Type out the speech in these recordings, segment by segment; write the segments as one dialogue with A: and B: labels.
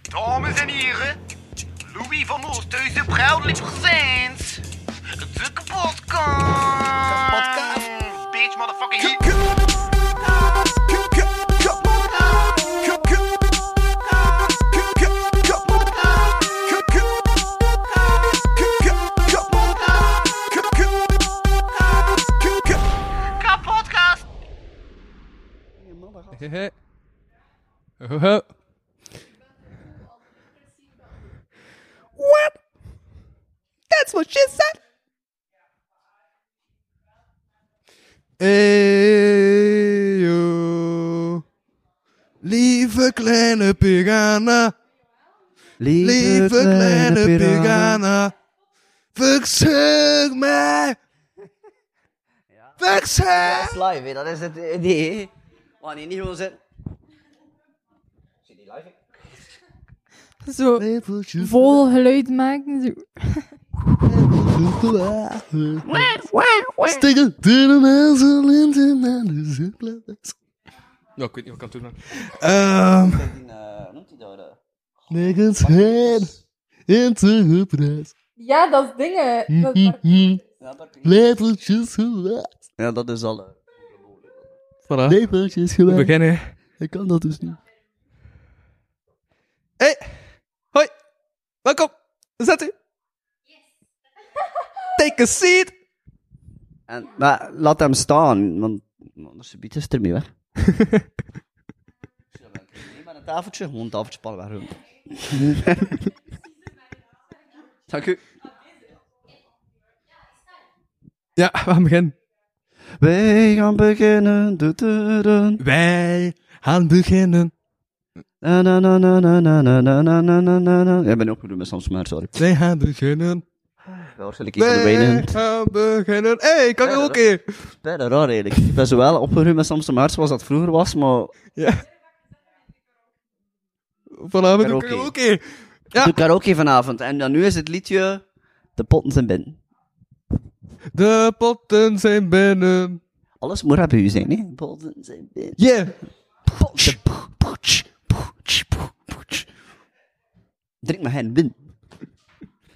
A: Dames en heren, Louis van Oosthuizen, proudly presents de kapotkast.
B: Kapotkast.
A: Bitch, motherfucking heat. Kapotkast.
C: What? That's what she said. Eyo. Lieve kleine piranha, lieve kleine piranha, verzeug mij, verzeug
B: Dat is live, hè. dat is het idee. hè. Maar Oh, nee, niet gewoon zitten.
D: Zo vol geluid maken. Zo.
C: Stikken dunne mensen linten naar de zitplaats. Ja, ik weet niet wat ik kan doen. Ehm,
B: Die, eh, hoe noemt hij dat? eh?
C: nergens heen. In te gepraat.
D: Ja, dat is dingen. Dat is waar-
C: Hm,
B: Ja, dat klinkt-
C: Lepeltjes gewaagd.
B: Ja, dat is al. eh,
E: Voilà,
C: Lepeltjes gewaagd.
E: beginnen.
C: Ik kan dat dus niet.
E: Hey, hoi, welkom. Zet u. Take a seat.
B: En, maar laat hem staan, want anders biedt is het ermee weg. Nee, maar een tafeltje, gewoon een tafeltje pal weg. Dank u.
E: Ja, we gaan beginnen.
B: Wij gaan beginnen. Du, du, du.
E: Wij gaan beginnen.
B: Na, na, na, na, na, na, na, na, na, na, na, na, na. Ik ben opgedoemd met Samsung, maar sorry.
E: Wij gaan beginnen.
B: Wel, waarschijnlijk een van de
E: Wij
B: weinigen.
E: gaan beginnen. Hey, kan ik ook een?
B: Bijna raar eigenlijk. Ik ben zo wel opgeruimd met Samsung, maar zoals dat vroeger was, maar
E: Ja. Vanavond ook
B: Karaoke.
E: ook een.
B: ik
E: Ja.
B: doe karaoke vanavond. En dan nu is het liedje De potten zijn binnen.
E: De potten zijn binnen.
B: Alles moet bij u zijn, hè? De potten zijn binnen.
E: Yeah.
B: Potje, poe, potje, potje, poe, potje. Drink maar hen, win.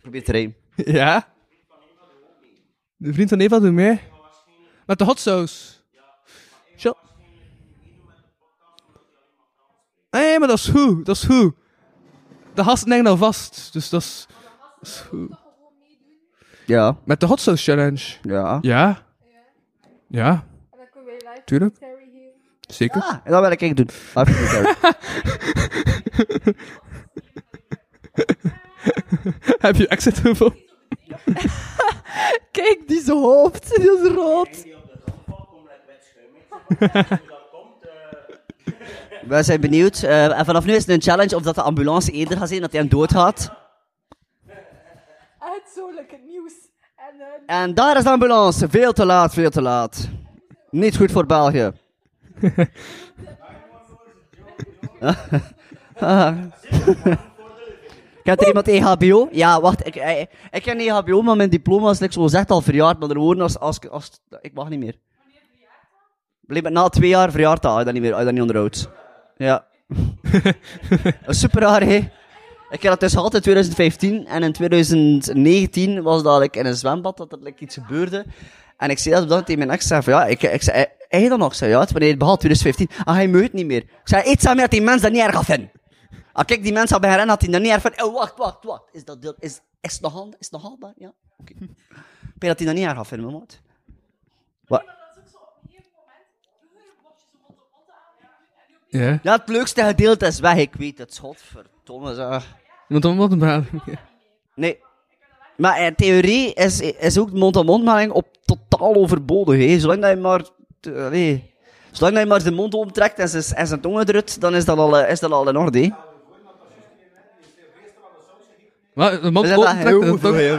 B: Probeer te rijmen.
E: Ja? De vriend van Eva doet mee. Met de hot sauce. Ja. Nee, maar dat is hoe, dat is hoe. De gasten hangen al vast, dus dat is, dat is goed.
B: Ja,
E: Met de hot sauce challenge.
B: ja.
E: Ja. Ja,
D: En dan kunnen wij live
E: tuurlijk.
D: commentary geven.
E: Zeker.
B: Ah, en dat wil ik echt doen. Live commentary.
E: Heb je exit gevonden?
D: Kijk, die zijn hoofd, die is rood.
B: Wij zijn benieuwd. eh, en vanaf nu is het een challenge of dat de ambulance eerder gaat zijn, dat hij hem doodgaat.
D: Echt zo lekker nieuws. En eh,
B: En daar is de ambulance. Veel te laat, veel te laat. Niet goed voor België. Kent er iemand E EHBO? Ja, wacht. Ik, ik, ik ken E EHBO, maar mijn diploma is, like zo zegt, al verjaard. Maar er woorden als, als, als... Ik mag niet meer. Blijkbaar na twee jaar verjaard dat. Als je dat niet meer, als je dat niet onderhoudt. Ja. Super raar, hè? Ik heb dat dus gehad in 2015 en in 2019 was dat like, in een zwembad dat er like, iets gebeurde. En ik zei dat op dat moment tegen mijn ex, zei van ja, ik, ik zei, heb je dat nog? Ik zei ja, het- wanneer je het behaalt, 2015. Ah, hij meugt niet meer. Ik zei, iets aan mij dat die mens dat niet erg af vinden. Ah, kijk, die mens had bij herinnerd dat hij dat niet erg vindt. Oh, wacht, wacht, wacht. Is dat, deel- is, is het nog hand, is het nog haalbaar? Ja, oké. Ik weet dat hij dat niet erg af vindt, mijn maat. Wat?
E: Ja.
B: Ja, het leukste gedeelte is weg, ik weet het. Godverdomme, zeg.
E: Iemand om wat te bellen.
B: Nee. Maar in theorie is, is ook mond-op-mond melding op totaal overbodig. Hè. Zolang dat je maar... t- allee. Zolang dat je maar de mond omtrekt en zijn, en zijn tong drukt, dan is dat al, eh, is dat al in orde. hè.
E: Maar de man
B: Is dat dat heel
E: optrekt
B: veel,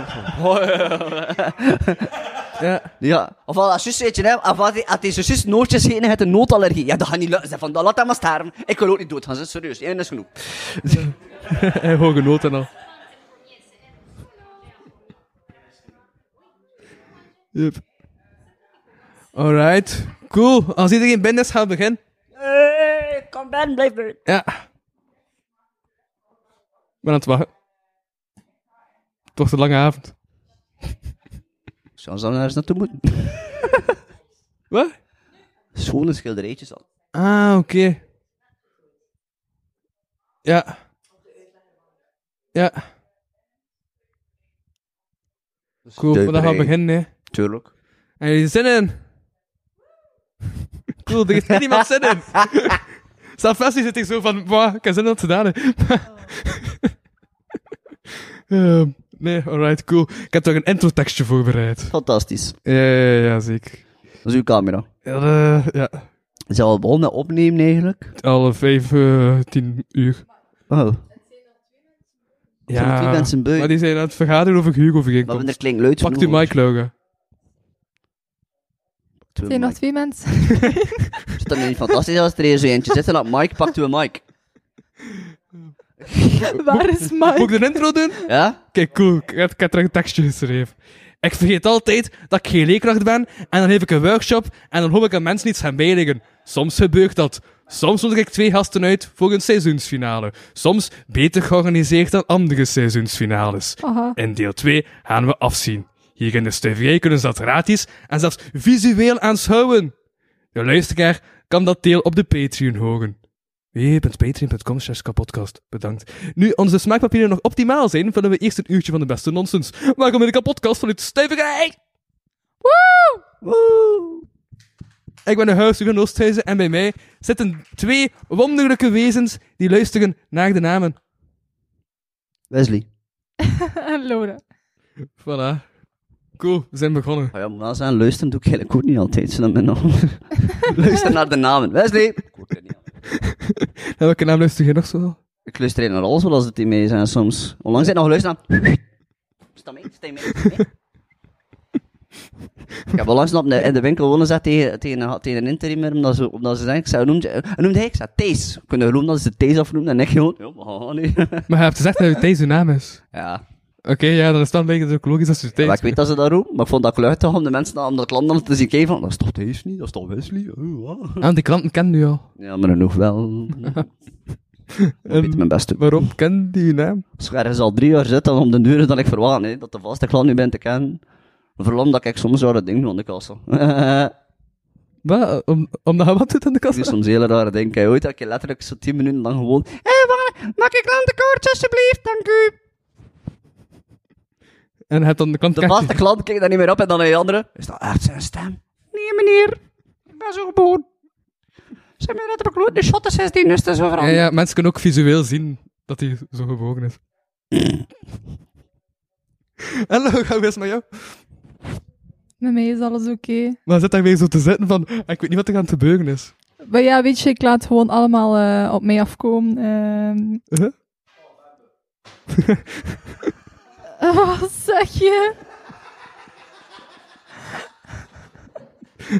E: toch?
B: Ja. Of al dat zus weet je, hè. Of als hij- als hij zijn zus nootjes heen heeft een nootallergie. Ja, dat gaat niet lukken. Zeg Van, dat laat hem maar sterven. Ik wil ook niet doodgaan, ze is serieus. Eén is genoeg.
E: En Eh, gewoon genoten al. Yep. Alright, cool. Als iedereen binnen is, gaan we beginnen.
F: Eh, kom ben, blijf bij.
E: Ja. ben aan het wachten. Het wordt een lange avond.
B: Zou ze daar eens naartoe moeten?
E: Wat?
B: Schone schilderijtjes al.
E: Ah, oké. Ja. Ja, cool. Maar dan gaan we
B: Stuiperij.
E: beginnen, hè.
B: Tuurlijk.
E: En jullie zin in? Cool, er heeft niemand zin in. Safasti zit ik zo van, "Wauw, ik heb zin in dat te gedaan. hè." Oh. Ehm, nee, alright, cool. Ik heb toch een intro tekstje voorbereid.
B: Fantastisch.
E: Ja, ja, ja, ja, zeker.
B: Dat is uw camera.
E: Ja, eh, ja.
B: Zijn we al begonnen met opnemen eigenlijk?
E: alle vijf, eh, tien uur.
B: Oh,
E: Ja,
B: twee mensen beu.
E: maar die zijn aan het vergaderen over Hugo
B: maar
E: overeenkomst.
B: er klinkt luid
E: Pak die mic, Logan.
D: Er zijn nog twee mensen.
B: Is dat niet fantastisch als er hier zo eentje zit en dat mic pakt uw mic?
D: Waar is
E: Moet
D: Mike?
E: ik de intro doen?
B: Ja?
E: Kijk, cool. Ik heb, ik heb er een tekstje geschreven. Ik vergeet altijd dat ik geen leerkracht ben en dan geef ik een workshop en dan hoop ik aan mensen iets gaan bijleggen. Soms gebeurt dat. Soms nodig ik twee gasten uit voor een seizoensfinale. Soms beter georganiseerd dan andere seizoensfinales.
D: Aha.
E: In deel 2 gaan we afzien. Hier in de stuiverij kunnen ze dat gratis en zelfs visueel aanschouwen. De luisteraar kan dat deel op de Patreon horen. www.patreon.com kapodcast. Bedankt. Nu onze smaakpapieren nog optimaal zijn, vullen we eerst een uurtje van de beste nonsens. Welkom in de kapodcast vanuit de stuiverij! Ik ben de huis van Oosthuizen en bij mij zitten twee wonderlijke wezens die luisteren naar de namen.
B: Wesley.
D: En Laura.
E: Voilà. Cool, we zijn begonnen.
B: Oh ja, moet wel zijn, luisteren doe ik eigenlijk ook niet altijd. Zodat men nog... luister naar de namen. Wesley! Ik hoor het niet aan.
E: En welke naam luister je nog zo wel?
B: Ik luister eigenlijk naar alles wel als het in mee zijn soms. Onlangs heb ik nog geluisterd aan... Sta mee, sta mee, sta mee. Ik heb onlangs nog in de- in de winkel wonen zat tegen, tegen, een- tegen een interim, omdat ze, omdat ze zei, ik zei, hoe noemde, hoe noemde hij? Ik zei, Thees. Kunnen geloven dat ze Thees afnoemden? En ik gewoon, ja, maar gaan we nu.
E: Maar je hebt gezegd dat het deze naam is.
B: Ja,
E: Oké, ja, dan is dat een beetje ook logisch als je het
B: Ja,
E: deze...
B: maar ik weet dat ze dat roepen, maar ik vond dat kluit toch om de mensen om dat land dan te zien kijken van, dat is toch deze niet, dat is toch Wesley? Oh, wow.
E: Ah, die klanten kennen nu al.
B: Ja, maar genoeg wel. Ik weet mijn best doen.
E: Waarom ken die je naam?
B: Als ik ergens al drie jaar zit, dan om de duur dat ik verwacht hè, dat de vaste klant nu bent te kennen. Vooral omdat ik soms rare dingen doe aan de kassa.
E: Wat? Om, omdat hij wat doet aan de
B: ik doe
E: kassa?
B: soms hele rare dingen. Ik heb ooit dat ik letterlijk zo tien minuten lang gewoon... Hé, hey, maak ik klantenkaart alsjeblieft, dank u.
E: En hij hebt dan de klant
B: De vaste klant kijkt daar niet meer op en dan naar die andere. Is dat echt zijn stem? Nee, meneer. Ik ben zo geboren. Zijn mij dat de beklote shot de 16 is, dat is overal.
E: Ja, ja, mensen kunnen ook visueel zien dat hij zo gebogen is. Hallo, ga eens met jou.
D: Met mij is alles oké.
E: Maar hij zit daar weer zo te zitten van, "Ah, ik weet niet wat er aan te gebeuren is.
D: Maar ja, weet je, ik laat gewoon allemaal eh, op mij afkomen. ehm.
E: Huh?
D: Eh, wat zeg je?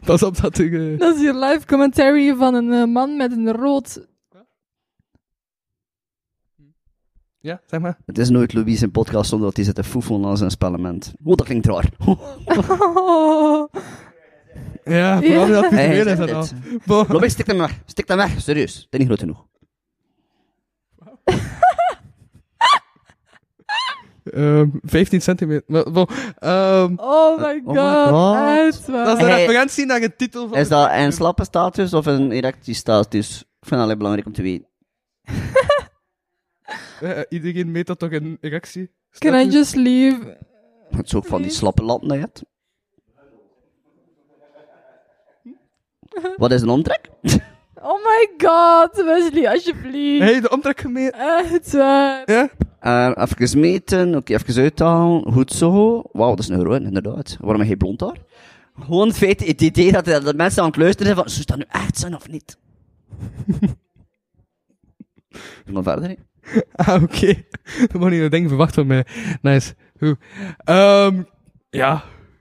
E: Pas op dat ik... eh,
D: Dat is hier live commentary van een eh, man met een rood...
E: Ja, zeg maar.
B: Het is nooit Louis in podcast zonder dat hij zit te foefelen aan zijn spellement. Oh, dat klinkt raar.
D: Oh,
E: Ja, vooral nu dat het
B: Hey,
E: visueel
B: zeg
E: is en al.
B: dit.
E: Bon.
B: Louis, stik hem weg. Stik hem weg. Serieus. Dat is niet groot genoeg.
E: Ehm, 15 centimeter. Maar, bon. Ehm,
D: Oh my
B: my
D: god.
B: god.
D: echt waar.
E: dat is een
B: Hey.
E: referentie naar de titel van...
B: Is dat een slappe status of een erectie status? Ik vind dat heel belangrijk om te weten.
E: Eh, eh, iedereen meet dat toch een erectie?
D: Can
E: Snap
D: I
E: je?
D: just leave?
B: Het is ook van die slappe latten dat je hebt. Wat is een omtrek?
D: Oh my god, Wesley, alsjeblieft.
E: Hey, de omtrek gemeen.
D: Echt waar.
E: Ja?
B: Eh, even meten, oké, even uithalen. Goed zo. Wauw, dat is een groot, inderdaad. Waarom heb je blond haar? Gewoon het feit, het idee dat, dat mensen aan het luisteren zijn van, zou dat nu echt zijn of niet? Doe maar verder, hè.
E: Ah, oké. Dat mag niet een ding verwacht van mij. Nice. Goed. Ehm, ja,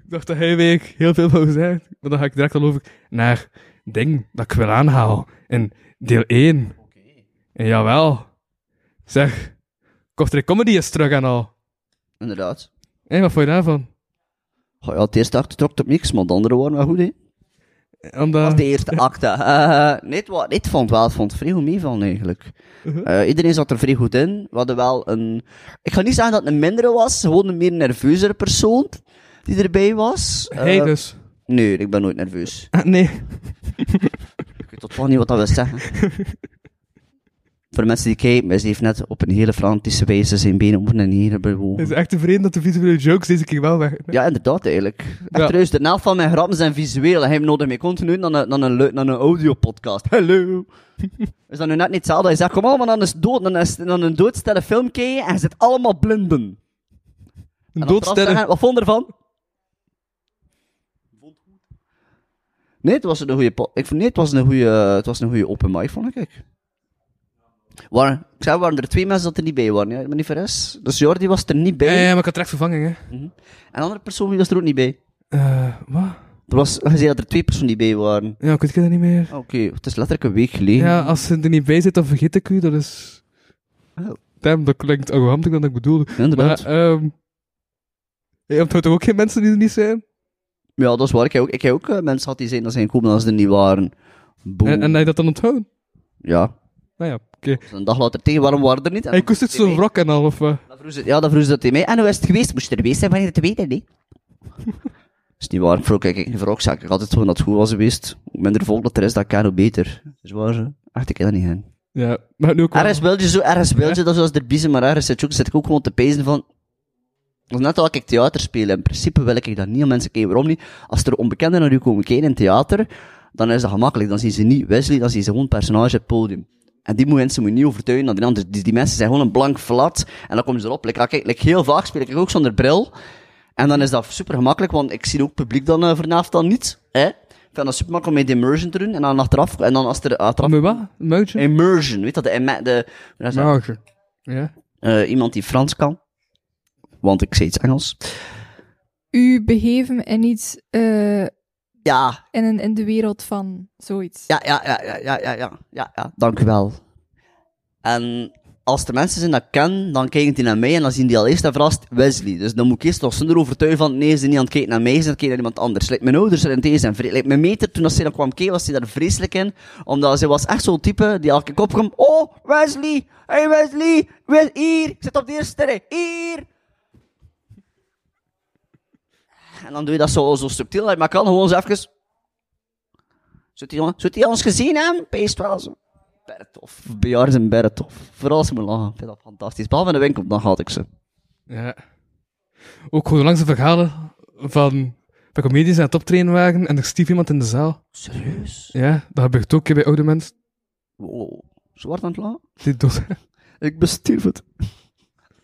E: ik dacht dat hij weer heel veel wou zeggen. Maar dan ga ik direct al over naar ding dat ik wil aanhalen. In deel 1. En jawel. Zeg, Kortrijk Comedy is terug en al.
B: Inderdaad.
E: Hé, wat vond je daarvan?
B: Goh, ja, het eerste act trok het op niks, maar de andere waren wel goed, hè.
E: Omdat...
B: was de eerste acte. Eh nee, het wa- nee, het vond wel, het vond vrij goed meevallen eigenlijk. Eh, iedereen zat er vrij goed in. We hadden wel een, ik ga niet zeggen dat het een mindere was, gewoon een meer nerveuzere persoon die erbij was. Eh,
E: Hij dus.
B: Nee, ik ben nooit nerveus.
E: Ah, nee.
B: Ik weet toch niet wat dat wil zeggen. Voor de mensen die kijken, Messi heeft net op een hele frantische wijze zijn benen op en neer
E: Het
B: bewogen.
E: is echt tevreden dat de visuele jokes deze keer wel weg...
B: Ja, inderdaad, eigenlijk. En
E: Ja.
B: trouwens, de helft van mijn grappen zijn visueel. Hij heeft nodig mee continu dan een, dan een, leu- dan een audiopodcast. Hallo. is dat nu net niet hetzelfde? dat Je zegt, kom allemaal dan is het dood. Dan, is, dan een doodstille film kijken en je zit allemaal blinden. En
E: Een
B: dan praten
E: doodstellen.
B: gaan, Wat vond je ervan? Nee, het was een goede po- ik vond, nee, het was een goede, het was een goede open mic, vond ik. Waar, ik zei, waren er twee mensen dat er niet bij waren, ja, ik ben niet verres. Dus Jordi was er niet bij.
E: Ja, ja, maar ik had terecht vervanging, hè.
B: En een andere persoon die was er ook niet bij.
E: Eh, wat?
B: Er was gezegd dat er twee personen die bij waren. Ah,
E: Ja, ik weet dat niet meer.
B: Oké, het is letterlijk een week geleden.
E: Ja, als ze er niet bij zit, dan vergeet ik u. Dat is...
B: Oh.
E: Damn, dat klinkt arroganter dan ik bedoelde.
B: Inderdaad.
E: Maar, ehm... Je hebt toch ook geen mensen die er niet zijn?
B: ja, dat is waar. Ik heb ook, ik heb ook eh, mensen had die zijn dat zijn komen als ze er niet waren. Boom.
E: En, en dat je dat dan onthoudt?
B: Ja,
E: Nou ja, oké.
B: dus een dag later tegen, waarom waren er niet? En
E: Hij koest het
B: dan
E: zo'n
B: vroeg
E: wrok en al, of wat?
B: ze- dan vroeg ze- Ja, dan vroeg ze dat tegen mij. En hoe is het geweest? Moest je er geweest zijn van je te weten, nee? is niet waar. Vroeg kijk ik geen wrokzaak. Ik had het gewoon dat het goed was geweest. Hoe minder volk dat er is, dat kan hoe beter. Dat is waar, hè. Echt, ik heb dat niet aan.
E: Ja, maar nu ook wel.
B: Ergens wil je zo, ergens wil je dat zoals de biezen, maar ergens zit, je ook, zit ik ook gewoon te pezen van... Dat is net als ik theater speel. In principe wil ik dat niet aan mensen kijken. Waarom niet? Als er onbekenden naar u komen kijken in theater, dan is dat gemakkelijk. Dan zien ze niet Wesley, dan zien ze gewoon personage op het podium. En die mensen moet je niet overtuigen dat die anderen... Die, die mensen zijn gewoon een blank flat. En dan komen ze erop. Like, ah, kijk, like, heel vaak speel ik ook zonder bril. En dan is dat super gemakkelijk, want ik zie ook het publiek dan eh, vanavond dan niet. Hè? Ik vind dat super makkelijk om mee de immersion te doen. En dan achteraf... En dan als er achteraf...
E: Maar wat? Een muiltje?
B: Immersion, weet dat? De, imma- de, hoe dat?
E: muiltje. Ja.
B: Eh, iemand die Frans kan. Want ik zei iets Engels.
D: U begeven in iets, eh,
B: Ja,
D: in, een- in de wereld van zoiets.
B: ja, ja, ja, ja, ja, ja, ja, ja, ja. Dank u wel. En als er mensen zijn dat ik ken, dan kijken die naar mij en dan zien die al eerst en verrast Wesley. Dus dan moet ik eerst nog zonder overtuigen van nee, ze zijn niet aan het kijken naar mij, ze zijn aan het kijken naar iemand anders. Like, mijn ouders zijn deze en vre- like, mijn meter, toen dat ze dan kwam kijken, was ze daar vreselijk in. Omdat ze was echt zo'n type die elke keer opkwam. Oh, Wesley! Hey Wesley! Wes hier! Ik zit op de eerste rij! Hier! En dan doe je dat zo, zo subtiel, dat je maar kan gewoon zo even... Zult hij, zult hij ons gezien hebben? Peest wel zo. Berthof. Bejaarden zijn Berthof. Vooral als ze me lachen. Ik vind dat fantastisch. Behalve in de winkel, dan had ik ze.
E: Ja. Ook gewoon langs de verhalen van, van comedians die aan het optreden waren en er stief iemand in de zaal.
B: Serieus?
E: Ja, dat gebeurt ook hè, bij oude mensen
B: Wow. Zwart aan het lachen?
E: die dood zijn.
B: Ik bestierf het.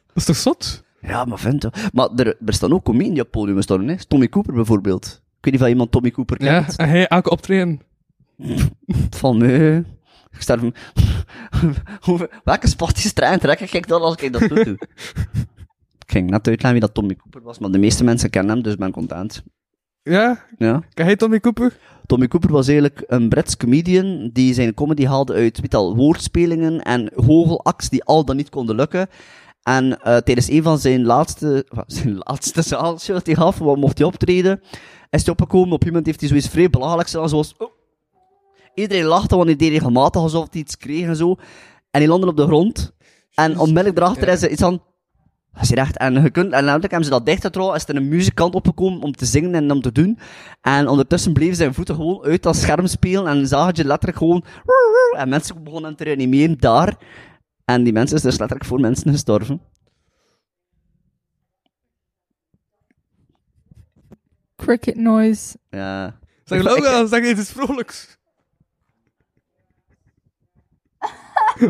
E: Dat is toch zot?
B: Ja, maar vent. hè. Maar er, er staan ook comedian op podiums staan, hè. Tommy Cooper bijvoorbeeld. Ik weet niet of iemand Tommy Cooper
E: Ja,
B: kent.
E: en hij elke optreden.
B: Van me. Ik sterf hem. Hoeveel- Welke spastische trein trek ik dan als ik dat zo doe? ik ging net uitleggen wie dat Tommy Cooper was, maar de meeste mensen kennen hem, dus ik ben content.
E: Ja,
B: Ja.
E: kan hij Tommy Cooper?
B: Tommy Cooper was eigenlijk een Brits comedian die zijn comedy haalde uit weet al, woordspelingen en goochelacts die al dan niet konden lukken. En eh, tijdens een van zijn laatste, wa- zijn laatste zaaltje dat hij gaf, waar mocht hij optreden, is hij opgekomen. Op een moment heeft hij zoiets vrij belachelijks gedaan, zoals... "Oh." Iedereen lachte, want hij deed regelmatig alsof hij iets kreeg en zo. En die landde op de grond. En onmiddellijk daarachter is er iets aan... Als je echt, en je kunt, en namelijk hebben ze dat dichtgetrokken, is er een muzikant opgekomen om te zingen en om te doen. En ondertussen bleven zijn voeten gewoon uit dat scherm spelen en zag je letterlijk gewoon... En mensen begonnen hem te reanimeren daar. En die mensen is dus letterlijk voor mensen gestorven.
D: Cricket noise.
B: Ja.
E: Zeg
B: Ik-
E: Logan, zeg iets vrolijks.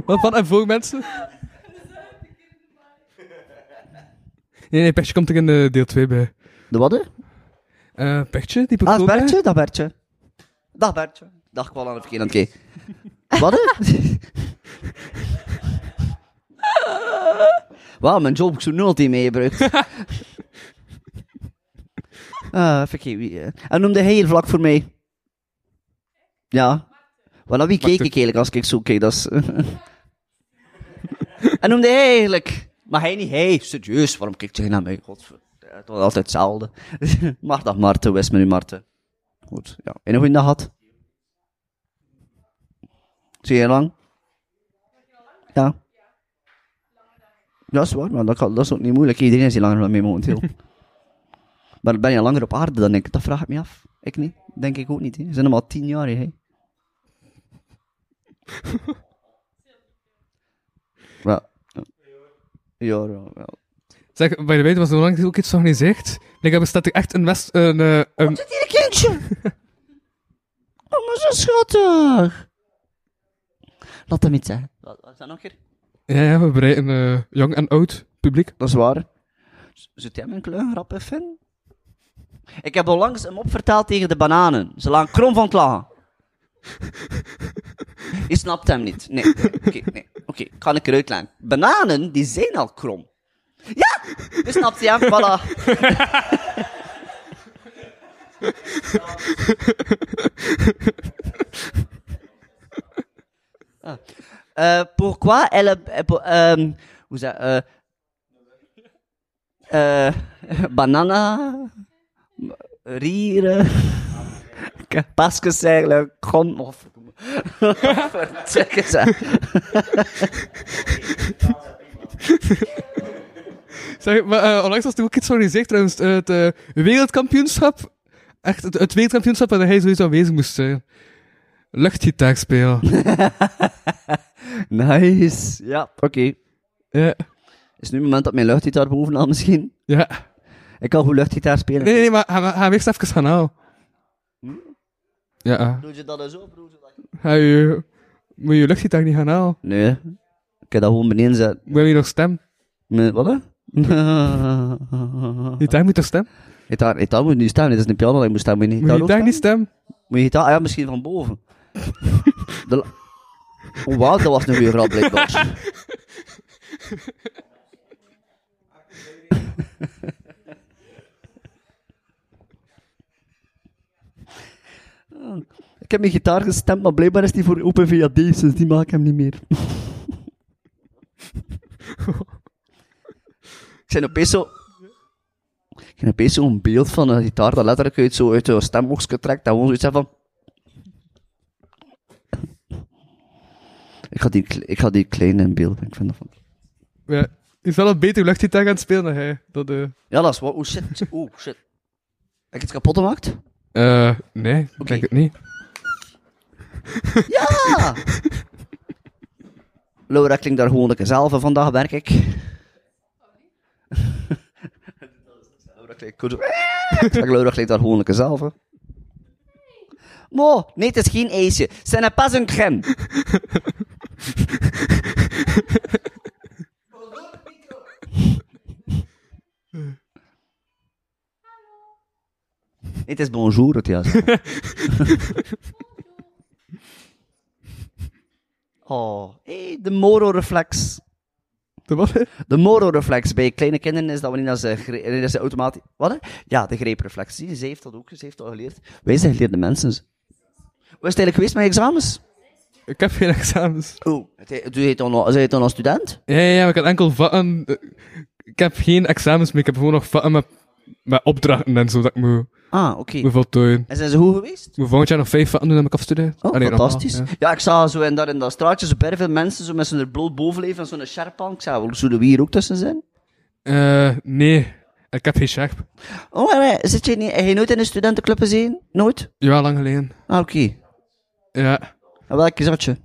E: Wat van en voor mensen? Nee, nee, Pechtje komt er in eh, deel 2 bij.
B: De wat? hè?
E: Eh Pechtje, die
B: Ah,
E: persoon.
B: Bertje? Dag Bertje. Dag Bertje. Dag, ik was aan het verkeerde aan het kijken. Wat? hè? Wauw, mijn job, ik zo'n nul die mee gebruikt. Ah, vergeet wie. eh. Hij noemde heel vlak voor mij. Ja. Maar naar wie keek ik eigenlijk als ik zo keek? Dat is... Hij noemde hij eigenlijk... Maar hij niet hij. Serieus, waarom kijkt hij naar mij? Godver... eh, Het was altijd hetzelfde. Maardag Marten, West met u Marten. goed. Ja. En een goede dag had. Zie je lang? Ja. Dat is waar, maar dat, kan- dat is ook niet moeilijk. Iedereen is hier langer dan mee momenteel. maar ben je langer op aarde dan ik? Dat vraag ik me af. Ik niet. Denk ik ook niet. Hè. Ze zijn allemaal tien jaar, hè. Ja. Ja, ja, ja.
E: Zeg, bij de weten was er onlangs ook iets georganiseerd. Like, er bestaat er echt een west... Een, eh, een,
B: Zit hier een kindje? Oh, maar zo schattig. Laat hem iets zeggen. Wat is dat nog keer?
E: ja, ja, we bereiden eh, jong en oud publiek.
B: Dat is waar. Z- Zit jij mijn kleurengrap even? Ik heb onlangs een mop verteld tegen de bananen. Ze lagen krom van klagen. Je snapt hem niet. Nee, nee, oké, nee. Oké, ik ga een keer uitleggen. Bananen, die zijn al krom. Ja! Je snapt hem, voilà. Ah. Eh, pourquoi elle... eh, po- ehm, hoe zeg... eh, eh banana, rieren, paskus eigenlijk, grond of... Verdikke ze.
E: Zeg, maar eh, onlangs was er ook iets georganiseerd trouwens. eh, Het eh, wereldkampioenschap. Echt, het, het wereldkampioenschap waar hij sowieso aanwezig moest zijn. Luchtgitaar spelen.
B: Nice. Ja, oké.
E: ja.
B: Is nu het moment dat mijn luchtgitaar bovenaan misschien?
E: ja.
B: Ik kan goed luchtgitaar spelen.
E: Nee, nee, nee, maar ga, ga hem eerst even gaan halen. Ja, eh,
B: Doe je dat dan zo, broer? zodat je-
E: ga je... Moet je je luchtgitaar niet gaan halen?
B: Nee. Ik kan dat gewoon beneden zetten.
E: Moet je hier nog stem?
B: Met, wat hè?
E: Gitaar moet toch stem?
B: Gitaar, gitaar moet nu staan. Dit is een piano dat ik moet staan. Moet je
E: Moet je
B: gitaar ook
E: gitaar
B: staan?
E: niet stem?
B: Moet je gitaar... Ah ja, misschien van boven. De la- Oh, wauw, dat was een goede grap, blijkbaar. Ik heb mijn gitaar gestemd, maar blijkbaar is die voor open VAD, dus die maak ik hem niet meer. ik zijn opeens zo... Ik heb opeens zo'n beeld van een gitaar dat letterlijk uit, zo uit je stemboxje trekt, dat gewoon zoiets zegt van... Ik ga die, kle- ik ga die kleine in beeld, ik vind dat van...
E: Ja. Is wel een beter luchtgitaar gaan spelen dan hij. Dat, eh
B: Ja, dat is wat. Oh shit. Oh shit. Heb ik het kapot gemaakt?
E: Eh, nee, ik denk het niet.
B: Ja! Ah! Laura klinkt daar gewoon lekker zelf en vandaag werk ik. Laura klinkt goed. Zeg, Laura klinkt daar gewoon lekker zelf. hè. Mo, nee, het is geen ijsje. Ze n'est pas een crème. Nee, Het is bonjour, het juist. Oh, hey, de moro-reflex.
E: De wat?
B: De moro-reflex bij kleine kinderen is dat wanneer dat ze, gre- wanneer dat ze automatisch... Wat? hè? Ja, de greepreflex. Zie, ze heeft dat ook, ze heeft dat geleerd. Wij zijn geleerde mensen. Hoe is het eigenlijk geweest met je examens?
E: Ik heb geen examens.
B: Oh, het he- doe je het dan al- zijn je dan als student?
E: Ja, ja, ja, maar ik had enkel vatten. eh, Ik heb geen examens meer, ik heb gewoon nog vatten met, met opdrachten en zo dat ik moet,
B: Ah, oké.
E: moet voltooien.
B: En zijn ze goed geweest?
E: Ik moet volgend jaar nog vijf vatten doen en ik afstudeer.
B: Oh,
E: Allee, normaal,
B: fantastisch.
E: ja.
B: ja. ik zag zo in, daar in dat straatje zo bij veel mensen zo met zo'n bloot bovenleven en zo'n sharpan. Ik zei, zullen we hier ook tussen zijn?
E: Eh, nee, ik heb geen scherp.
B: Oh, nee, zit je niet... Heb je nooit in een studentenclub gezien? Nooit?
E: Ja, lang geleden.
B: Ah, oké.
E: Ja,
B: En welke zat je?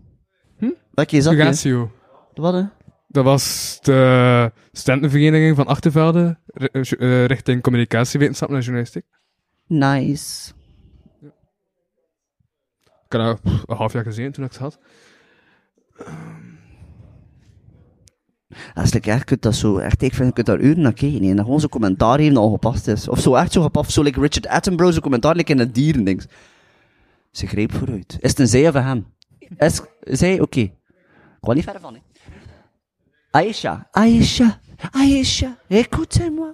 E: Hm?
B: Welke zat je?
E: Fugatio.
B: Wat hè?
E: Dat was de studentenvereniging van Achtervelde, ri- eh, jo- eh, richting communicatiewetenschappen en journalistiek.
B: Nice.
E: Ik had dat pff, een half jaar gezien toen ik het had.
B: Als ik echt kunt dat zo, echt, ik vind, je kunt daar uren naar kijken hè, en dan gewoon zo'n commentaar geven dat al gepast is. Of zo echt zo gepast, zo like Richard Attenborough, zo'n commentaar like in het dierendings. Ze greep vooruit. Is het een zij of een hem? Is, zij, oké. Ik wou niet verder van, hè. Aisha, Aisha, Aisha, écoutez-moi.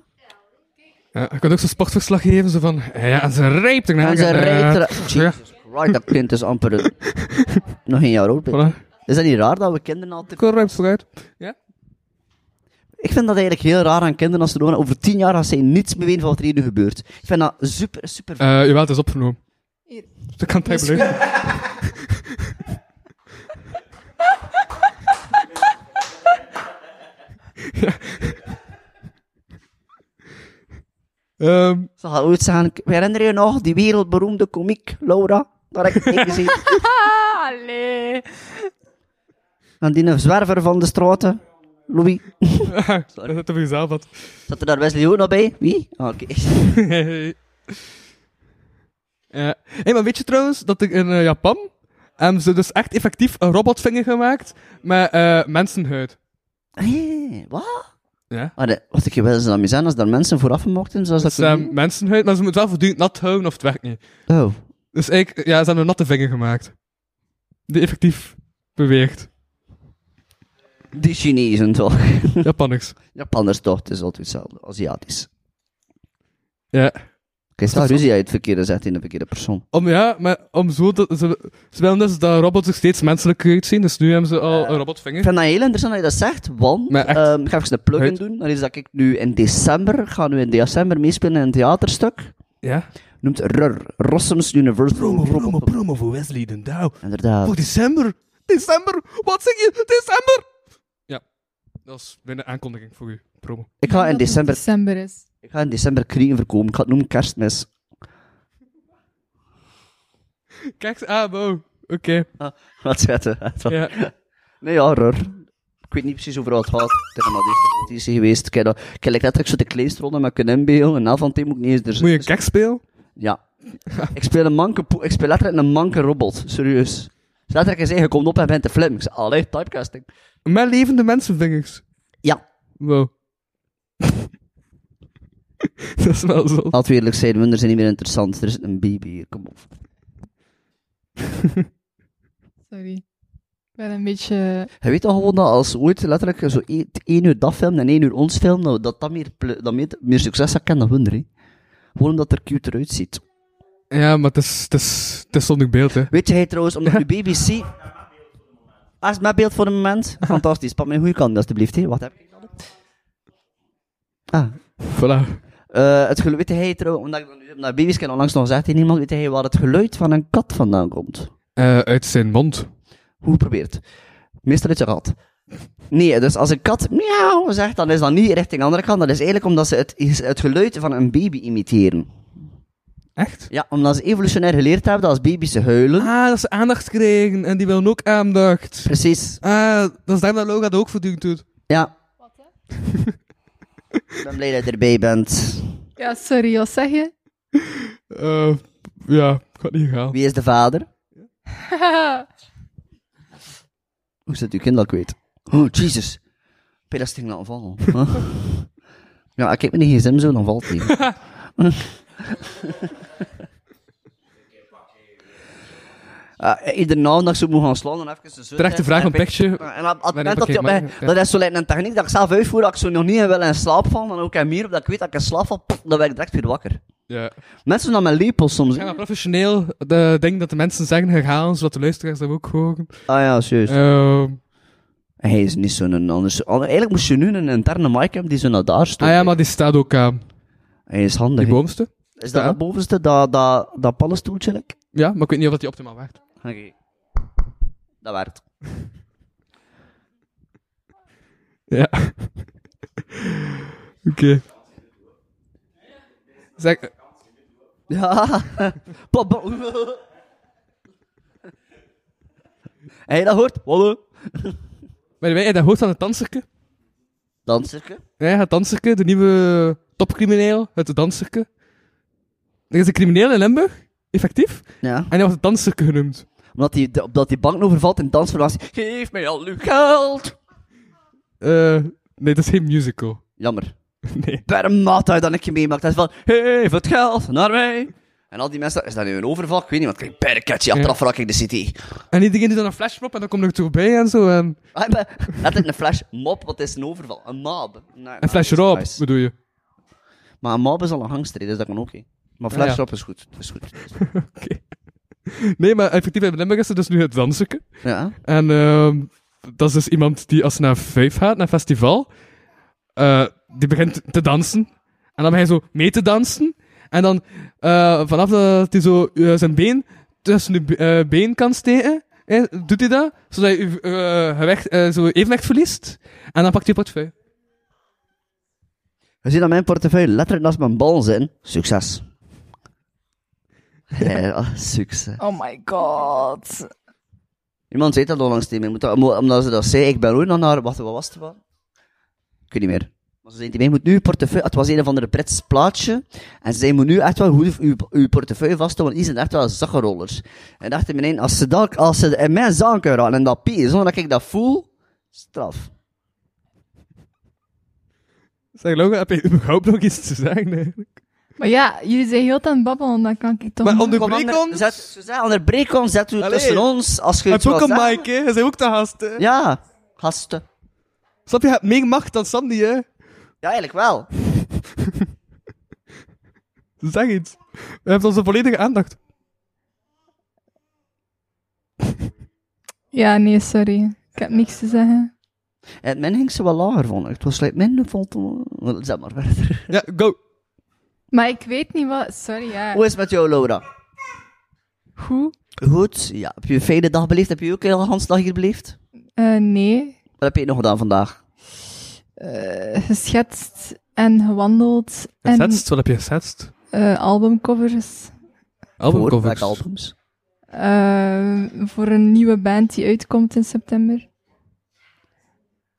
E: Ja, ik had ook zo'n sportverslag geven, zo van, ja, en ze rijpt ernaar.
B: En ze
E: eh,
B: rijdt er...
E: pff, ja,
B: Jesus Christ, dat kind is amper... een- Nog een jaar oud. ben.
E: voilà.
B: Is dat niet raar dat we kinderen altijd...
E: Ik rijpt vooruit.
B: Ik vind dat eigenlijk heel raar aan kinderen als ze doen. Over tien jaar als zij niets meer weten van wat er hier nu gebeurt. Ik vind dat super, super.
E: Eh, jawel, het is opgenomen.
D: Hier.
E: Dat kan tijd blijven. Ja. Ehm,
B: Ze gaat ooit zeggen, "Ik herinner je nog die wereldberoemde komiek Laura? Daar heb ik het gezien.
D: Ah, allee.
B: En die zwerver van de straten, Louis.
E: dat heb ik zelf had.
B: Zat er daar Wesley ook nog bij? Wie? Ah, Oké.
E: ja. Hey, maar weet je trouwens dat ik in eh, Japan hebben ze dus echt effectief een robotvinger gemaakt met eh, mensenhuid.
B: Hé, Eh, wat?
E: Ja.
B: Ah, dat- Wat ik je wel eens aan zijn als daar mensen voor afmochten, zoals dat...
E: Dus, eh, mensenhuid, maar ze moeten wel voortdurend nat houden of het werkt niet.
B: oh.
E: Dus ik, ja, ze hebben een natte vinger gemaakt. Die effectief beweegt.
B: Die Chinezen toch?
E: Japanners.
B: Japanners toch, het is altijd hetzelfde. Aziatisch.
E: Ja.
B: Kijk, staat ruzie uit het verkeerde zet in de verkeerde persoon.
E: Om, ja, maar om zo te... Ze, ze willen dus dat robots zich steeds menselijker uitzien, dus nu hebben ze al een
B: Ik
E: robotvinger.
B: vind dat heel interessant dat je dat zegt, want
E: Maar echt.
B: ehm, ik ga even een plug-in
E: Uit.
B: doen. Dat is dat ik nu in december, ga nu in december meespelen in een theaterstuk.
E: Ja.
B: Noemt RUR, Rossum's Universal Robot.
E: promo voor Wesley den Douw.
B: Inderdaad.
E: Voor december. December. Wat zeg je? December. Ja. Dat is binnen aankondiging voor u. Promo.
B: Ik ga in
D: Dat het
B: december,
D: december is.
B: ik ga in december krieken verkopen. Ik ga het noemen kerstmis.
E: Kijk, ah, wow. Oké.
B: Wat zetten. hè, toch?
E: Ja.
B: Nee, ja, RUR. Ik weet niet precies hoeveel het gaat. Het is maar deze competitie geweest. Ik heb, dat- ik heb letterlijk zo de kleinstronde met kunnen inbeelden. En na van het moet ik niet eens... er-
E: Moet je een kek spelen?
B: Ja. ik speel een manke po- Ik speel letterlijk een manke robot. Serieus. Ze letterlijk gezegd, je komt op en bent te flim. Ik zei, allee, typecasting.
E: Met levende mensenvingers.
B: Ja.
E: Wow. dat is wel zo.
B: Laten we eerlijk zijn, wunders zijn niet meer interessant. Er is een baby hier, kom op.
D: Sorry. Ik ben een beetje...
B: Je weet toch gewoon dat als we ooit letterlijk zo één, één uur dat film en één uur ons film, nou, dat dat meer, ple- dat meer, meer succes zou kennen dan Wunder, hè. Gewoon omdat er cute eruit ziet.
E: Ja, maar het is, het is, het is zonder beeld, hè.
B: Weet jij trouwens, omdat nu BBC... Ah, is mijn beeld voor een moment? Fantastisch, pak mijn goede kant alstublieft, hè. Wat heb ik dan? Ah,
E: Voilà.
B: Eh, het geluid, weet hij trouwens, omdat ik dat nu heb naar baby's ken onlangs nog gezegd, heeft niemand weet hij waar het geluid van een kat vandaan komt.
E: Eh, uit zijn mond.
B: Hoe geprobeerd? Meestal uit je rat. Nee, dus als een kat miauw zegt, dan is dat niet richting de andere kant. Dat is eigenlijk omdat ze het, is het geluid van een baby imiteren.
E: Echt?
B: Ja, omdat ze evolutionair geleerd hebben dat als baby's ze huilen.
E: Ah, dat ze aandacht kregen en die willen ook aandacht.
B: Precies.
E: Ah, dat is daarom dat Loga dat ook voortdurend doet.
B: Ja. Ik ben blij dat je erbij bent.
D: Ja, sorry, wat zeg je?
E: Eh, ja, ik had niet gehaald.
B: Wie is de vader? Hoe zit uw kind dat kwijt? Oh, Jesus. Pedesting laten vallen. Huh? ja, ik heb mijn gsm zo, dan valt hij. Eh iedere namiddag zo moet gaan slaan, dan even een zo.
E: Terechte vraag,
B: En
E: een
B: bij-
E: picture.
B: En op,
E: Waarin
B: op het moment dat
E: pakket
B: hij op mij-
E: maken, ja.
B: dat is zo lijkt een techniek dat ik zelf uitvoer, dat ik zo nog niet in wil in slaap val, dan ook hem hier, dat ik weet dat ik in slaap val, pff, dan ben ik direct weer wakker.
E: Ja.
B: Mensen doen dat met lepels soms.
E: Ja,
B: hè.
E: maar professioneel, de ding dat de mensen zeggen herhalen, zodat de luisteraars dat ook horen.
B: Ah ja, serieus.
E: Ehm,
B: Hij is niet zo'n anders. Eigenlijk moest je nu een interne mic hebben die zo naar daar stond.
E: ah ja, maar die staat ook eh, aan.
B: Hij is handig.
E: Die
B: hè.
E: boomste.
B: Is dat
E: Ja.
B: dat bovenste, dat, dat, dat paddenstoeltje? like?
E: Ja, maar ik weet niet of dat die optimaal werkt.
B: Oké. Dat werkt.
E: Ja. Oké. Zeg, eh,
B: Ja. Papa. Heb je dat hoort? Hallo.
E: by the way, heb je dat hoort van het danserke?
B: Danserke.
E: Ja, het danserke, de nieuwe topcrimineel uit het danserke. Er is een crimineel in Limburg, effectief,
B: Ja.
E: en hij wordt het danserke genoemd.
B: Omdat die, de- omdat die bank overvalt in dansverlantie. Geef mij al uw geld.
E: Eh, nee, dat is geen musical.
B: Jammer.
E: Nee.
B: Permat uit dat ik je meemaakt. Dat is van, geef het geld naar mij. En al die mensen, is dat nu een overval? Ik weet niet, want ik krijg per catchy achteraf raak ik de city.
E: En iedereen doet dan een flashmop en dan komt er toe bij en zo. En
B: Ah, maar- Letterlijk een flash mob, wat is een overval? Een mob. Nee,
E: een
B: nee,
E: flash
B: Ah, dat is
E: erop,
B: nice.
E: bedoel je?
B: Maar een mob is al een hangster, hè, dus dat kan ook. hè. Maar flash
E: Ja.
B: erop is goed. Is goed.
E: Nee, maar effectief in Limburg is er dus nu het danserke.
B: Ja.
E: En ehm, dat is dus iemand die als ze naar vijf gaat, naar festival, eh, die begint te dansen. En dan begint hij zo mee te dansen. En dan eh, vanaf dat hij zo eh, zijn been tussen de be- eh, been kan steken, eh, doet hij dat, zodat hij uw, eh, gewicht, eh, zo evenwicht verliest. En dan pakt hij je portefeuille.
B: Je ziet dat mijn portefeuille letterlijk naast mijn bal zijn. Succes. Ja, succes.
D: Oh my god.
B: Iemand zei dat al langs tegen mij, moet dat- mo- omdat ze dat zei. Ik ben ooit nog naar, wacht, wat was het wel? Ik weet niet meer. Maar ze zei tegen mij, moet nu je portefeuille, het was een of andere Brits plaatje. En ze zei, moet nu echt wel goed uw, uw portefeuille vasthouden, want die zijn echt wel zakkenrollers. En ik dacht in mijn eind, als ze dat, als ze in mijn zaan kunnen raken en dat pie, zonder dat ik dat voel, straf.
E: Zeg, Logan, heb je überhaupt nog iets te zeggen eigenlijk?
D: Maar ja, jullie zijn heel aan het babbelen, dan kan ik toch...
E: Maar
D: niet-
E: onder-
B: Kom,
E: breek
B: ander-
E: ons.
B: Zet, Suzanne, onderbreek ons, zet u
E: Allee.
B: tussen ons, als je
E: Hij
B: iets
E: is ook
B: wilt
E: een
B: zeggen.
E: Mike, hè? Hij is ook te haast, hè?
B: Ja, gasten.
E: Snap je, je hebt meer macht dan Sandy, hè?
B: Ja, eigenlijk wel.
E: Zeg iets. Je hebt onze volledige aandacht.
D: Ja, nee, sorry. Ik heb niks te zeggen.
B: En men ging ze wel lager, vond ik. Het was like, minder vond Zet maar verder.
E: Ja, go.
D: Maar ik weet niet wat... Sorry, ja.
B: Hoe is het met jou, Laura?
D: Goed?
B: Goed, ja. Heb je een fijne dag beleefd? Heb je ook een hele dag hier beleefd?
D: Eh, nee.
B: Wat heb je nog gedaan vandaag?
D: Eh, geschetst en gewandeld. En
E: Gesetst? Wat heb je gesetst?
D: eh, albumcovers.
B: Voor
E: Albumcovers.
B: welke albums?
D: Eh, voor een nieuwe band die uitkomt in september.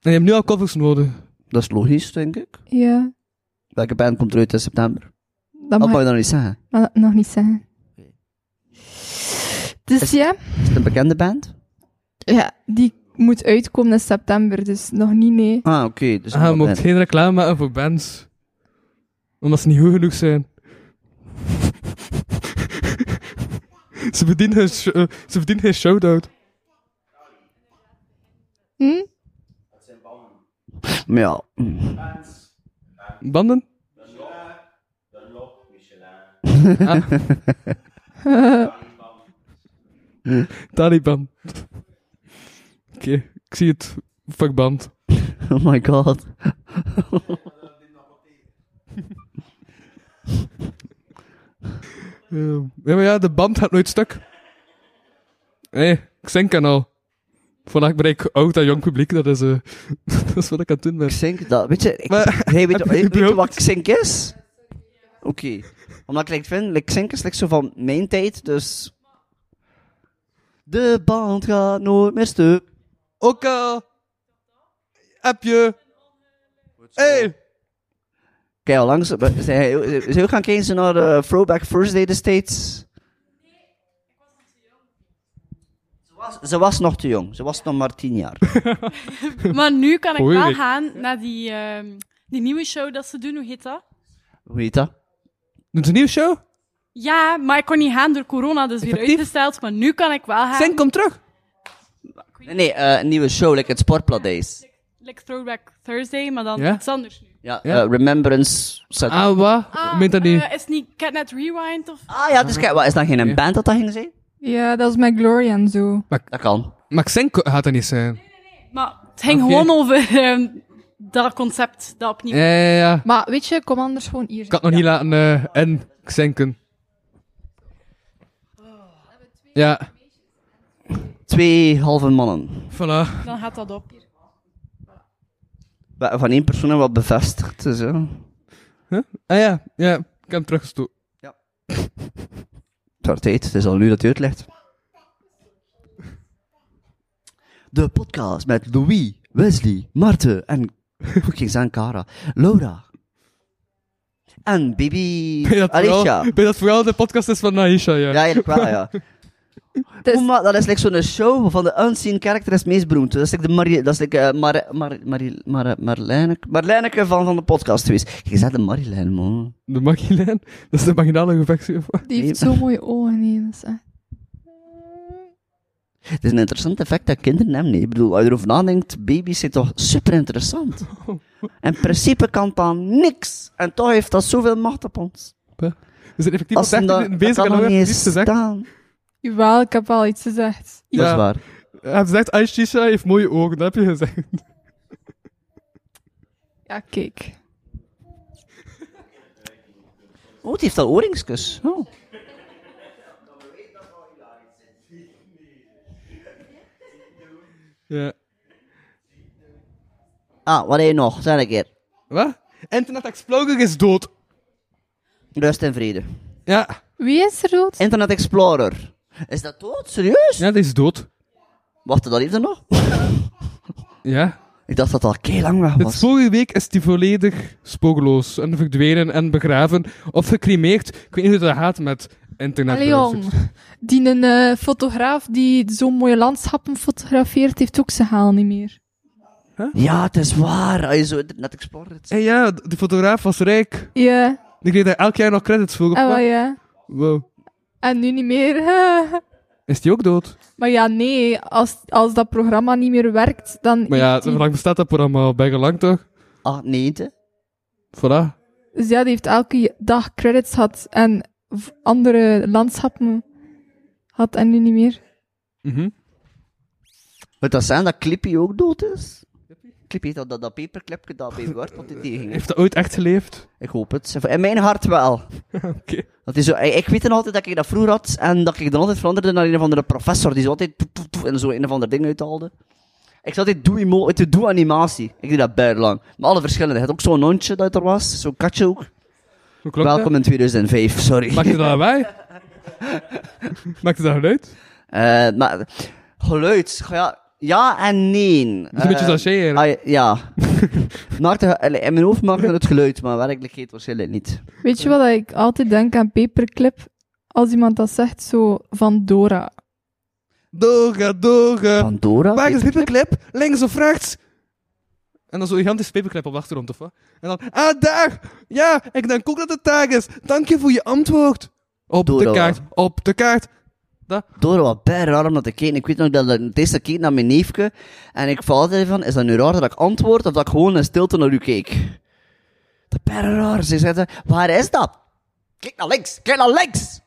E: En je hebt nu al covers nodig.
B: Dat is logisch, denk ik.
D: Ja,
B: Welke band komt eruit in september?
D: dat
B: Wat
D: mag
B: mag je
D: ik
B: dan niet zeggen?
D: maar nog niet zeggen. Dus ja,
B: Is het een bekende band?
D: ja, die moet uitkomen in september, dus nog niet nee.
B: Ah, oké. dus
E: Ah, je
B: een
E: mocht
B: band.
E: geen reclame maken voor bands. Omdat ze niet goed genoeg zijn. ze verdienen geen, sh- eh, ze verdienen geen shout-out.
D: Hm?
B: Maar ja. mm.
E: Banden? Ah. Taliban. Oké, ik zie het. Fuck band.
B: Oh my god.
E: Eh, ja, maar ja, de band gaat nooit stuk. Nee, ik zink aan al. Voordat ik bereik oud en jong publiek, dat is, eh, dat is wat ik aan het doen ben.
B: Xink, dat... Weet je... Ik,
E: Maar-
B: hey, weet,
E: heb
B: je,
E: je
B: weet je
E: überhaupt-
B: wat Xink is? Oké. Omdat ik like, vind... Like, Xink is like, zo van mijn tijd, dus... De band gaat nooit meer stuk.
E: Ook al heb je... hey,
B: Kijk, al langs. maar Zijn heel- zijn heel gaan kijken ze naar eh, Throwback Thursday destijds? Ze was- Ze was nog te jong. Ze was nog maar tien jaar.
F: Maar nu kan ik
E: Goeie
F: wel
E: week.
F: gaan naar die, ehm, die nieuwe show dat ze doen. Hoe heet dat?
B: Hoe heet dat?
E: doet een nieuwe show?
F: Ja, maar ik kon niet gaan door corona, dus weer
E: Effectief?
F: uitgesteld. Maar nu kan ik wel gaan.
E: Zink, kom terug.
B: Nee, nee, eh, een nieuwe show, like het Sportplat Days.
F: Like Throwback Thursday, maar dan
E: Ja?
F: iets anders nu.
B: Ja,
E: Ja.
B: eh, Remembrance. Set. Ah,
E: Ah, wat? Ik meen dat niet.
F: eh, is niet Catnet Rewind of...
B: ja, dus kijk, wat, is dat geen
E: Ja.
B: band dat dat ging zijn?
D: Ja, dat is met Gloria en zo.
B: Dat kan.
E: maar Xenk gaat dat niet zijn.
F: Maar het ging
E: Oké.
F: gewoon over ehm, dat concept dat opnieuw...
E: Ja, ja, ja.
D: Maar weet je, kom anders gewoon hier.
E: Ik had het nog niet laten eh en Xenken. Ja,
B: Twee halve mannen.
E: voilà.
F: Dan gaat dat op.
B: Wa- Van één persoon en wat bevestigd. Dus, ja.
E: Ah ja, ja. Ik heb hem teruggestoot.
B: Het wordt tijd, het is al nu dat hij uitlegt. De podcast met Louis, Wesley, Marten en fucking Zankara, Laura. En Bibi,
E: Ben je dat
B: Alicia.
E: vooral- ben je dat vooral de podcast is van Naisha, ja.
B: Ja, eigenlijk wel, ja.
D: Dus-
B: Oeh, maar dat is like zo'n show van de unseen character is het meest beroemd. Dat is like de Marie, dat is like, eh, Mar, Mar, Marie- Mar, Marlijneke, Marlijneke van, van de podcast geweest. Je zegt de Marilijn, man.
E: De Magilijn. Dat is de marginale gevectie. of wat?
D: Die heeft zo mooie ogen, nee, dat is echt...
B: Het is een interessant effect dat kinderen hebben. nee. Ik bedoel, als je erover nadenkt, baby's zijn toch super interessant. In principe kan dan niks. En toch heeft dat zoveel macht op ons.
E: We zijn effectief al
B: Als
E: 30
B: ze dat,
E: minuten bezig
B: dat
E: en
B: kan
E: nog
B: nog
E: hebben
B: niet
E: we
B: eens
E: niets te zeggen.
B: staan.
D: Jawel, ik heb wel iets gezegd.
B: Dat is
E: Ja.
B: waar.
E: Hij heeft gezegd, Aishisha heeft mooie ogen, dat heb je gezegd.
D: Ja, kijk.
B: Oh, die heeft al oorringskus. Oh.
E: Ja.
B: Ah, wat heb je nog? Zeg een keer.
E: Wat? Internet Explorer is dood.
B: Rust en vrede.
E: Ja.
D: Wie is er dood?
B: Internet Explorer. Is dat dood? Serieus?
E: Ja, die is dood.
B: Wacht, dat heeft er nog?
E: Ja.
B: Ik dacht dat dat al lang weg
E: Dit
B: was.
E: vorige week is die volledig spoorloos en verdwenen en begraven of gecremeerd. Ik weet niet hoe dat gaat met internet.
D: Allee, jong. Die een eh, fotograaf die zo'n mooie landschappen fotografeert, heeft ook zijn haal niet meer.
B: Ja, het is waar. Als je zo Internet Explorer... het-
E: En Eh, ja, de fotograaf was rijk.
D: Ja,
E: Die kreeg daar elk jaar nog credits voor.
D: en wel Oh, ja.
E: Wow.
D: En nu niet meer.
E: Is die ook dood?
D: maar ja, nee, als, als dat programma niet meer werkt, dan
E: Maar ja,
D: heeft
E: hoe
D: die-
E: lang bestaat dat programma al? Bijna lang toch?
B: Ah, nee, hè?
E: Voilà.
D: Dus ja, die heeft elke dag credits gehad en v- andere landschappen had en nu niet meer.
E: Mhm.
B: Moet dat zijn dat Clippy ook dood is? Clippy heeft dat, dat, dat paperclipje dat bij Word wat die tegen. hè?
E: Heeft dat ooit echt geleefd?
B: Ik hoop het. In mijn hart wel.
E: Oké.
B: Dat is zo, ik, ik weet nog altijd dat ik dat vroeger had en dat ik dan altijd veranderde naar een of andere professor die zo altijd toef, toef, toef, en zo een of ander ding uithaalde. Ik zat altijd eh, doe-emo- uit de doe-animatie. Ik deed dat buitenlang. Maar alle verschillende. Je had ook zo'n hondje dat er was, zo'n katje ook.
E: Hoe klonk dat?
B: Welkom in 2005, sorry.
E: Maakte dat wij? Maakte dat uit?
B: Eh, maar, geluid, ja, ja en nee.
E: Het is een beetje
B: Eh,
E: zoals jij hier.
B: ah, ja. maakte, allee, in mijn hoofd maakte het geluid, maar werkelijk heet waarschijnlijk niet.
D: Weet je wat ik altijd denk aan paperclip? Als iemand dat zegt, zo van Dora.
E: Doga, doga.
B: Pandora?
E: Waar is de paperclip? Links of rechts? En dan zo'n gigantische paperclip op de achtergrond, of wat? En dan, ah, daar! Ja, ik denk ook dat het daar is. Dank je voor je antwoord. Op
B: Doe
E: de
B: dat
E: kaart, op de kaart.
B: Door wat bij raar om dat te kijken. Ik weet nog dat ik het eerste keer naar mijn neefje. En ik val altijd van, is dat nu raar dat ik antwoord of dat ik gewoon in stilte naar u keek? Dat bij raar. Ze zeiden, waar is dat? Kijk naar links, kijk naar links!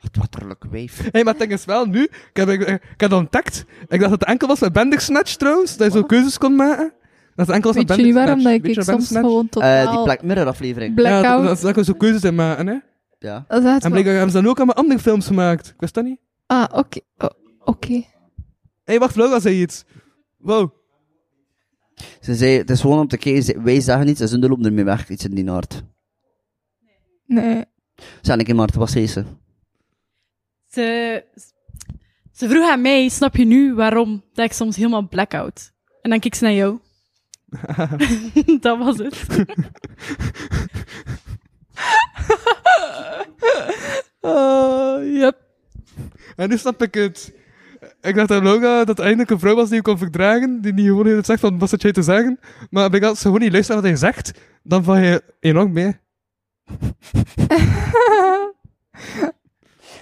B: Wat watterlijk wijf.
E: Hé, hey, maar het ding is wel, nu, ik heb, ik, ik heb dat ontdekt. Ik dacht dat het enkel was met Bandersnatch, trouwens. Dat je zo keuzes kon maken. Dat het enkel was
D: Weet
E: met
D: jullie waarom dat
E: Bandersnatch.
D: ik,
E: Weet
D: ik
E: je wat
D: soms
E: Bandersnatch-
D: gewoon tot
B: Eh die Black Mirror aflevering.
E: Ja, dat,
D: blackout...
E: dat, dat kon je zo keuzes in maken, hè.
B: ja.
D: dat is echt
E: En
D: wel-
E: blijkbaar hebben ze dan ook allemaal andere films gemaakt. Ik wist dat niet.
D: Ah, oké. Oh, oké.
E: Hé, hey, wacht, Laura zei iets. Wow.
B: Ze zei, het is gewoon om te kijken. ze- Wij zeggen niets en ze lopen ermee weg. Iets in die naart.
D: Nee.
B: Zijn ik in Maarten, wat zei ze?
F: Ze, ze vroeg aan mij, snap je nu waarom dat ik soms helemaal blackout? En dan keek ze naar jou. dat was het.
E: Ah, yep. En nu snap ik het. Ik dacht aan Loga dat er eindelijk een vrouw was die je kon verdragen, die niet gewoon heel het zegt van wat zat jij te zeggen. Maar ik had ze gewoon niet luisteren wat hij zegt, dan val je enorm mee.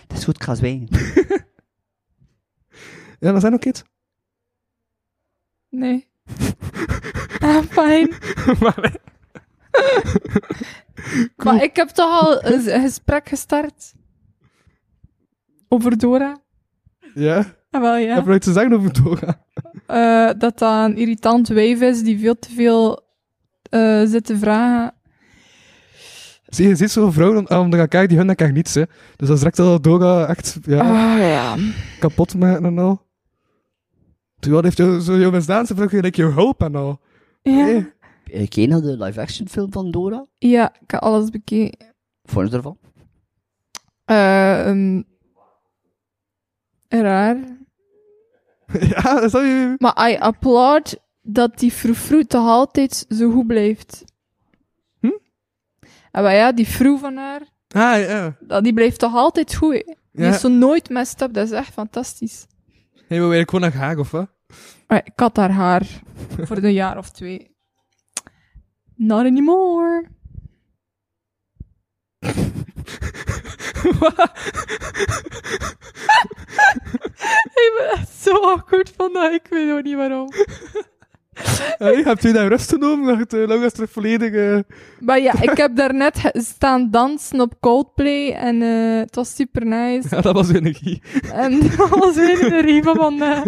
B: Het is goed, ik ga zwijgen.
E: Ja, dat zijn ook iets.
D: Nee. Ah, fijn.
E: maar,
D: Maar ik heb toch al een z- gesprek gestart. Over Dora.
E: ja, ik
D: Ah, wel ja.
E: heb er iets te zeggen over Dora.
D: Eh, dat dat een irritant wijf is die veel te veel eh, zit te vragen.
E: Zie je, ziet zo'n vrouw dan, ah, om te gaan kijken, die hun dan krijgt niets, hè. Dus dat is direct al Dora echt ja,
D: Ah, ja.
E: kapot maken en al. Terwijl heeft jou- zo jouw misdaan, ze vraagt je like, je hulp en al.
D: Ja.
E: Nee.
B: Eh, Ken je nou de live-action film van Dora?
D: ja, ik heb alles bekeken.
B: Vond je ervan?
D: Eh, ehm, raar.
E: ja, dat is al je...
D: Maar I applaud dat die froe toch altijd zo goed blijft.
E: Hm?
D: En maar ja, die froe van haar,
E: Ah, ja.
D: dat- die blijft toch altijd goed. hè. Die
E: Ja.
D: is zo nooit messed up, dat is echt fantastisch.
E: Hey, we werken gewoon naar Haag, of wat?
D: Maar ik had haar haar voor een jaar of twee. Not anymore. Ik ben echt zo awkward van dat, ik weet ook niet waarom.
E: Hey, heb je daar rust genomen? Dacht uh, Laura is terug volledig... eh,
D: Maar ja, ik heb daarnet ge- staan dansen op Coldplay en eh, het was super nice.
E: Ja, dat was energie.
D: En dat was weer in de rieven van... eh,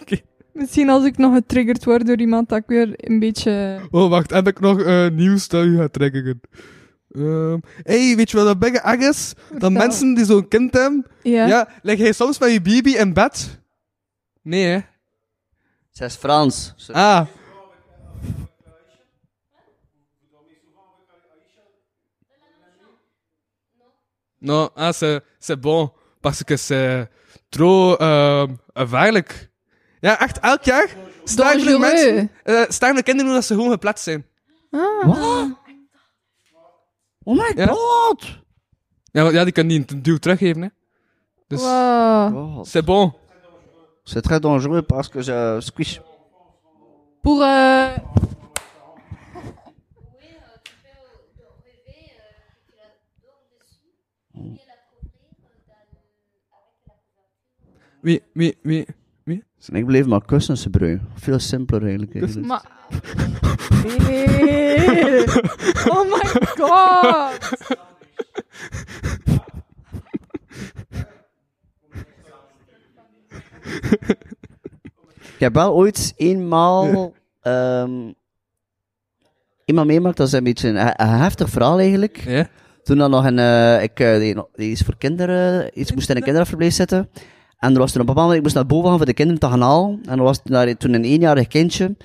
E: Oké.
D: Misschien als ik nog getriggerd word door iemand, dat ik weer een beetje...
E: Oh, wacht, heb ik nog eh, nieuws dat u gaat trekken? Ehm hey, weet je wat dat bigge eng is? Dat
D: Vertel.
E: mensen die zo'n kind hebben...
D: Ja.
E: Ja, leg jij soms met je baby in bed? Nee, hè?
B: Zij is Frans. Ze-
E: Ah. Non, ah, c'est, c'est bon. Parce que c'est trop euh, gevaarlijk. Ja, echt, elk jaar staan er
D: Dangereux.
E: mensen... eh, staan er kinderen hoe dat ze gewoon geplat zijn.
B: Wat? Oh my
E: Ja.
B: god!
E: Ja, want, ja die kunnen niet een duw teruggeven, hè. Dus,
D: Wow.
B: god.
E: c'est bon.
B: C'est très dangereux parce que ze eh, squish.
D: Pour... eh,
E: Wie, wie, wie?
B: En ik bleef maar kussen, ze brui. Veel simpeler eigenlijk. eigenlijk.
D: Maar. Nee. Oh my god.
B: Ik heb wel ooit eenmaal ehm iemand meemaakt, dat is een beetje een, he- een heftig verhaal eigenlijk.
E: Ja?
B: Toen dan nog een, eh, ik, eh, die, die is voor kinderen, eh, iets moest in een kinderafverblijf zitten. En er was toen een bepaald moment, ik moest naar boven gaan voor de kinderen te gaan halen. En er was daar toen een eenjarig kindje.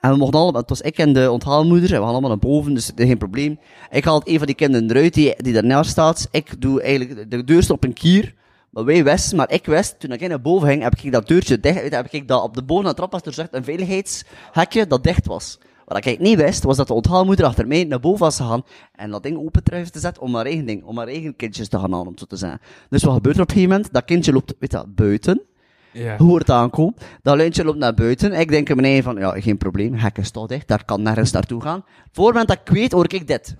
B: En we mochten allemaal, het was ik en de onthaalmoeder, en we gaan allemaal naar boven, dus geen probleem. Ik haal een van die kinderen eruit, die, die daarnaast staat. Ik doe eigenlijk de deur staat op een kier. Maar wij wisten, maar ik wist, toen ik naar boven ging, heb ik dat deurtje dicht, weet je, heb ik dat op de boven aan de trap was, er zegt een veiligheidshekje dat dicht was. Wat ik niet wist, was dat de onthaalmoeder achter mij naar boven was gegaan en dat ding open terug te zetten om haar eigen ding, om haar eigen kindjes te gaan halen, om zo te zeggen. Dus wat gebeurt er op een gegeven moment? Dat kindje loopt, weet je, dat, buiten
E: Ja.
B: hoe het aankomt. Dat luintje loopt naar buiten. Ik denk in mijn eigen van, ja, geen probleem, hek is toch dicht, daar kan nergens naartoe gaan. Voor het moment dat ik weet, hoor ik dit.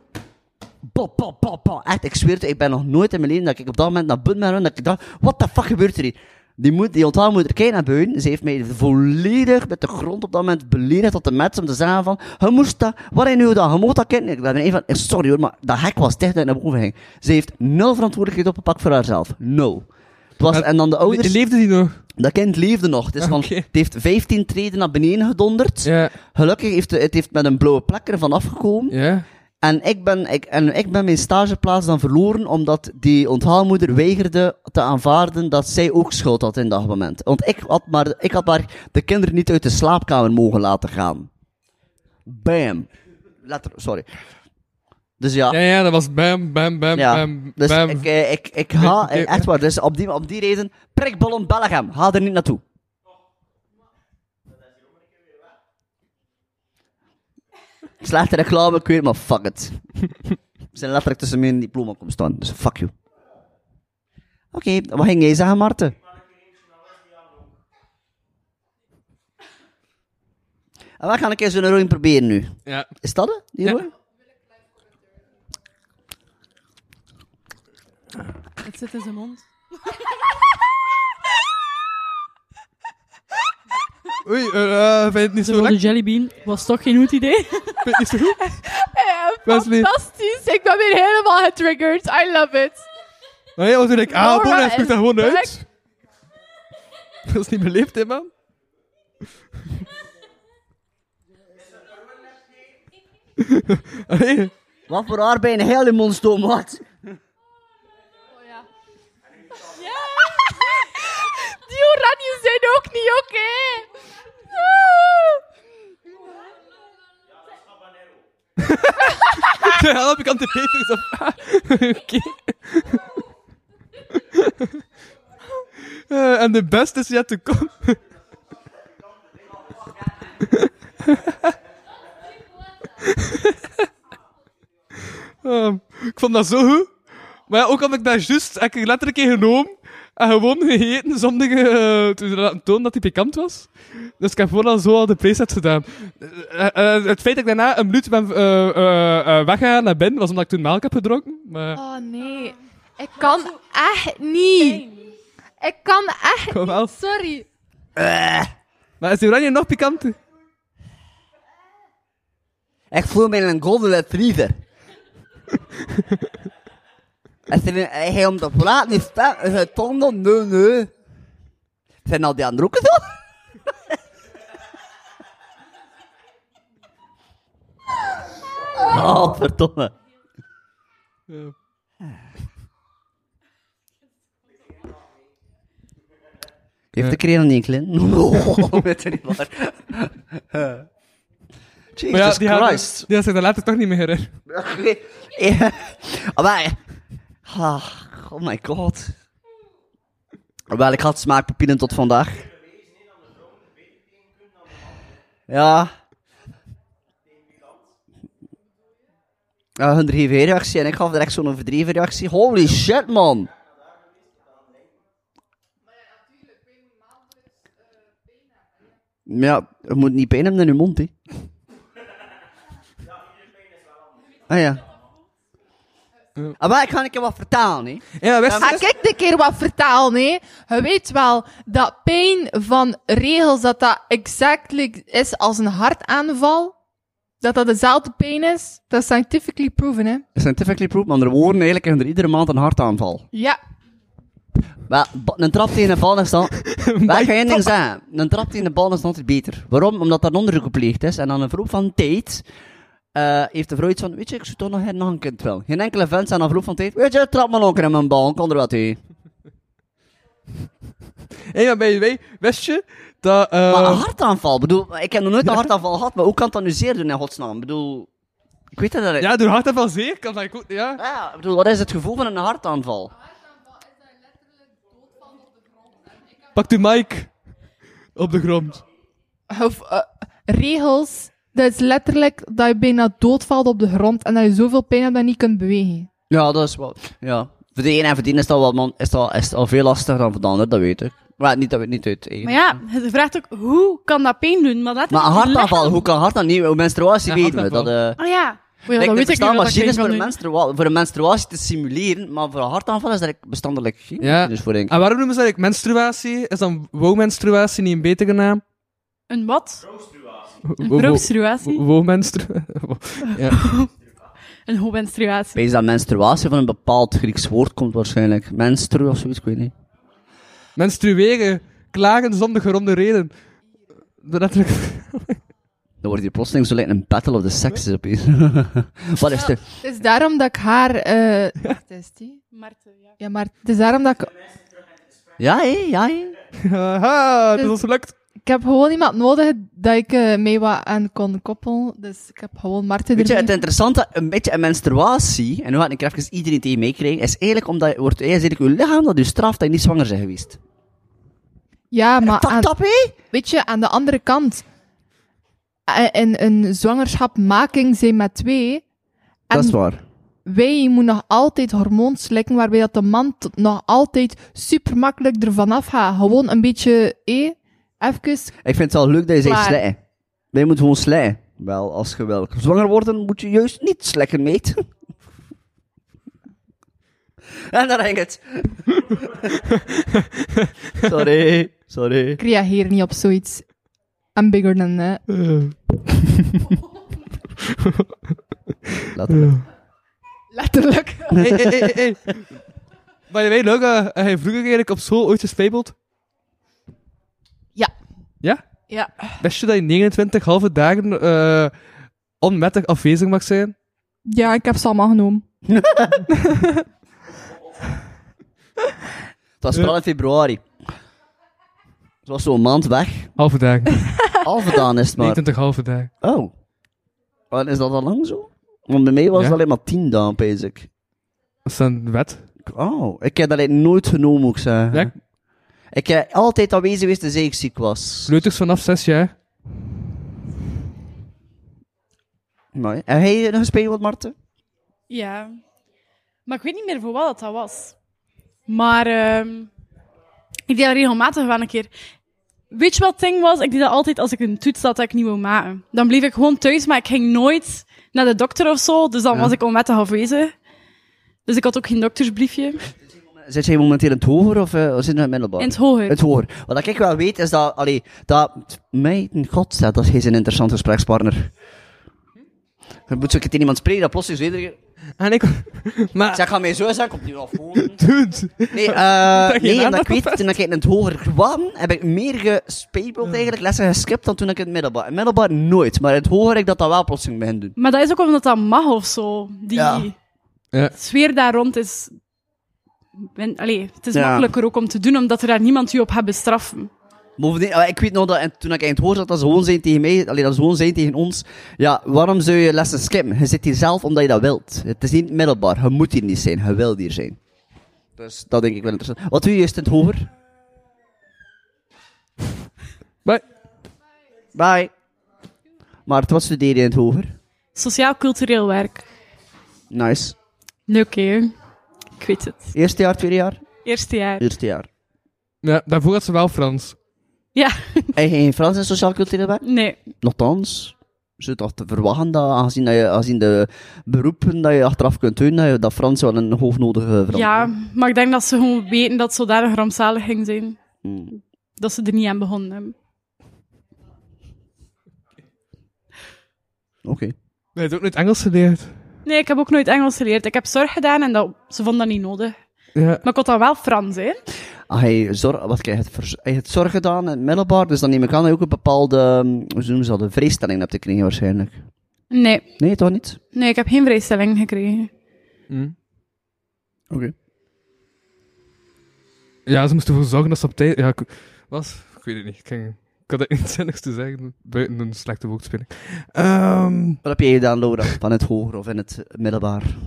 B: Pop, pop, pop, pop. Echt, ik zweer het, ik ben nog nooit in mijn leven dat ik op dat moment naar buiten ben gegaan, dat ik dacht, what the fuck gebeurt er hier? Die, moet, die onthaalmoeder kijkt naar buiten, ze heeft mij volledig met de grond op dat moment beledigd tot de mens om te zeggen van, je moest dat, wat heb je nu gedaan, je mocht dat kind niet. Ik ben even van, sorry hoor, maar dat hek was dicht dat ik naar boven ging. Ze heeft nul verantwoordelijkheid opgepakt voor haarzelf, nul. Het was,
E: Maar-
B: en dan de ouders...
E: Leefde die nog?
B: Dat kind leefde nog. Het, is van,
E: Oké.
B: het heeft 15 treden naar beneden gedonderd.
E: Ja.
B: Gelukkig heeft het, het heeft met een blauwe plek ervan afgekomen.
E: Ja?
B: En, ik ben, ik, en ik ben mijn stageplaats dan verloren omdat die onthaalmoeder weigerde te aanvaarden dat zij ook schuld had in dat moment. Want ik had maar, ik had maar de kinderen niet uit de slaapkamer mogen laten gaan. Bam. Letter, sorry. Dus ja,
E: Ja, ja, dat was bam, bam, bam,
B: ja.
E: bam,
B: dus
E: bam.
B: ik, eh, ik, ik ga,
E: Ehm, Nee, nee.
B: echt waar, dus op die, op die reden, prikballon Bellegem, ga er niet naartoe. Slechte reclame, ik weet het, maar fuck it. We zijn letterlijk tussen mijn diploma komen staan, dus fuck you. Oké, wat ging jij zeggen, Marten? En we gaan een keer zo'n rooien proberen nu.
E: Ja.
B: Is dat het, die
E: Ja.
B: rooien?
F: Het zit in zijn mond.
E: Oei, eh, eh, vind je het niet
F: Ze
E: zo
F: wilde
E: lekker?
F: jellybean. Was toch geen goed idee?
E: Vind je het niet zo goed?
D: Ja,
E: Wesley.
D: fantastisch. Ik ben weer helemaal getriggerd. I love it.
E: Nee, want toen ik
D: Laura
E: aanbood, hij
D: is
E: spuugt dat gewoon
D: back.
E: uit. Dat is niet beleefd, hè, man? Allee,
B: Wat voor haar bij een hele mond stoom had.
D: Die oranje zijn ook niet oké.
E: help, ik kan de papers op. Oké. Eh, En de beste is yet to come. Ehm, ik vond dat zo goed. Maar ja, ook had ik dat juist heb ik letterlijk in genomen en gewoon gegeten zonder eh, te laten tonen dat hij pikant was. Dus ik heb gewoon al zo al de preset gedaan. Eh, eh, eh, het feit dat ik daarna een minuut ben eh, eh, eh, weggegaan naar binnen, was omdat ik toen melk heb gedronken. Maar
D: Oh nee. Ik kan echt niet. Ik kan echt
E: kom wel.
D: Sorry.
B: Eh.
E: Maar is die oranje nog pikanter?
B: Ik voel me een golden retriever. Als er een- hij om de plaat niet staat, is het toch nog nee, nee. Zijn al die anderen ook zo? haat, Oh, verdomme. Heeft de kreeg nog niet een Oh, weet je niet waar.
E: Maar ja,
B: Jesus
E: die had,
B: Christ.
E: die had zich daar later toch niet meer herinnerd.
B: Ja. Maar, ah, oh my god. Wel, ik had smaakpapieren tot vandaag. Ja. Ja, hun reactie en ik gaf er echt zo'n overdreven reactie. Holy shit, man. Ja, je moet niet pijn hebben in je mond, hè. Ah ja. Ah, maar ik ga een keer wat vertalen, hè.
E: Ja, wist
B: Dus-
D: Ga ik de Ah, keer wat vertalen, nee. Je weet wel dat pijn van regels, dat dat exactly is als een hartaanval. Dat dat dezelfde pijn is. Dat is scientifically proven, hè.
B: Scientifically proved, maar er woorden eigenlijk onder iedere maand een hartaanval.
D: Ja.
B: Wel, ba- een trap tegen een bal is dan... Wij gaan één ding zeggen. Een trap tegen een bal is altijd beter. Waarom? Omdat daar een onderzoek gepleegd is. En aan een verloop van tijd... eh, heeft de vrouw iets van... Weet je, ik zou toch nog een, nog een kind wel. Geen enkele vent zijn aan een verloop van tijd... Weet je, trap maar ook in mijn bal. Kan er wat heen.
E: Hé, maar bij je weet, wist je dat... eh,
B: Maar een hartaanval? bedoel, ik heb nog nooit een hartaanval gehad. Maar hoe kan dat nu zeer doen, in godsnaam? Ik bedoel... Ik weet dat... dat
E: ja, door hart en van zeer kan dat goed, ja.
B: Ja, ik bedoel, wat is het gevoel van een hartaanval?
E: Pak die mic op de grond.
D: Of, eh, regels, dat is letterlijk dat je bijna doodvalt op de grond en dat je zoveel pijn hebt dat je niet kunt bewegen.
B: Ja, dat is wel. Ja. Voor de ene en voor de ene is dat wel man, is dat, is dat al veel lastiger dan voor de ander, dat weet ik. Maar niet, dat weet niet uit. eigen-
F: Maar ja, je vraagt ook hoe kan dat pijn doen? Maar, laten we
B: Maar een
F: het
B: hartaanval,
F: lichaam-
B: hoe kan hart dan niet? Hoe menstruatie
E: Ja,
B: weten we
E: hartaanval.
B: dat. eh
F: Oh ja. Oh ja,
B: ik
F: dat
B: er
F: weet ik
B: bestaan
F: niet. wat dat
B: machines
F: pijn
B: voor een,
F: kan doen.
B: menstrua- voor een menstruatie te simuleren, maar voor een hartaanval is er bestandelijk geen.
E: Ja.
B: Dus voor denk ik.
E: En waarom noemen ze dat eigenlijk menstruatie? Is dan wow-menstruatie niet een betere naam?
F: Een wat?
E: Wo-
F: Een
E: wo-
F: proobstruatie?
E: wo- Wow-menstruatie? Ja.
F: Een hoogmenstruatie.
B: Wees dat menstruatie van een bepaald Grieks woord komt waarschijnlijk. Menstru of zoiets, ik weet niet.
E: Menstrueren, klagen zonder geronde reden. Letterlijk.
B: Dan wordt hier plotseling zo lijkt een battle of the sexes opeens. Wat is er?
D: Het is daarom dat ik haar... eh wat is die?
F: Marten, ja.
D: Ja, maar het is daarom dat ik...
B: Ja, hé, ja, hé.
E: Haha,
D: Dus-
E: het is ons gelukt.
D: Ik heb gewoon iemand nodig dat ik eh, mee wat aan kon koppelen. Dus ik heb gewoon Marten
B: Weet je, het
D: erbij.
B: interessante, een beetje een menstruatie, en nu gaat ik er even iedereen tegen meekrijgen, is eigenlijk omdat je wordt eigenlijk je lichaam dat je straft dat je niet zwanger bent geweest.
D: Ja, maar
B: Tap,
D: aan,
B: tap, hé?
D: weet je, aan de andere kant... eh, In een zwangerschapmaking zijn met twee. En
B: Dat is waar.
D: wij moeten nog altijd hormoons slikken, waarbij dat de man t- nog altijd super makkelijk ervan afgaat. Gewoon een beetje, eh, even...
B: Ik vind het wel leuk dat je zegt
D: Klaar.
B: slijten. Maar je moet gewoon slijten. Wel, als je wil zwanger worden, moet je juist niet slekken, meet. en daar hangt het. sorry, sorry.
D: Ik reageer niet op zoiets. I'm bigger than that.
B: Laat het.
D: Letterlijk.
E: Hey, hey, hey, hey, hey. Maar je weet ook, eh, heb je vroeger eigenlijk op school ooit gespepeld?
D: Ja.
E: Ja?
D: Ja.
E: Wist je dat je 29 halve dagen eh onwettig afwezig mag zijn?
D: Ja, ik heb ze allemaal genomen.
B: Het was vooral in februari. Het was zo'n maand weg.
E: Halve dagen.
B: Al gedaan is het maar.
E: 29 halve dagen.
B: Oh. En is dat al lang zo? Want bij mij was
E: Ja.
B: het alleen maar 10 dagen, pees ik.
E: Dat is een wet.
B: Oh, ik heb dat eigenlijk nooit genomen, moet ik zeggen.
E: Ja,
B: Ik heb altijd aanwezig geweest als ik ziek was.
E: kleuters vanaf 6 jaar.
B: Mooi. Heb jij nog gespeeld, Marten?
F: Ja. Maar ik weet niet meer voor wat dat was. Maar ehm, ik deed dat regelmatig wel een keer. Weet je wat het ding was? Ik deed dat altijd als ik een toets had dat ik niet wou maken. Dan bleef ik gewoon thuis, maar ik ging nooit naar de dokter of zo. Dus dan was ik onwettig afwezig. Dus ik had ook geen doktersbriefje.
B: Zit jij momenteel in het hoger of eh, zit je in het middelbaar?
F: In het hoger.
B: Het hoger. Wat ik wel weet is dat, allee, dat, mij in god dat is een interessante gesprekspartner. Je moet zo een keer tegen iemand spreken, dat plotseling zo iedereen-
E: En ik... Maar...
B: Zeg, ga mij zo zeggen, opnieuw afvoeren.
E: Dude.
B: Nee, eh
E: Zeg je
B: nee
E: na
B: omdat
E: dat
B: ik weet,
E: confessie?
B: toen ik in het hoger kwam, heb ik meer gespeeld eigenlijk, lessen geskipt dan toen ik in het middelbaar. In het middelbaar nooit, maar in het hoger heb ik dat dan wel plotseling begin doen.
F: Maar dat is ook omdat dat mag of zo. Die
B: Ja.
E: Ja.
F: sfeer daar rond is. Ben, allee, het is
B: Ja.
F: makkelijker ook om te doen, omdat er daar niemand u op gaat bestraffen.
B: Bovendien, eh, ik weet nog dat en toen ik in het hoger zat, dat ze gewoon zijn tegen mij, alleen dat ze gewoon zijn tegen ons, ja, waarom zou je lessen skippen? Je zit hier zelf omdat je dat wilt. Het is niet middelbaar, je moet hier niet zijn, je wilt hier zijn. Dus dat denk ik wel interessant. Wat doe je juist in het hoger?
E: Bye.
B: Bye. Maar wat studeer je in het hoger?
F: Sociaal-cultureel werk.
B: Nice.
F: Leuk, hè? Ik weet het.
B: Eerste jaar, tweede jaar?
F: Eerste jaar.
B: Eerste jaar.
E: Ja, daarvoor had ze wel Frans.
F: Ja,
B: En geen Frans en sociaal-cultureel werk?
F: nee.
B: Nochtans, ze toch te verwachten dat, aangezien, dat je, aangezien de beroepen dat je achteraf kunt doen, dat, je, dat Frans wel een hoofdnodige verandering
F: Ja, maar ik denk dat ze gewoon weten dat ze zodanig rampzalig ging zijn.
B: Hmm.
F: Dat ze er niet aan begonnen hebben.
B: Oké.
E: Nee, het ook niet Engels geleerd.
F: Nee, ik heb ook nooit Engels geleerd. Ik heb zorg gedaan en dat, ze vonden dat niet nodig.
E: Ja.
F: Maar ik had dan wel Frans, hè?
B: Ah, hij, zor- wat, hij, heeft vers- hij heeft zorg gedaan in het middelbaar, dus dan neem ik aan dat je ook een bepaalde, ehm, hoe noemen ze dat, een vreestelling hebt gekregen waarschijnlijk.
F: Nee,
B: Nee, toch niet?
F: nee, ik heb geen vrijstelling gekregen.
E: Hm.
B: Oké.
E: Ja, ze moesten ervoor zorgen dat ze op tijd... Ja, ik... Was? Ik weet het niet. Ik, kan... ik had het niet zinnigs te zeggen, buiten een slechte woordspeling. Ehm
B: Wat heb jij gedaan, Laura, van het hoger of in het middelbaar?
D: In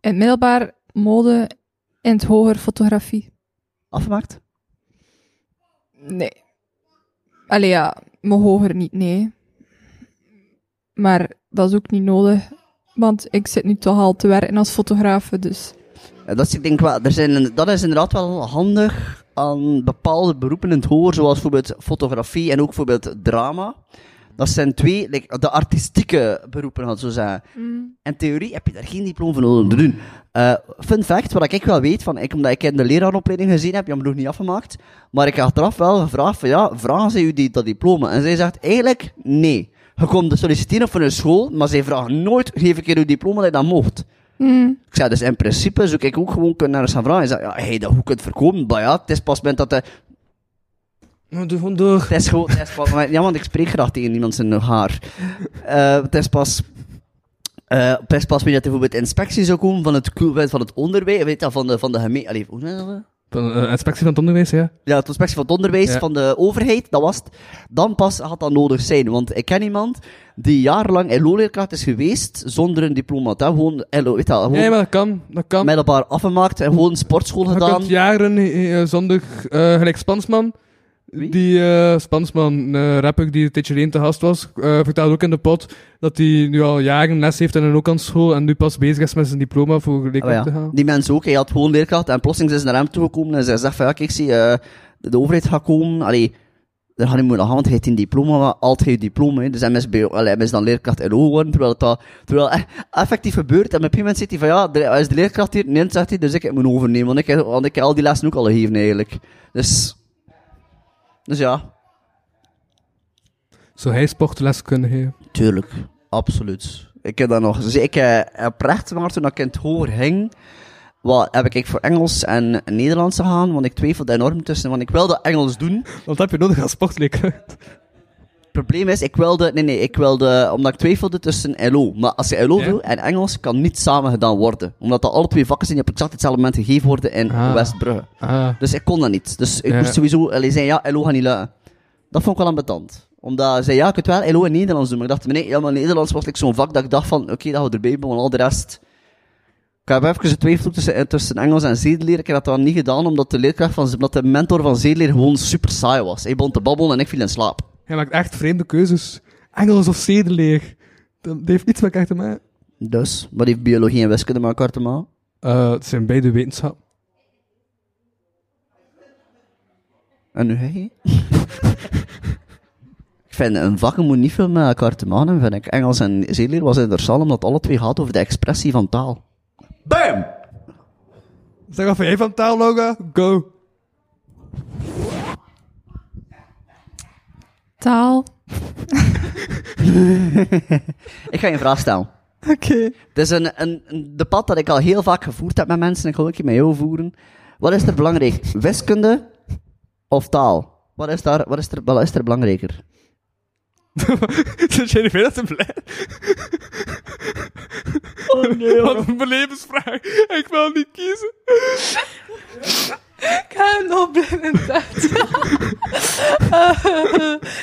D: het middelbaar mode, in het hoger fotografie.
B: Afgemaakt?
D: Nee. Allee ja, mijn hoger niet, nee. Maar dat is ook niet nodig, want ik zit nu toch al te werken als fotografe, dus...
B: Ja, Eh, Dat is, ik denk wel, er zijn, een- dat is inderdaad wel handig aan bepaalde beroepen in het hoor, zoals bijvoorbeeld fotografie en ook bijvoorbeeld drama. Dat zijn twee, like, de artistieke beroepen, had zo zeggen. In theorie heb je daar geen diploma voor nodig om te doen. Eh, fun fact, wat ik wel weet, van, ik, omdat ik in de leraaropleiding gezien heb, jammer nog niet afgemaakt, maar ik heb achteraf wel gevraagd van, ja, vragen ze u die, dat diploma? En zij zegt, eigenlijk, nee. Je komt solliciteren voor een school, maar zij vragen nooit, geef ik je uw diploma dat je dat mocht. Ik zei, dus in principe zou ik ook gewoon kunnen naar eens gaan vragen. Hij zei, ja, hey, dat hoe kunt verkopen, maar ja, het is pas het moment dat de...
E: Nou, doe gewoon door.
B: Het is gewoon, het is pas... maar Ja, want ik spreek graag tegen iemand zijn haar. Eh, het is pas... eh, het is pas weer dat er bijvoorbeeld inspectie zou komen van het, koel- van het onderwijs, weet je, van de, van de gemeente... Allee, hoe noem je dat?
E: Van, eh, inspectie van het onderwijs, ja.
B: Ja, het inspectie van het onderwijs
E: Ja.
B: van de overheid, dat was het. Dan pas had dat nodig zijn. Want ik ken iemand die jarenlang LO-leerkracht is geweest zonder een diploma. hè. Gewoon LO, weet je wel,
E: Ja,
B: gewoon
E: maar dat kan. Dat kan.
B: middelbaar afgemaakt en gewoon sportschool
E: Je
B: gedaan.
E: kunt jaren eh, eh, zonder, eh, gelijk Spansman.
B: Wie?
E: Die eh, Spansman, eh, rapper die een tijdje geleden te gast was, eh, vertelde ook in de pot dat hij nu al jaren les heeft aan een lokanschool en nu pas bezig is met zijn diploma voor
B: Oh
E: leerkracht
B: ja,
E: te gaan.
B: Die mensen ook, hij had gewoon leerkracht en plotseling is ze naar hem toegekomen en ze zegt van ja, kijk, zie, eh, de, de overheid gaat komen, allee, daar gaat niet moeilijk aan, want hij heeft een diploma, maar altijd geen diploma, hè. dus hij is, bij, allee, hij is dan leerkracht LO geworden, terwijl het dat, terwijl eh, effectief gebeurt en op een gegeven moment zegt hij van ja, er is de leerkracht hier, nee, zegt hij, dus ik heb moet overnemen, want ik, heb- want ik heb al die lessen ook al gegeven eigenlijk. Dus, dus ja,
E: Zou hij sportles kunnen geven?
B: Tuurlijk, absoluut. Ik heb dat nog. Dus ik eh oprecht, maar toen ik in het hoger hing, wat, heb ik voor Engels en Nederlands gegaan, want ik twijfelde enorm tussen, want ik wilde Engels doen.
E: Wat heb je nodig als sportleerkracht?
B: Het probleem is, ik wilde, nee nee, ik wilde, omdat ik twijfelde tussen LO. Maar als je LO
E: Ja.
B: wil en Engels, kan niet samen gedaan worden. Omdat dat alle twee vakken zijn die op exact hetzelfde moment gegeven worden in
E: Ah.
B: Westbrugge.
E: Ah,
B: Dus ik kon dat niet. Dus ik
E: Ja.
B: moest sowieso allee, zijn, ja, LO gaat niet lukken. Dat vond ik wel ambetant. Omdat ze zei, ja, ik kunt wel LO in Nederlands doen. Maar ik dacht, nee, ja, maar Nederlands was like, zo'n vak dat ik dacht van, oké, dat gaat erbij, maar al de rest... Ik heb even getwijfeld tussen, eh, tussen Engels en zedenleer. Ik heb dat dan niet gedaan, omdat de leerkracht van, omdat de mentor van zedenleer gewoon super saai was. Hij begon te babbelen en ik viel in slaap.
E: hij maakt echt vreemde keuzes. Engels of zedeleer. Dat, dat heeft niets met elkaar te maken.
B: Dus, wat heeft biologie en wiskunde met elkaar te maken?
E: Eh, het zijn beide wetenschap.
B: En nu hij? ik vind, een vakken moet niet veel met elkaar te maken hebben, vind ik. Engels en zeeleer was interessant, omdat alle twee gaat over de expressie van taal. Bam!
E: Zeg wat vind jij van taal, Laura? Go.
D: Taal.
B: Ik ga je een vraag stellen.
D: Oké.
B: Het is een, een, een debat dat ik al heel vaak gevoerd heb met mensen. en Ik wil ook hier met jou voeren. Wat is er belangrijk? Wiskunde of taal? Wat is, daar, wat is, er, wat is er belangrijker?
E: Zit jij dat te blij?
B: Oh nee,
E: Wat een belevensvraag. Ik wil niet kiezen.
D: Ik ga hem nog blind tijd.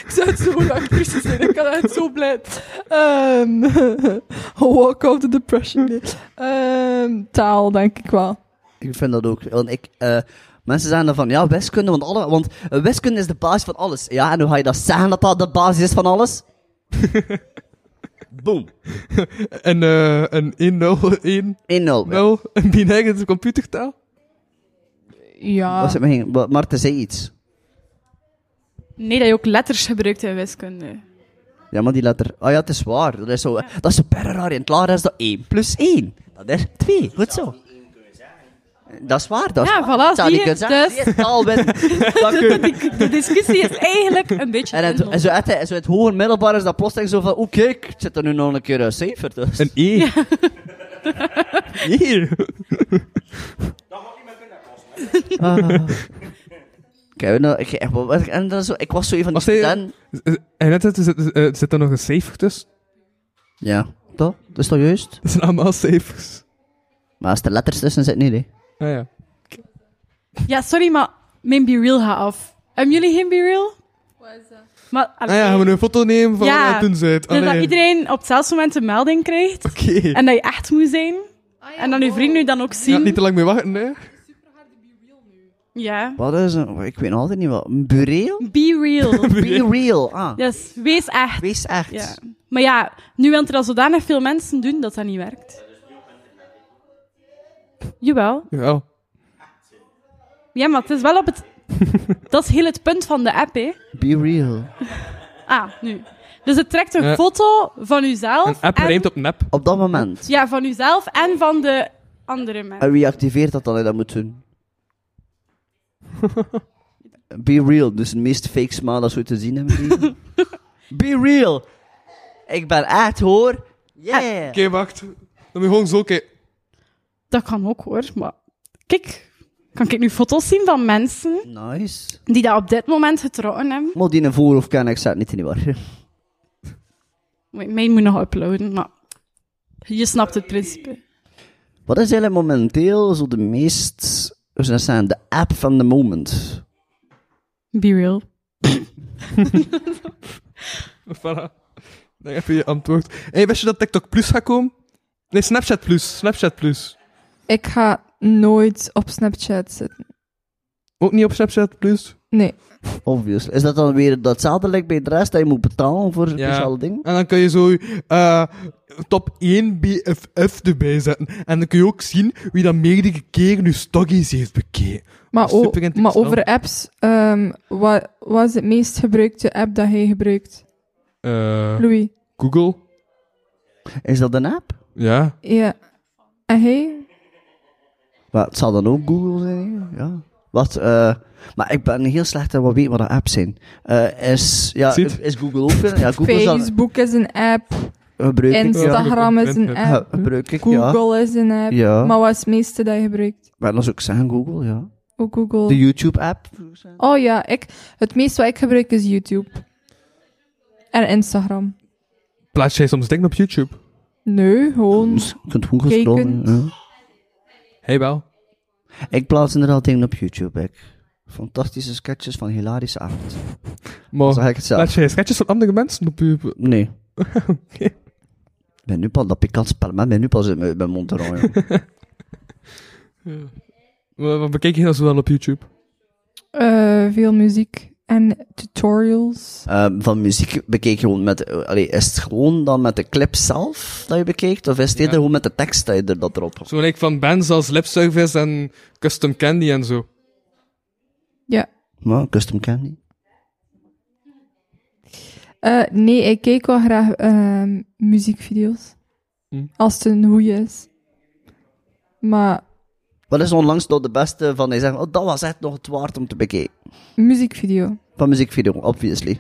D: ik zou het zo lang precies zijn. Ik kan het zo blij. Ehm, walk out the depression. Nee. Ehm, taal, denk ik wel.
B: Ik vind dat ook. Want ik, eh, mensen zeggen dan van, ja, wiskunde, want, alle, want eh, wiskunde is de basis van alles. Ja, en hoe ga je dat zeggen dat dat de basis is van alles? Boom. 1-0.
E: En eh een 1-0, 1
B: Ja.
E: 0 een binair is een computertaal?
D: Ja. Ah.
B: Was het maar, maar Marten zei iets.
F: Nee, dat je ook letters gebruikt in wiskunde.
B: Ja, maar die letter. Ah ja, het is waar. Dat is, zo, eh, dat is super raar. In het Lara is dat 1 plus 1. Dat is 2. Goed zo. Dat is waar. Dat is
F: Ja,
B: waar.
F: voilà,
B: Zou
F: zie
B: ik
F: je?
B: het zeggen?
F: Dus-
B: Die is taal winnen. Dat kun je.
F: De discussie is eigenlijk een beetje.
B: En, het, en zo uit, het- zo het hoger middelbaar is dat plotseling zo van... Oeh, kijk, het zit er nu nog een keer een cijfer tussen.
E: Een E. Nee.
B: Ah. Kijk, nou, ik, echt, wat- wat- en dat is zo, ik was zo even van die
E: Was hij-
B: student.
E: En net zit, zit, eh, zit er nog een cijfer tussen.
B: Ja, toch? Dat is toch juist?
E: Dat zijn allemaal cijfers.
B: Maar als er letters tussen zit niet, hè.
E: Ah ja.
F: Ja, sorry, maar mijn Be Real gaat af. Hebben jullie geen Be Real? Wat is dat? Maar,
E: Ah ja, gaan we nu een foto nemen van
F: Ja.
E: wat toen ze het.
F: Dus dat
E: Allee.
F: iedereen op hetzelfde moment een melding krijgt.
E: Oké.
F: En dat je echt moet zijn. En dan je vrienden je dan ook
E: Ja,
F: zien.
E: niet te lang mee wachten, hè?
F: Ja.
B: Wat is een... Ik weet nog altijd niet wat. Een bureel?
F: Be real.
B: Be real. Ah,
F: Yes, wees echt.
B: wees echt.
F: Ja. Maar ja, nu wil er al zodanig veel mensen doen dat dat niet werkt. Jawel.
E: Ja.
F: Ja, maar het is wel op het... dat is heel het punt van de app, hè.
B: Be real.
F: Ah, nu. Dus het trekt een
E: Ja.
F: foto van uzelf.
E: Een app
F: en-
E: rijmt op nep.
B: Op dat moment.
F: Ja, van uzelf en van de andere mensen.
B: En wie activeert dat dan? hè, Dat moet doen. Be real. Dus het meest fake smile dat we te zien hebben. gekregen. Be real. Ik ben echt, hoor. Yeah.
E: Oké, wacht. Dan moet je gewoon zo kijken.
F: Dat kan ook hoor, maar kijk, kan ik nu foto's zien van mensen
B: Nice.
F: die dat op dit moment getrokken hebben?
B: Maar die een voorhoofd kan ik zat niet in die war.
F: Wait, Mijn moet nog uploaden, maar je snapt het principe.
B: Wat is eigenlijk momenteel zo de meest, hoe zou dat zijn, de app van de moment?
F: Be real.
E: Voilà. Dan heb je je antwoord. Hé, hey, wist je dat TikTok Plus gaat komen? Nee, Snapchat Plus. Snapchat Plus.
D: Ik ga nooit op Snapchat zitten.
E: Ook niet op Snapchat Plus.
D: Nee.
B: Obvious. Is dat dan weer datzelfde like bij de rest, dat je moet betalen voor een
E: Ja.
B: speciaal ding?
E: En dan kun je zo eh, top 1 BFF erbij zetten. En dan kun je ook zien wie dat meerdere keren nu stories heeft bekeken.
D: Maar, o-
E: Super interessant.
D: maar over apps, ehm, wat, wat is het meest gebruikte app dat jij gebruikt?
E: Eh,
D: Louis?
E: Google.
B: Is dat een app?
E: Ja.
D: Ja. En jij?
B: Maar het zal dan ook Google zijn, hè? ja. Wat, eh, maar ik ben heel slecht in wat weet wat een apps zijn. Eh, is, ja,
E: Ziet.
B: is Google ook een- Ja, Google zal,
D: Facebook is een app.
B: gebruik ik, ja.
D: Instagram is een
E: Ja.
B: Ge-
D: app.
B: Gebruik ik, ja.
D: Google is een app.
B: Ja.
D: Maar wat is het meeste dat je gebruikt?
B: Maar dat zou ik zeggen, Google, ja.
D: Ook Google.
B: De YouTube-app.
D: Oh ja, ik, het meeste wat ik gebruik is YouTube. En Instagram.
E: Plaats jij soms dingen op YouTube?
D: Nee, gewoon.
B: Dus je kunt Google
D: Kijken.
B: scrollen. ja.
E: Hey, wel.
B: Ik plaats inderdaad dingen op YouTube. Ik. Fantastische sketches van hilarische aard.
E: Maar
B: Zag ik het zelf?
E: plaats jij sketches van andere mensen op je...
B: Nee. Ik ben nu pas dat pikant spel, maar ik ben nu pas uit mijn uit mijn mond te rooien.
E: Wat wat bekijk je dan zo wel op YouTube?
D: eh, veel muziek en tutorials.
B: Ehm, van muziek bekeek je gewoon met... eh, allee, is het gewoon dan met de clip zelf dat je bekijkt? Of is het
E: Ja.
B: eerder gewoon met de tekst dat je er dat erop...
E: Zo like van bands als Lip Service en Custom Candy en zo.
B: Maar, custom candy.
D: Eh, nee, ik kijk wel graag ehm, muziekvideo's.
E: Hm.
D: Als het een goeie is. Maar
B: Wat is onlangs nog de beste van die zeggen... Oh, dat was echt nog het waard om te bekijken.
D: muziekvideo.
B: Van muziekvideo, obviously.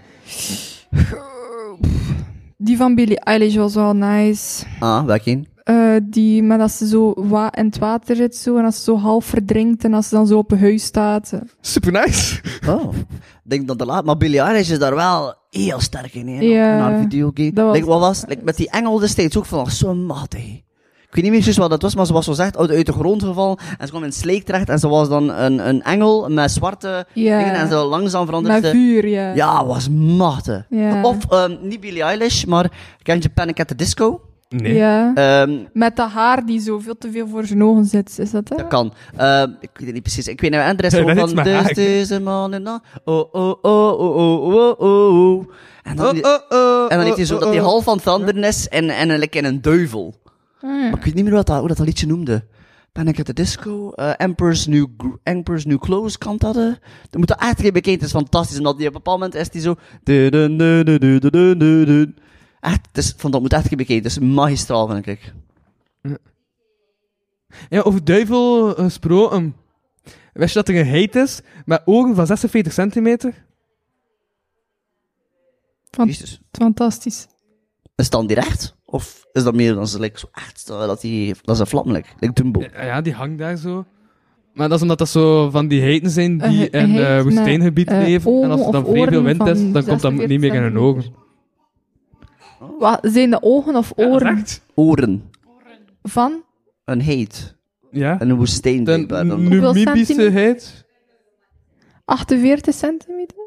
D: Die van Billie Eilish was wel nice.
B: Ah, welke een?
D: Eh, die met als ze zo wa in het water zit zo, en als ze zo half verdrinkt en als ze dan zo op een huis staat. eh.
E: Super nice.
B: Oh, ik denk dat de laat. Maar Billie Eilish is daar wel heel sterk in, hè?
D: Ja,
B: in haar videogame.
D: dat was-
B: Like, wat was like, met die engel destijds ook van oh, zo matig. Ik weet niet meer precies wat dat was, maar ze was zo zegt uit, uit de grond gevallen. En ze kwam in het sleek terecht en ze was dan een, een engel met zwarte
D: Ja.
B: dingen. En ze langzaam veranderde
D: Met
B: ze.
D: vuur, ja.
B: eh, Ja, was matig.
D: Ja.
B: Of, ehm, niet Billie Eilish, maar ken je Panic at the Disco?
E: Nee.
D: Ja.
B: Ehm,
D: Met dat haar die zo veel te veel voor zijn ogen zit. Is dat hè?
B: Dat kan. Ehm, ik weet het niet precies. Ik weet niet. En de rest
E: Nee,
B: gewoon
E: dat is
B: van...
E: maar
B: Dus
E: raak.
B: deze man en dan... Oh, oh, oh, oh, oh, oh, oh, oh. En dan,
E: oh,
B: en dan heeft hij zo dat hij half van het veranderen is en, en, en like in een duivel.
D: Ah,
F: Ah,
B: Maar ik weet niet meer wat dat, hoe dat, dat liedje noemde. Panic at the Disco, eh, Emperor's, New, Gr- Emperor's New Clothes kant dat. eh. Dat moet dat echt geen bekend, het is fantastisch. Omdat die op een bepaald moment is die zo... du- du- du- du- du- du- du- du- du. Echt, het is, van dat moet echt geen bekend, het is magistraal vind ik.
E: Ja, over duivel gesproken. Wist je dat er een heet is met ogen van 46 centimeter?
D: Want-
B: Jezus.
D: Fantastisch.
B: Is het dan direct? Of is dat meer dan ze like, zo echt, eh, dat, die, dat is een vlammelijk, like Dumbo?
E: Ja, ja, die hangt daar zo. Maar dat is omdat dat zo van die heten zijn
D: Een
E: die
D: he-
E: in
D: heet
E: eh
D: met
E: woestijngebied
D: eh,
E: leven. En als
D: ogen
E: er dan
D: of
E: vrij veel
D: oren
E: wind is,
D: van
E: dan komt dat niet meer in hun
D: 46
E: ogen.
D: Wat, zijn de ogen of
E: Ja,
D: oren
E: echt?
B: Oren,
D: van?
B: een heet,
E: Ja.
B: en een woestijn.
E: De
B: blijkbaar dan.
D: Hoeveel
E: Numibische
D: centimeter?
E: heet.
D: 48 centimeter?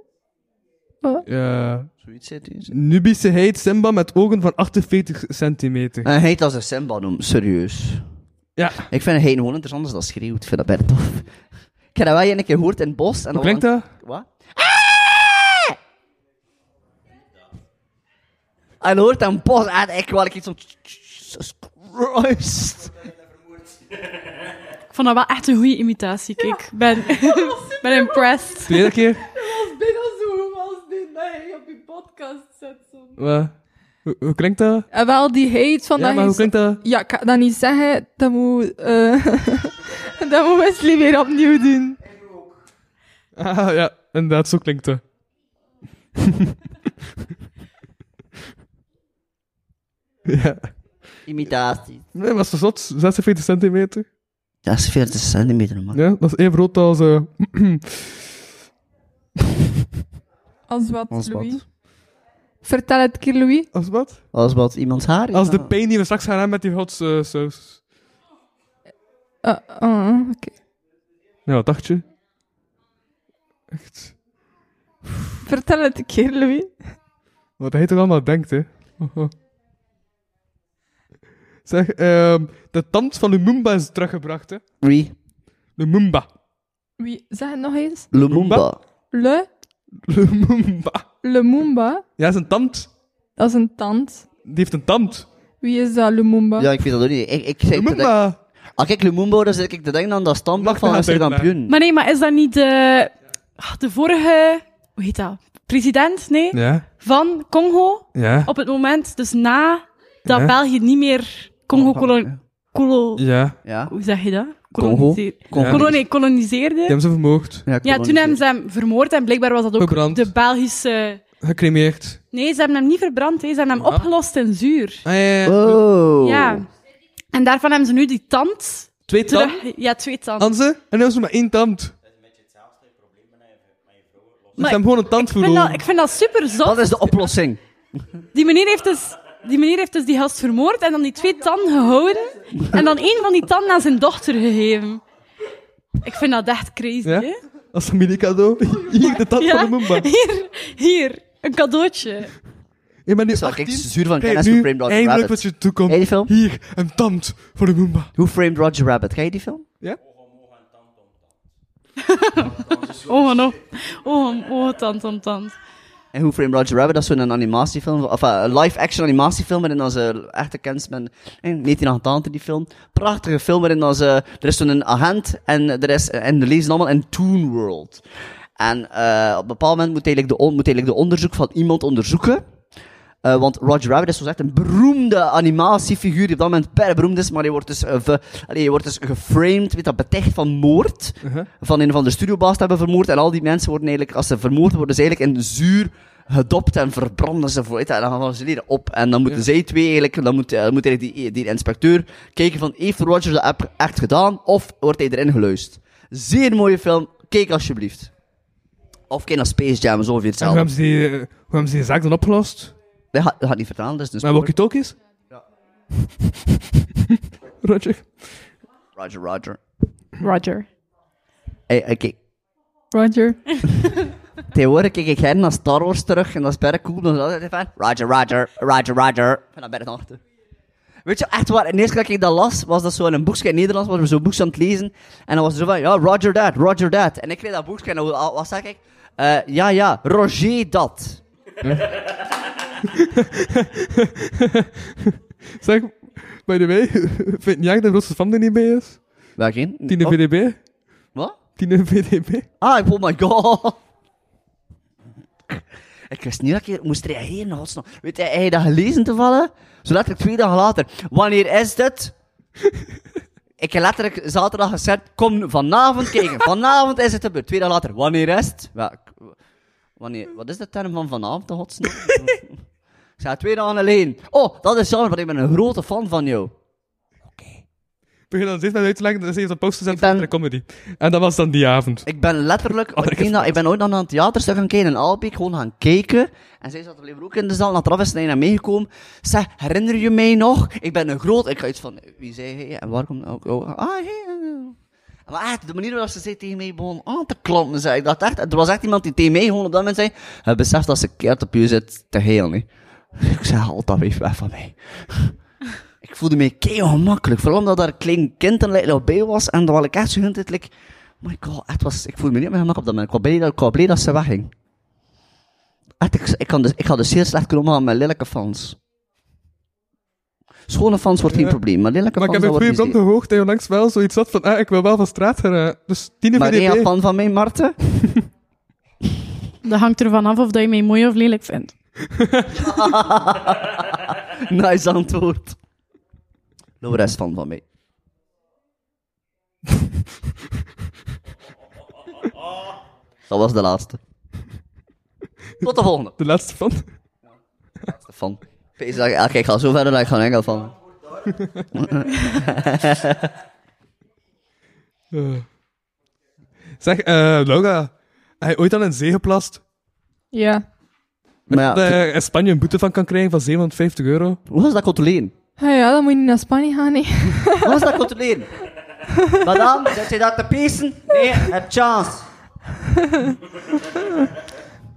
E: Ja.
B: Zoiets heet die.
E: Nubische heet Simba met ogen van 48 centimeter.
D: Eh.
B: Een heet als een Simba noemt, serieus.
E: Ja.
B: Ik vind een heet gewoon interessant als dat schreeuwt, ik vind dat bijna tof. Ik heb dat wel een keer gehoord in het bos. En
E: Hoe klinkt dat?
B: Wat? Ah! En hoort een bos en ik wil ik iets van... Jesus Christ.
F: Ik vond dat wel echt een goede imitatie, kijk. Ik ben, ben impressed.
E: Tweede keer?
D: Bijna zo als dit dat je op je podcast zet.
E: Wat? Eh, Hoe, hoe klinkt dat?
D: En wel, die hate van
E: Ja,
D: dat
E: maar
D: je
E: hoe klinkt dat?
D: Ja, ik ga dat niet zeggen. Dat moet, eh dat moet Wesley weer opnieuw doen.
E: Ah, ja, inderdaad, zo klinkt dat. ja.
B: Imitatie.
E: Nee, maar zo zot, 46 centimeter.
B: Dat is 40 centimeter, man.
E: Ja, dat is even groot als... eh
D: Als wat,
B: Als wat.
D: Louis? Vertel het een keer, Louis.
E: als wat?
B: Als wat iemands haar is.
E: Als de
B: Ah.
E: pijn die we straks gaan hebben met die hot eh, saus.
D: Eh, eh, oké.
E: Ja, wat dacht je? Echt.
D: Vertel het een keer, Louis.
E: Wat hij toch allemaal denkt, hè? Oh, oh. Zeg, ehm, de tand van Lumumba is teruggebracht, hè?
B: Wie?
E: Lumumba.
D: Wie, zeg het nog eens.
B: Lumumba.
D: Le,
E: Lumumba.
D: Lumumba.
E: Ja, zijn tand.
D: Dat is een tand.
E: Die heeft een tand.
D: Wie is dat, Lumumba?
B: Ja, ik weet dat ook niet. Ik, ik, ik,
E: Lumumba.
B: als ik Ah, Lumumba, dan zit ik te denken aan dat standbeeld
E: Mag
B: van
E: dat
B: een
E: uitleggen?
B: kampioen.
F: Maar nee, maar is dat niet de, ah, de vorige, hoe heet dat? President, nee?
E: Ja,
F: Van Congo.
E: ja,
F: Op het moment, dus na dat
E: Ja.
F: België niet meer Congo kolon,
B: Ja.
F: kolo,
E: ja.
B: Ja.
F: hoe zeg je dat?
B: Congo?
F: Koloniseer-
B: Congo.
F: Koloni- koloniseerde.
E: Die hebben ze vermoogd.
F: Ja, toen hebben ze hem vermoord en blijkbaar was dat ook
E: Verbrand.
F: de Belgische...
E: Gecremeerd.
F: Nee, ze hebben hem niet verbrand, hè. ze hebben hem
E: Ja.
F: opgelost in zuur.
E: Ah, ja, ja, ja.
B: Oh.
F: Ja. En daarvan hebben ze nu die tand
E: Twee tanden.
F: terug... Ja, twee tanden.
E: Aan ze. En dan hebben ze maar één tand. Ze
F: Maar
E: hebben gewoon een tand
F: ik, vind
E: verloren.
F: dat, ik vind dat super zot.
B: Wat is de oplossing?
F: Die meneer heeft dus... Die meneer heeft dus die gast vermoord en dan die twee tanden gehouden. En dan één van die tanden aan zijn dochter gegeven. Ik vind dat echt crazy,
E: Ja?
F: hè?
E: Als familiecadeau. Hier, de tand
F: Ja?
E: van Lumumba.
F: Hier, hier, een cadeautje.
E: Ik ben nu
B: Zo, kijk,
E: 18.
B: zuur van
E: Kijk
B: kennis
E: nu,
B: voor Framed Roger
E: eindelijk
B: Rabbit.
E: wat je toekomt.
B: Ken je die film?
E: Hier, een tand voor de Moomba.
B: Who Framed Roger Rabbit? Ken je die film?
F: Oh, no. Oh, oh, tand, tand, tand.
B: En Who Framed Roger Rabbit, dat is zo'n animatiefilm, of eh, een live-action animatiefilm, waarin dan ze echt bekend met eh, 1980 die film. Prachtige film, waarin dan ze, er is zo'n agent, en er is, en de lezen allemaal in Toon World. En eh, op een bepaald moment moet hij, like, de, on- moet hij like, de onderzoek van iemand onderzoeken. Eh, want Roger Rabbit is zoals echt een beroemde animatiefiguur die op dat moment per beroemd is, maar hij wordt dus, eh, ve- allee, hij wordt dus geframed, weet dat, beticht van moord.
E: Uh-huh.
B: Van een van de studiobaas te hebben vermoord. En al die mensen worden eigenlijk, als ze vermoord worden, dus eigenlijk in zuur gedopt en verbranden ze voor. En dan gaan ze leren op. En dan moeten zij twee eigenlijk, dan moet, eh, moet eigenlijk die, die inspecteur kijken van, heeft Rogers dat app echt gedaan? Of wordt hij erin geluisterd? Zeer mooie film. Kijk alsjeblieft. Of kijk naar Space Jam,
E: En
B: zo ongeveer
E: hoe,
B: hetzelfde.
E: hebben ze die, eh, hoe hebben ze die zaak dan opgelost?
B: Dat gaat, dat gaat niet vertalen, dat is dus...
E: Met walkie-talkies?
B: Ja.
E: Roger.
B: Roger, Roger.
F: Roger.
B: Hey, eh, kijk.
F: Roger.
B: Tegenwoordig kijk ik hen naar Star Wars terug en dat is bijna cool. Dan is altijd van Roger, Roger, Roger, Roger. En dan ben ik nog achter. Weet je, echt waar, en de eerste keer dat ik dat las, was dat zo in een boekje in het Nederlands, was we zo'n boekje aan het lezen. En dan was het zo van, ja, Roger dat, Roger dat. En ik kreeg dat boekje en dan, wa- wat zeg ik? Eh, ja, ja, Roger dat.
E: Zeg, by the way, vind jij dat de grootste fan die niet mee is?
B: Welke?
E: Tine
B: Oh,
E: VDB?
B: Wat?
E: Tine VDB?
B: Ah, ik- oh my god. Ik wist niet dat ik hier moest reageren, godsnaam. Weet jij, heb je dat gelezen te vallen? Zo letterlijk twee dagen later. Wanneer is dit? ik heb letterlijk zaterdag gezegd, kom vanavond kijken. Vanavond is het gebeurd. Twee dagen later. Wanneer is het? Wel, ik- wanneer, wat is de term van vanavond, godsnaam? ik zei twee dagen alleen. Oh, dat is jammer, want ik ben een grote fan van jou.
E: Begin dan steeds met uit te leggen dat ze heeft een post gezet
B: Ik ben-
E: voor de comedy. En dat was dan die avond.
B: Ik ben letterlijk,
E: Andere
B: ik, denk dat, ik ben ooit aan een theaterstuk gaan kijken in Albeek, gewoon gaan kijken. En zij zat er ook in de zaal, na Travis naar meegekomen. Zeg, herinner je mij nog? Ik ben een groot, ik ga iets van, wie zei hij en waar komt ook, oh, ah, hey, eh, eh. Maar echt, de manier waarop ze zei tegen mij begon aan te klampen, zei ik dat echt. Er was echt iemand die tegen mij gewoon op dat moment zei, hij beseft dat ze keert op je zit te heel, niet. Ik zei, haal dat even weg van mij. Ik voelde me keihard ongemakkelijk. Vooral omdat daar een klein kind en nog bij was. En dan was ik echt zo het like, my god, het was, ik voelde me niet meer gemak op dat moment. Ik was blij dat, ik was blij dat ze wegging. Echt, ik, ik, kan dus, ik had dus heel slecht kunnen omgaan met lelijke fans. Schone fans wordt geen
E: Ja.
B: probleem, maar lelijke
E: Maar ik
B: fans
E: heb een
B: dat
E: goede
B: wordt
E: bron
B: niet zeer.
E: gehoord en onlangs wel zoiets had van, ah, ik wil wel van straat gaan. eh. Dus Tine
B: Maar ben jij een
E: VDB.
B: fan van mij, Marten?
F: Dat hangt ervan af of dat je mij mooi of lelijk vindt.
B: nice antwoord. Laura is fan van mij. Dat was de laatste. Tot de volgende.
E: De laatste fan.
B: laatste fan. Pees, dat- ah, kijk, ik ga zo verder dat ik gewoon enkel van.
E: Eh. Zeg, eh Laura, heb je ooit aan een zee geplast?
D: Ja.
B: Maar ja,
E: Dat je in Spanje een boete van kan krijgen van 750 euro?
B: hoe was dat controleren?
D: Ja, Ah ja, dan moet je niet naar Spanje gaan, nee.
B: Hoe was dat controleren? Madame, zet je dat te peesen? Nee, heb chance.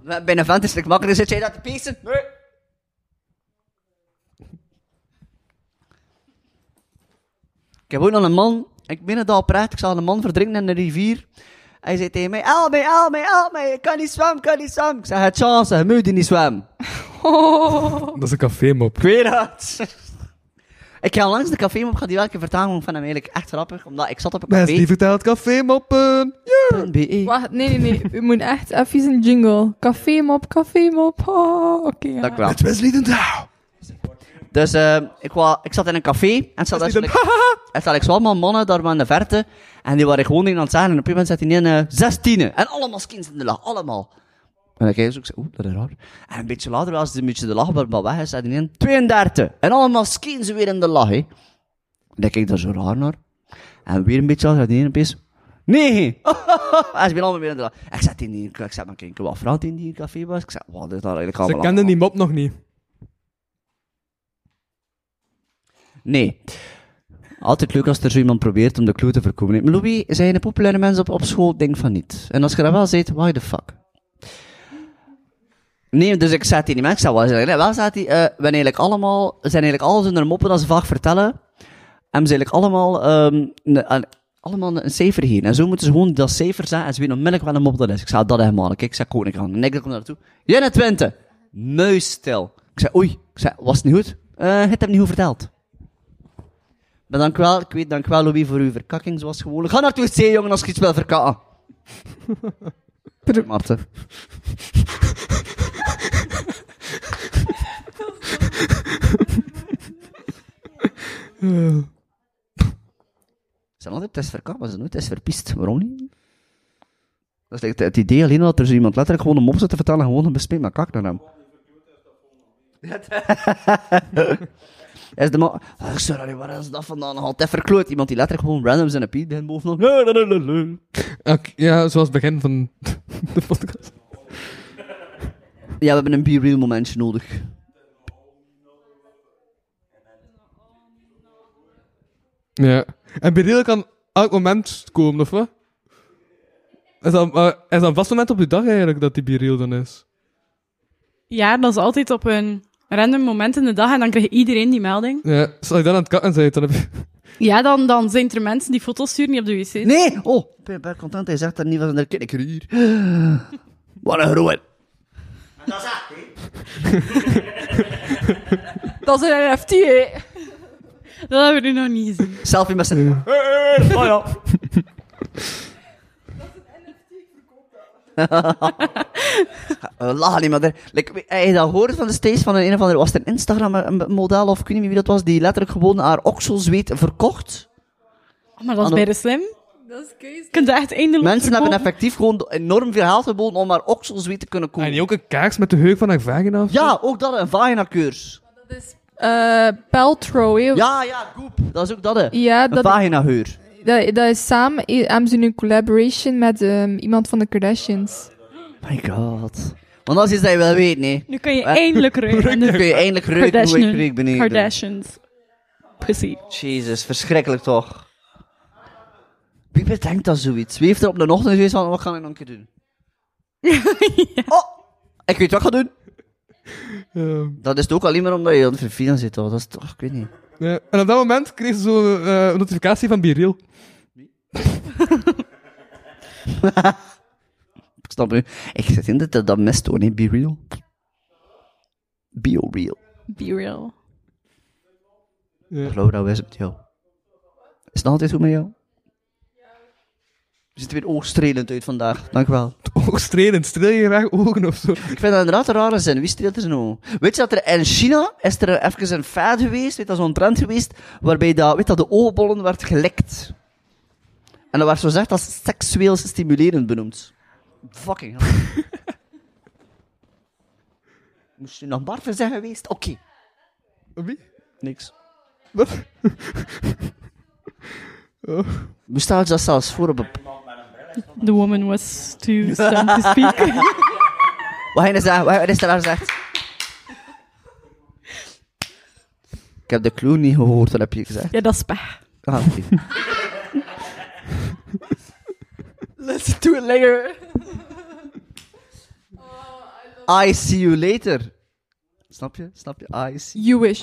B: Bij een vent is het makkelijk, zet jij dat te peesen? Nee. Ik heb ook nog een man, ik ben het al praat, ik zag een man verdrinken in een rivier. Hij zei tegen mij, help mij, help mij, help mij, ik kan niet zwemmen, ik kan niet zwemmen. Ik zei, het chance, je moet hier niet zwemmen. Oh.
E: Dat is een cafémop.
B: Ik weet het. Ik ga langs de café op gaan die welke vertaling van hem eigenlijk echt grappig, omdat ik zat op een
E: Mensen die
B: café. E.
E: vertelt cafémoppen. Ja.
B: .be.
D: Wacht, nee, nee, nee. U moet echt even een jingle. Café mop, café mop. Oh, oké. ja.
B: Dank u wel.
E: Het was niet Douw.
B: Dus eh, ik, wa- ik zat in een café en zat
E: Wesley
B: eigenlijk, er zaten zo allemaal mannen daar maar in de verte en die waren gewoon dingen aan het zeggen en op een gegeven moment zat hij in eh zestienen en allemaal skins in de lach, allemaal. En dan kijk ik zo, ik zeg, oeh, dat is raar. En een beetje later was het een beetje de lach waar maar weg is, zat hij in 32 en allemaal skins weer in de lach, hè. En dan kijk ik daar zo raar naar. En weer een beetje later zat hij in opeens, nee! Hij is weer allemaal weer in de lach. En ik zat in die, ik zat maar kijken wat vrouw in die café was. Ik zei, wat is daar eigenlijk
E: Ze
B: allemaal
E: kenden
B: aan?
E: die mop nog niet.
B: Nee. Altijd leuk als er zo iemand probeert om de clue te voorkomen. Maar Louis, zijn de populaire mensen op, op school? Denk van niet. En als je dat wel zegt, why the fuck? Nee, dus ik zat hier niet meer. Ik zat wel zeggen. Wel zat die, eh we zijn eigenlijk allemaal, zijn eigenlijk alles onder moppen dat ze vaak vertellen. En ze eigenlijk allemaal, ehm, een- een- allemaal een cijfer geven. En zo moeten ze gewoon dat cijfer zeggen. En ze weten onmiddellijk wel een mop dat is. Ik zei dat helemaal. Kijk, ik zei koning gaan. En ik kom naartoe. Jij naar Twente. Muisstil. Ik zei, oei. Ik zei, was het niet goed? Eh, het heb niet goed verteld. Maar dank wel, ik weet dank wel Louis voor uw verkakking zoals gewoonlijk. Ga naartoe zee, jongen, als je iets wil verkakken. Marten. Ze hadden het is verkakken, maar ze nooit het is verpiest. Waarom niet? Dat is het, het idee alleen al dat er zo iemand letterlijk gewoon een mop zit te vertellen, gewoon een bespreek met kak naar hem. is de man... Oh, sorry, waar is dat vandaan gehaald? Het verkloot. Iemand die letterlijk gewoon random zijn piet begint bovenop.
E: Oké, ja, zoals het begin van de podcast.
B: Ja, we hebben een be-real momentje nodig.
E: Ja. En Beryl kan elk moment komen, of wat? Is dat, eh, is dat een vast moment op de dag eigenlijk dat die Beryl dan is?
F: Ja, dat is altijd op een random moment in de dag en dan krijgt iedereen die melding.
E: Ja, als je dan aan het kakken bent, dan heb je...
F: Ja, dan, dan zijn er mensen die foto's sturen die op de wc zitten.
B: Nee! Oh, ik ben ben content. Hij zegt dat niet was in de kinderkrier. Wat een groen.
D: Dat is een NFT, hè.
F: Dat hebben we nu nog niet gezien.
B: Selfie met zijn... Oh ja. We lachen niet, maar er, like, heb je dat gehoord van de steeds van een, een of andere... Was het een Instagram-model of ik weet niet meer wie dat was, die letterlijk gewoon haar okselzweet verkocht?
F: Oh, maar dat is
B: Hallo.
F: bij de slim.
D: Dat is
F: Je kunt dat echt eindelijk
B: Mensen hebben
F: verkopen.
B: effectief gewoon enorm veel geld geboden om haar okselzweet te kunnen
E: En
B: kopen.
E: die ook een kaars met de heuk van haar vagina? of zo?
B: Ja, ook dat, een vagina-keurs.
D: Eh, Paltrow, hè.
B: Ja, ja, Goep. Dat is ook dat, hè.
D: Ja,
B: Een
D: dat, dat,
B: vaginageur.
D: dat is samen... eh, Hebben ze nu een collaboration met ehm, iemand van de Kardashians.
B: My god. Want dat is iets dat je wel weet, nee.
F: Nu kan je
B: Eh,
F: eindelijk ruiken. aan de
B: Dan kun je eindelijk ruiken hoe ik reuk
F: Kardashian.
B: beneden.
F: Kardashians. Pussy.
B: Jezus, verschrikkelijk toch. Wie bedenkt dat zoiets? Wie heeft er op de ochtend geweest van, wat kan ik nog een keer doen? Oh, ik weet wat ik ga doen.
E: Ehm,
B: Dat is het ook alleen maar omdat je aan het vervelen zit, hoor. Dat is toch, ik weet niet.
E: ja. En op dat moment kreeg ze zo eh, een notificatie van Beryl.
B: Ik snap u. Ik zit in dat dat mist hoor, nee, be real. Be real.
F: Be real.
B: Laura, hoe is het met jou? Is het nog altijd goed met jou? Je ziet er weer oogstrelend uit vandaag, dank u wel.
E: Oh, strelend. Streel je graag ogen of zo?
B: Ik vind dat inderdaad een rare zin. Wie streelt er nou? Weet je dat er in China is er even een fad geweest, weet dat zo'n trend geweest, waarbij dat, weet dat de oogbollen werd gelekt. En dat werd zo gezegd als seksueel stimulerend benoemd. Fucking hell. Moest je nog barven zijn geweest? Oké.
E: Wie?
B: Niks.
E: Wat?
B: Bestaat dat zelfs voor op een...
F: The woman was too stunned to speak.
B: Wat hij zeggen? Wat hij is daar gezegd? Ik heb de clue niet gehoord, dat heb je gezegd.
F: ja, dat is pech.
B: Ah, oké.
D: Let's do it later.
B: Oh, I see you later. Snap je? Snap je? I see.
D: You wish.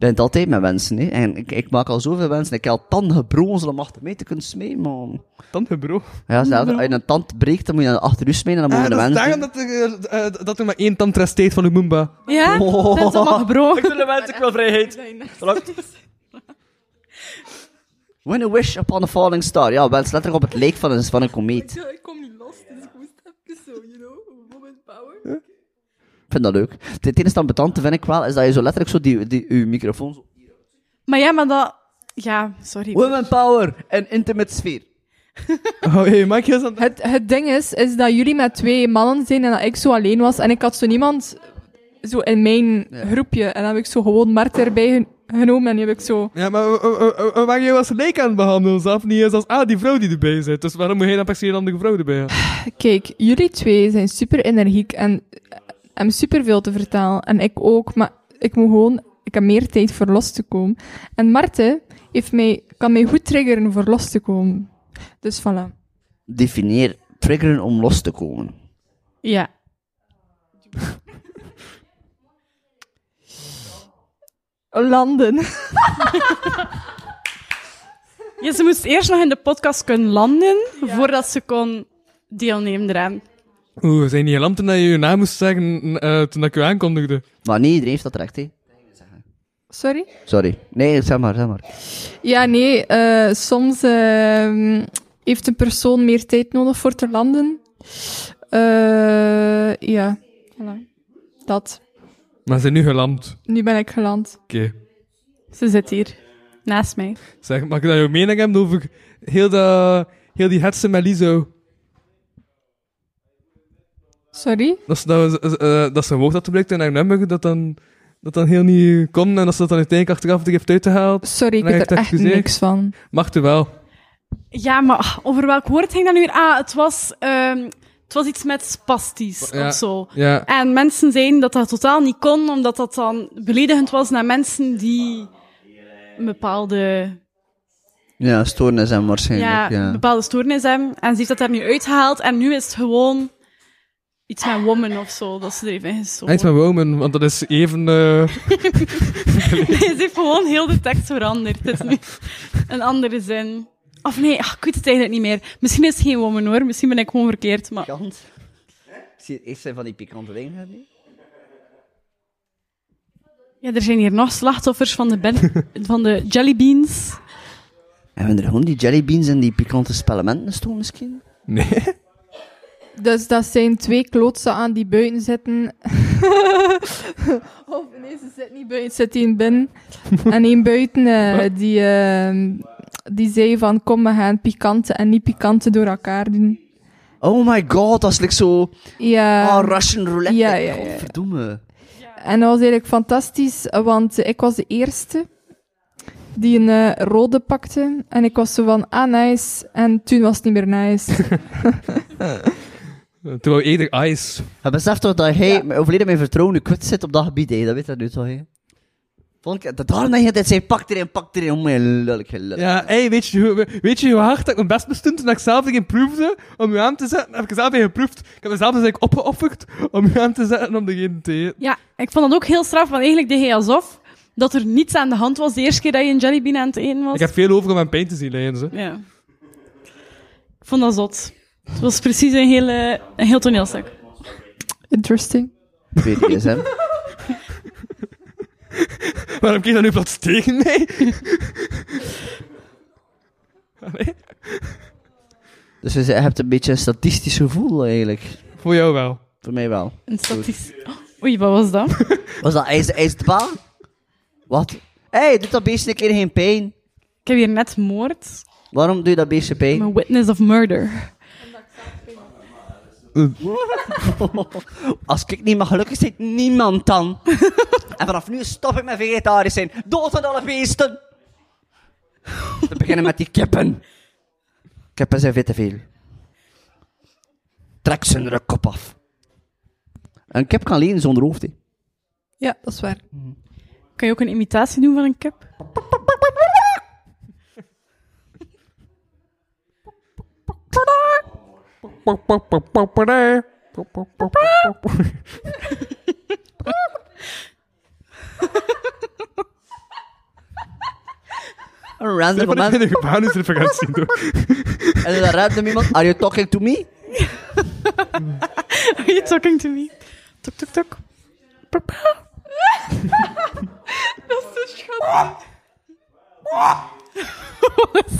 B: Je bent altijd met wensen, hè? En ik, ik maak al zoveel wensen. Ik heb al tanden gebrozen om achter mij te kunnen smijten, man.
E: Tante bro.
B: Ja, zelfs
D: Mm-hmm.
B: als je een tand breekt, dan moet je naar achter u smijten en dan moet je
E: dat
B: een
E: is
B: wens
E: daarom
B: doen.
E: dat, eh, eh, dat er maar één tand resteert van de Moomba.
F: Ja?
B: Oh.
F: Dat is allemaal gebroken.
G: mensen, ik wil vrijheid.
B: When a wish upon a falling star. Ja, wens letterlijk op het leek van een, van een komeet.
G: Ik kom niet los, dus ik moest even zo, you know, woman power.
B: Ik vind dat leuk. Het enige ambetante vind ik wel, is dat je zo letterlijk zo die, die, uw microfoon zo...
F: Maar ja, maar dat... Ja, sorry.
B: Women power en intimate sfeer.
E: Oh, hé, hey, Mike is aan het...
D: Het, het ding is, is dat jullie met twee mannen zijn en dat ik zo alleen was. En ik had zo niemand zo in mijn groepje. En dan heb ik zo gewoon Mart erbij gen- genomen en die heb ik zo...
E: Ja, maar eh, eh, eh, eh, waar je als leek aan het behandelen, zelf niet eens als, ah, die vrouw die erbij zit. Dus waarom moet je dan per se een andere vrouw erbij hebben?
D: Kijk, jullie twee zijn super energiek en eh, hebben super veel te vertellen. En ik ook, maar ik moet gewoon... Ik heb meer tijd voor los te komen. En Marten heeft mij, kan mij goed triggeren voor los te komen. Dus voilà.
B: Defineer triggeren om los te komen.
F: Ja.
D: Landen.
F: ja. Ze moest eerst nog in de podcast kunnen landen, voordat ze kon deelnemen eraan.
E: Oeh, zijn die geland toen dat je je naam moest zeggen eh, toen dat ik je aankondigde?
B: Maar niet iedereen heeft dat recht, hè.
D: Sorry?
B: Sorry. Nee, zeg maar, zeg maar.
D: Ja, nee, eh, soms ehm, heeft een persoon meer tijd nodig voor te landen. Eh, ja, voilà. Dat.
E: Maar ze zijn nu geland.
D: Nu ben ik geland.
E: Oké.
F: Ze zit hier. Naast mij.
E: Zeg, mag ik daar jouw mening hebben over heel, dat, heel die hetsen met Lizo?
D: Sorry?
E: Dat ze, dat, ze- eh, dat ze een woord had gebruikt in haar nummer, dat dan, dat dan heel niet kon en dat ze dat dan uiteindelijk achteraf er heeft uitgehaald.
D: Sorry, ik
E: Nee, ik
D: weet er
E: heb
D: echt
E: gezien.
D: niks van.
E: Mag er wel.
F: Ja, maar ah, over welk woord ging dat nu weer? Ah, het was, ehm, het was iets met spastisch
E: Ja.
F: of zo.
E: Ja.
F: En mensen zeiden dat dat totaal niet kon, omdat dat dan beledigend was naar mensen die een bepaalde,
B: Ja, stoornis hem waarschijnlijk.
F: ja,
B: Ja,
F: een bepaalde stoornis hebben. En ze heeft dat daar nu uitgehaald en nu is het gewoon iets met woman of zo, dat ze er even ingestoken.
E: Eind met Woman, want dat is even... eh,
F: Nee, ze heeft gewoon heel de tekst veranderd. Het is nu een andere zin. Of nee, ach, ik weet het eigenlijk niet meer. Misschien is het geen woman hoor, misschien ben ik gewoon verkeerd. Maar...
B: Pikant. Zie- Is zijn van die pikante dingen hè, niet?
F: Ja, er zijn hier nog slachtoffers van de, ben- van de jellybeans.
B: Hebben er gewoon die jellybeans en die pikante spellementen stoel misschien?
E: nee.
D: Dus dat zijn twee klootsen aan die buiten zitten. of nee, ze zit niet buiten, ze zit één binnen. en één buiten eh, die, eh, die zei van kom, we gaan pikante en niet pikante door elkaar doen.
B: Oh my god, dat is like zo...
D: Ja.
B: oh, Russian roulette.
D: Ehm, ja, ja, ja.
B: Godverdomme.
D: En dat was eigenlijk fantastisch, want eh, ik was de eerste die een eh, rode pakte. En ik was zo van, ah, nice. En toen was het niet meer nice.
E: Toen wou eerder Ice.
B: Je beseft toch dat hij overleden mijn vertrouwen nu kwets zit op dat gebied, hè? dat weet dat nu toch, hè? Vond ik, dat daarom dat je altijd zei, pak erin, pak erin, oh mijn lullig, lullig.
E: Ja, hey, weet, je, hoe- weet je hoe hard dat ik mijn best bestond toen ik zelf ging proefde om u aan te zetten? Heb ik er zelf in geproefd. Ik heb mezelf dus eigenlijk opgeofferd om u aan te zetten en om degene te eten.
F: Ja, ik vond dat ook heel straf, want eigenlijk deed hij alsof dat er niets aan de hand was de eerste keer dat je een jellybean aan het eten was.
E: Ik heb veel over om mijn pijn te zien lijden, ze.
F: Ja. Ik vond dat zot. Het was precies een, hele, een heel toneelstuk.
D: Interesting.
B: BDSM.
E: Waarom keer je dat nu plots tegen mij? Allee,
B: dus je hebt een beetje een statistisch gevoel, eigenlijk.
E: voor jou wel.
B: Voor mij wel.
F: Een statistisch... Oh, Oei, wat was dat?
B: Was dat ijs, ijs de baan? Wat? Hé, hey, doet dat beestje een keer geen pijn?
F: Ik heb hier net moord.
B: Waarom doe je dat beestje pijn?
F: Mijn witness of murder.
B: Als ik niet mag gelukkig zijn, niemand dan. en vanaf nu stop ik met vegetarisch zijn. Dood aan alle beesten! We beginnen met die kippen. Kippen zijn veel te veel. Trek ze hun kop af. Een kip kan alleen zonder hoofd. hè.
D: Ja, dat is waar.
F: Kan je ook een imitatie doen van een kip?
B: Een random
E: Ik ben
B: moment.
E: in de gevangenisreferentie doen.
B: En dan random iemand. Are you talking to me?
F: Are you talking to me? Tok, tok, tok. Papa.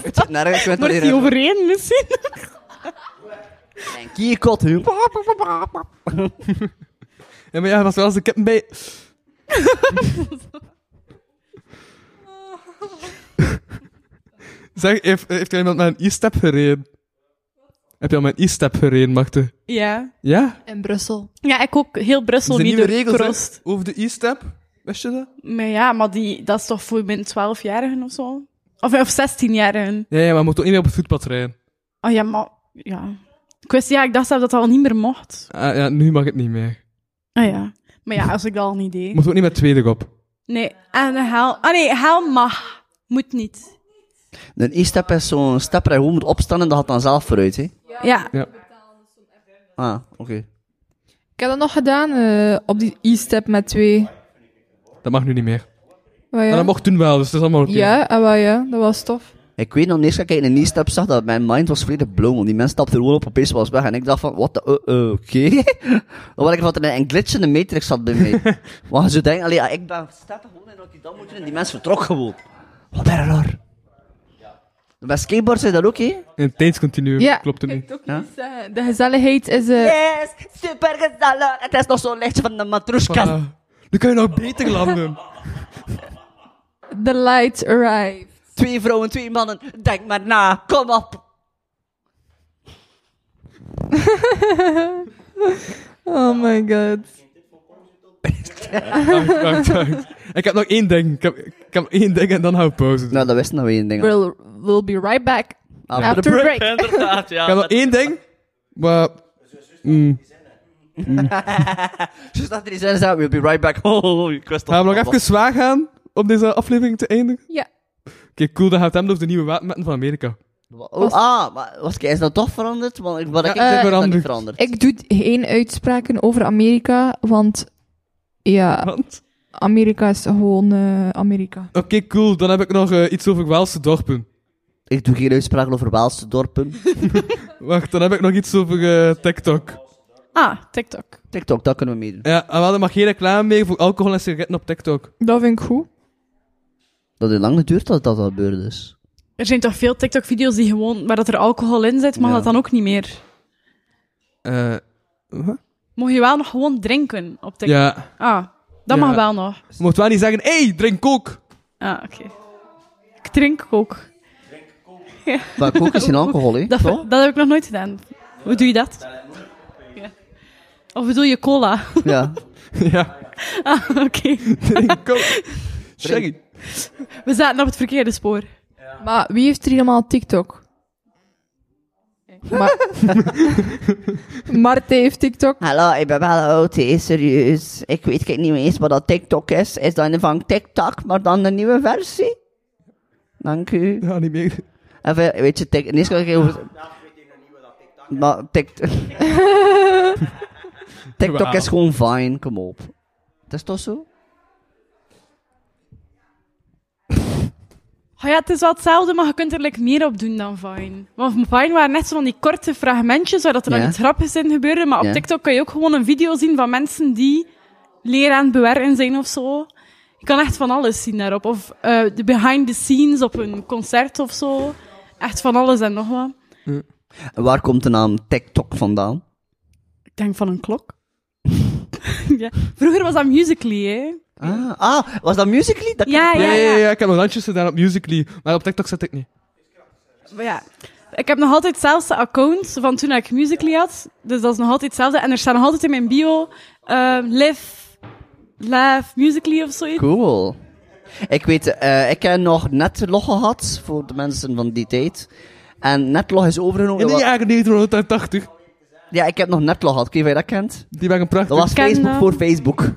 B: Het zit nergens met
F: Wordt die overeen misschien?
B: Kierkot. hè.
E: Ja, maar ja, er was wel eens een kip bij. zeg, heeft, heeft er iemand met een e-step gereden? Heb je al met een e-step gereden, Machte?
F: Ja.
E: Ja?
D: In Brussel.
F: Ja, ik ook heel Brussel
E: Er zijn nieuwe
F: niet
E: regels hè,
F: doorkrost.
E: over de e-step. Wist je dat?
F: Maar ja, maar die, dat is toch voor min 12-jarigen of zo? Of, of 16-jarigen.
E: Ja, ja, maar je moet ook niet meer op het voetpad rijden.
F: Oh ja, maar... Ja. Ik, wist, ja, ik dacht zelf dat dat al niet meer mocht.
E: Ah, ja, nu mag het niet meer.
F: Ah ja. Maar ja, als ik dat al niet
E: Je
F: deed.
E: moet ook niet met tweede op.
F: Nee, en hel... Ah nee, hel mag. Moet niet.
B: Een e-step is zo'n step waar je gewoon moet opstaan en dat gaat dan zelf vooruit. Hè?
F: Ja.
B: Ah, oké.
D: Ik heb dat nog gedaan eh, op die e-step met twee.
E: Dat mag nu niet meer.
D: Wat, ja?
E: Maar dat mocht toen wel, dus dat is allemaal oké.
D: ja, ah, wel, ja, dat was tof.
B: Ik weet nog, de eerste keer dat ik een e-step zag, dat mijn mind was volledig blown. Want die mensen stapten gewoon op, opeens was weg. En ik dacht van, wat de, eh, eh, oké. dan was ik van dat er een glitch in de matrix zat bij mij. Want je zou denken, allee, ja, ik ben stappen gewoon in Rotterdam moeten en die mensen vertrok gewoon. Wat ben er raar. Bij skateboards is dat ook, hè?
E: In het tijdscontinuum,
D: Ja.
E: klopt het niet.
D: ook
B: Ja?
D: niet zeggen. De gezelligheid is... eh,
B: Yes, super gezellig. Het is nog zo'n lichtje van de matroeskas.
E: Ah, nu kan je nog beter landen.
D: The light arrived.
B: Twee vrouwen, twee mannen. Denk maar na. Kom op.
D: Oh my god.
E: Dank, dank, dank. Ik heb nog één ding. Ik heb, ik heb één ding en dan hou ik pauze.
B: Nou, dat wisten we één ding.
D: We'll, we'll be right back
B: Ah,
D: after
E: break.
D: break.
B: Inderdaad,
E: Ik
B: ja.
E: heb nog één ding. Maar... Mm.
B: Mm. Dus dat er iets in staat, we'll be right back. Oh, oh, oh, ik wist dat.
E: Gaan we nog even zwaar gaan om deze aflevering te eindigen?
D: Ja.
E: Oké, cool. Dan gaat Temlof de nieuwe wapenmetten van Amerika.
B: Oh, ah, maar was, is dat toch veranderd? Want ik, wat ik
E: Ja,
B: zeg, is dat niet
E: veranderd.
B: veranderd.
D: Ik doe geen uitspraken over Amerika, want ja,
E: Want?
D: Amerika is gewoon eh, Amerika.
E: Oké, cool. Dan heb ik nog eh, iets over Waalse dorpen.
B: Ik doe geen uitspraken over Waalse dorpen.
E: Wacht, dan heb ik nog iets over eh, TikTok.
F: Ah, TikTok.
B: TikTok, dat kunnen we meedoen.
E: Ja, ah, en we hadden maar geen reclame meer voor alcohol en sigaretten op TikTok.
D: Dat vind ik goed.
B: Dat heeft lang geduurd dat dat gebeurd is.
F: Er zijn toch veel TikTok-video's die gewoon, waar dat er alcohol in zit, mag
B: Ja.
F: dat dan ook niet meer?
E: Eh,
F: Mocht je wel nog gewoon drinken op TikTok?
E: ja.
F: Ah, dat
E: Ja.
F: mag wel nog.
E: Je mocht wel niet zeggen, hé, hey, drink kook.
F: Ah, oké. Ik drink ook.
B: Maar kook is geen alcohol, hè?
F: Dat,
B: Toch?
F: dat heb ik nog nooit gedaan. Hoe doe je dat? Ja. Of bedoel je cola?
B: Ja.
E: ja,
F: Ah, oké.
E: drink kook. Shaggy.
F: We zaten op het verkeerde spoor.
D: Maar wie heeft er helemaal TikTok? Maar... Marte heeft TikTok.
B: Hallo, ik ben wel oud, hè, serieus. Ik weet kijk niet meer eens wat dat TikTok is. Is dat een van TikTok, maar dan de nieuwe versie? Dank u.
E: Ja, niet meer.
B: En veel- weet je, tik, ineens kan ik over... Maar tik, TikTok is gewoon fijn, kom op. Dat is toch zo?
F: Oh ja, het is wel hetzelfde, maar je kunt er like, meer op doen dan Vine. Want Vine waren net zo van die korte fragmentjes waar dat er
B: Ja.
F: dan iets grappigs in gebeurde. Maar op
B: Ja.
F: TikTok kan je ook gewoon een video zien van mensen die leren aan het bewerken zijn of zo. Je kan echt van alles zien daarop. Of eh, de behind the scenes op een concert of zo. Echt van alles en nog wat.
B: En waar komt de naam TikTok vandaan?
F: Ik denk van een klok. ja. Vroeger was dat Musical.ly, hè?
B: Ah, ah, was dat Musical.ly? Dat
F: Ja,
E: Ja,
F: ja,
E: ja,
F: ja.
E: ja, ik heb nog landjes gedaan op Musical.ly, maar op TikTok zet ik niet.
F: Maar ja. Ik heb nog altijd hetzelfde account van toen ik Musical.ly had. Dus dat is nog altijd hetzelfde. En er staan nog altijd in mijn bio... ehm live, laugh, Musical.ly of zoiets.
B: Cool. Ik weet, eh, ik heb nog netlog gehad voor de mensen van die tijd. En netlog is overgenomen.
F: Oh,
E: In de
B: wa-
E: jaren 1980,
B: Ja, ik heb nog netlog gehad. Ik weet niet of je dat kent.
E: die waren
B: Dat
E: prachtig.
B: was
F: ken,
B: Facebook
F: eh,
B: voor Facebook.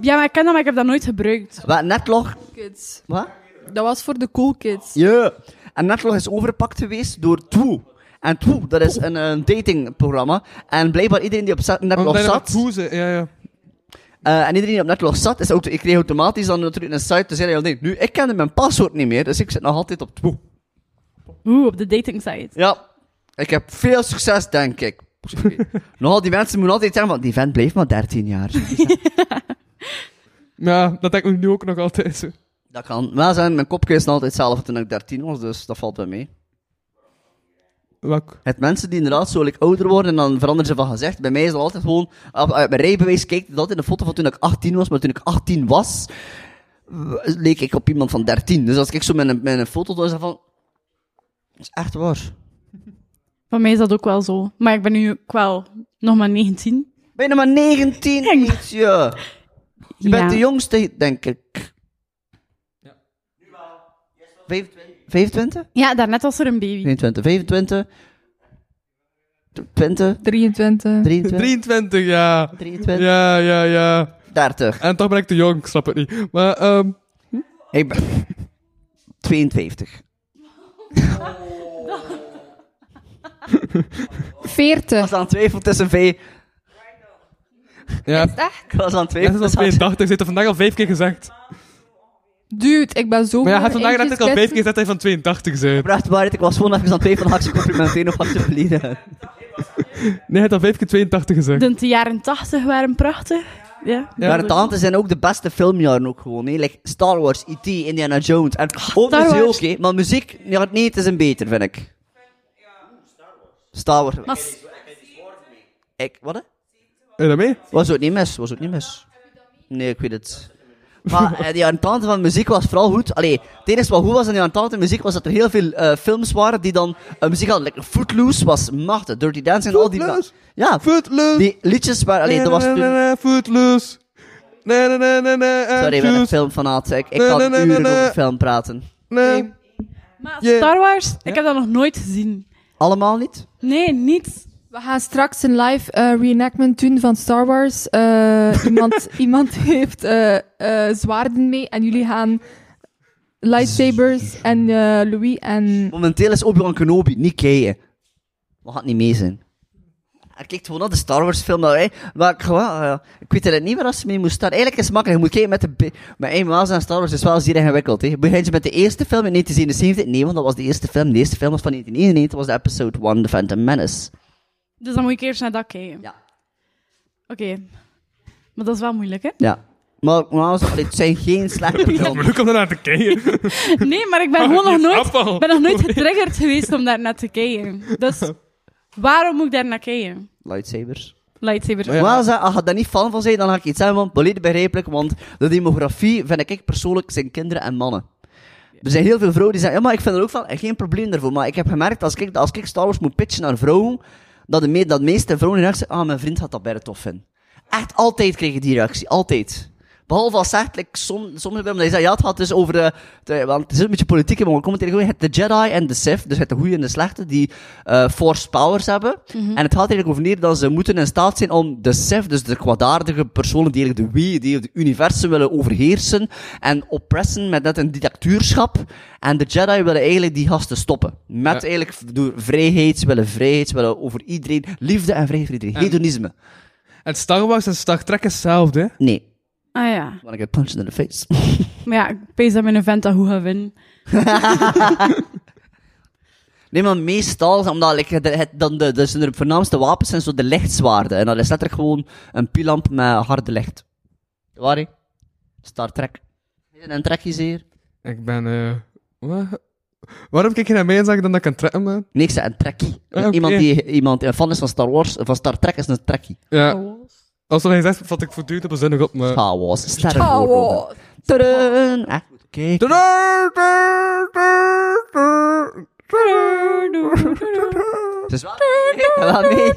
F: Ja, maar ik ken dat, maar ik heb dat nooit gebruikt.
B: Wat, netlog?
D: Kids.
B: Wat?
D: Dat was voor de cool kids.
B: Ja. En netlog is overgepakt geweest door Two. En Two, dat is een, een datingprogramma. En blijkbaar iedereen die op za- netlog
E: bijna
B: zat...
E: met poezen, ja, ja.
B: Eh, en iedereen die op netlog zat, is auto- ik kreeg automatisch dan natuurlijk een site te zeggen, nee, nu, ik kende mijn paswoord niet meer, dus ik zit nog altijd op toe.
F: Oeh, op de dating site.
B: Ja, ik heb veel succes, denk ik. Nogal, die mensen moeten altijd zeggen van, die vent bleef maar 13 jaar.
E: Ja, dat denk ik nu ook nog altijd zo.
B: dat kan wel zijn, mijn kopje is nog altijd hetzelfde toen ik 13 was, dus dat valt wel mee.
E: Welk?
B: Het mensen die inderdaad zo like, ouder worden en dan veranderen ze van gezicht. Bij mij is dat altijd gewoon... Op, uit mijn rijbewijs kijkt dat altijd een foto van toen ik 18 was. Maar toen ik 18 was, w- leek ik op iemand van 13. Dus als ik zo met een, met een foto doe, is dat van... Dat is echt waar.
F: Van mij is dat ook wel zo. Maar ik ben nu ook wel nog maar 19.
B: Ben je maar 19,
F: Eng.
B: ietsje. Je
F: Ja.
B: bent de jongste, denk ik. Ja. 25?
F: Ja, daarnet was er een baby.
B: 21, 25. 20,
D: 23.
B: 23,
E: 23, ja.
B: 23,
E: Ja, ja, ja.
B: 30.
E: En toch ben ik te jong, ik snap het niet. Maar, ehm
B: Ik ben 52.
D: 40.
B: Ik was aan het twijfelen tussen V.
E: ja.
B: Ik was aan het
E: Net
B: twijfelen
E: als
B: tussen V.
E: 82, zit er vandaag al vijf keer gezegd.
D: Dude, ik ben zo
E: Maar ja, hij
D: blij
E: heeft vandaag
D: dat
E: net ook al vijf keer gezegd dat hij van 82 bent.
B: Bracht waarheid, ik was gewoon even aan het twijfelen. Had ik ze complimenteren of had ze verliezen?
E: Nee, hij heeft al vijf keer 82 gezegd.
F: De, de jaren 80 waren prachtig. Ja.
B: Maar de tante zijn ook de beste filmjaren ook gewoon. Hè. Like Star Wars, E.T., Indiana Jones. En ook
F: Ah, Star
B: muziek,
F: Wars.
B: hè. maar muziek, ja, nee, het is een beter, vind ik. Star Wars.
F: Maar s-
B: Ik, wat hè?
E: Heb je dat mee?
B: Was ook niet mis, was ook niet mis. Nee, ik weet het. Maar eh, die entente van muziek was vooral goed. Allee, het enige wat goed was aan die entente in muziek was dat er heel veel eh, films waren die dan eh, muziek hadden. Like, Footloose was machtig. Dirty Dancing en al die...
C: Footloose?
B: Ja,
C: Footloose.
B: nou. die liedjes waren... Allee, dat was
C: Na, na, na,
B: toen...
C: na, Footloose. Na, na, na, na, na, I'm
B: Sorry, ik ben een
C: just-
B: filmfanaat. Ik, ik
C: Nee,
B: kan
C: nee, nee,
B: uren
C: nee, nee.
B: over film praten.
C: Nee.
F: Maar
C: Yeah.
F: Star Wars, ik heb dat nog nooit gezien.
B: Allemaal niet?
F: Nee, niet.
D: We gaan straks een live eh, reenactment doen van Star Wars. Eh, iemand, iemand heeft eh, eh, zwaarden mee en jullie gaan lightsabers en eh, Louis en...
B: Momenteel is Obi-Wan Kenobi niet kijken. We gaan niet mee zijn. Hij kijkt gewoon naar de Star Wars film. Maar, hè, maar ik, gewoon, eh, ik weet eigenlijk niet waar ze mee moet staan. Eigenlijk is het makkelijk. Je moet kijken met de... bi- Maar eenmaal zijn Star Wars is wel zeer ingewikkeld. Hè. Begin je met de eerste film in 1977? Nee, want dat was de eerste film. De eerste film was van 1991. was de episode 1, The Phantom Menace.
F: Dus dan moet ik eerst naar dat kijken.
B: Ja.
F: Oké. Maar dat is wel moeilijk, hè?
B: Ja. Maar, maar als- allee, het zijn geen slechte films.
E: Leuk om daarnaar te kijken.
F: Nee, maar ik ben gewoon nog
E: Je
F: nooit,
E: appel.
F: ik ben nog nooit getriggerd geweest om daar naar te kijken. Dus waarom moet ik daar naar kijken?
B: Lightsabers.
F: Lightsaber.
B: Maar als je- als je daar niet fan van bent, dan ga ik iets zeggen van volledig begrijpelijk, want de demografie vind ik persoonlijk zijn kinderen en mannen. Er zijn heel veel vrouwen die zeggen, ja, maar ik vind er ook van, en geen probleem daarvoor. Maar ik heb gemerkt, als ik, als ik Star Wars moet pitchen aan vrouwen, dat de, me, dat de meeste vrouwen die zeggen, ah, mijn vriend gaat dat bijna tof vinden. Echt, altijd kreeg ik die reactie, altijd. Behalve als zegt, like, som, soms hebben ze ja, het gaat dus over, eh, de, want het is een beetje politiek, maar we komen tegen je hebt de Jedi en de Sith, dus je hebt de goede en de slechte, die eh, force powers hebben. En het gaat eigenlijk over neer dat ze moeten in staat zijn om de Sith, dus de kwaadaardige personen die eigenlijk de wie, die het universum willen overheersen en oppressen met net een dictatuurschap. En de Jedi willen eigenlijk die gasten stoppen. Met
E: Ja.
B: eigenlijk v- door vrijheid, ze willen vrijheid, ze willen over iedereen, liefde en vrijheid voor iedereen.
E: En-
B: Hedonisme.
E: En Star Wars en Star Trek is hetzelfde, hè?
B: Nee.
F: Ah ja.
B: Want ik heb punched in the face.
F: Maar ja, ik pees dat mijn vent dat goed gaat winnen.
B: Nee, maar meestal, omdat like, het, het- dan de, dus de voornaamste wapens zijn zo de lichtzwaarden. En dat is letterlijk gewoon een pilamp met harde licht. Waar, hè? Star Trek. Is het een trekje zeer?
E: Ik ben... eh, wa- Waarom kijk je naar mij en zeg dan dat ik een trekken ben?
B: Nee, ik zei een trekkie.
E: Ah, oké.
B: Iemand die iemand die een fan is van Star Wars, van Star Trek is een trekkie.
E: Ja. Als dat Oh. hij zegt, vat ik voortdurend op een zin nog op, maar...
B: Star Wars. Star Wars. Tadaan. Ah, goed, Kijk. Het is wel Ja, wel mee.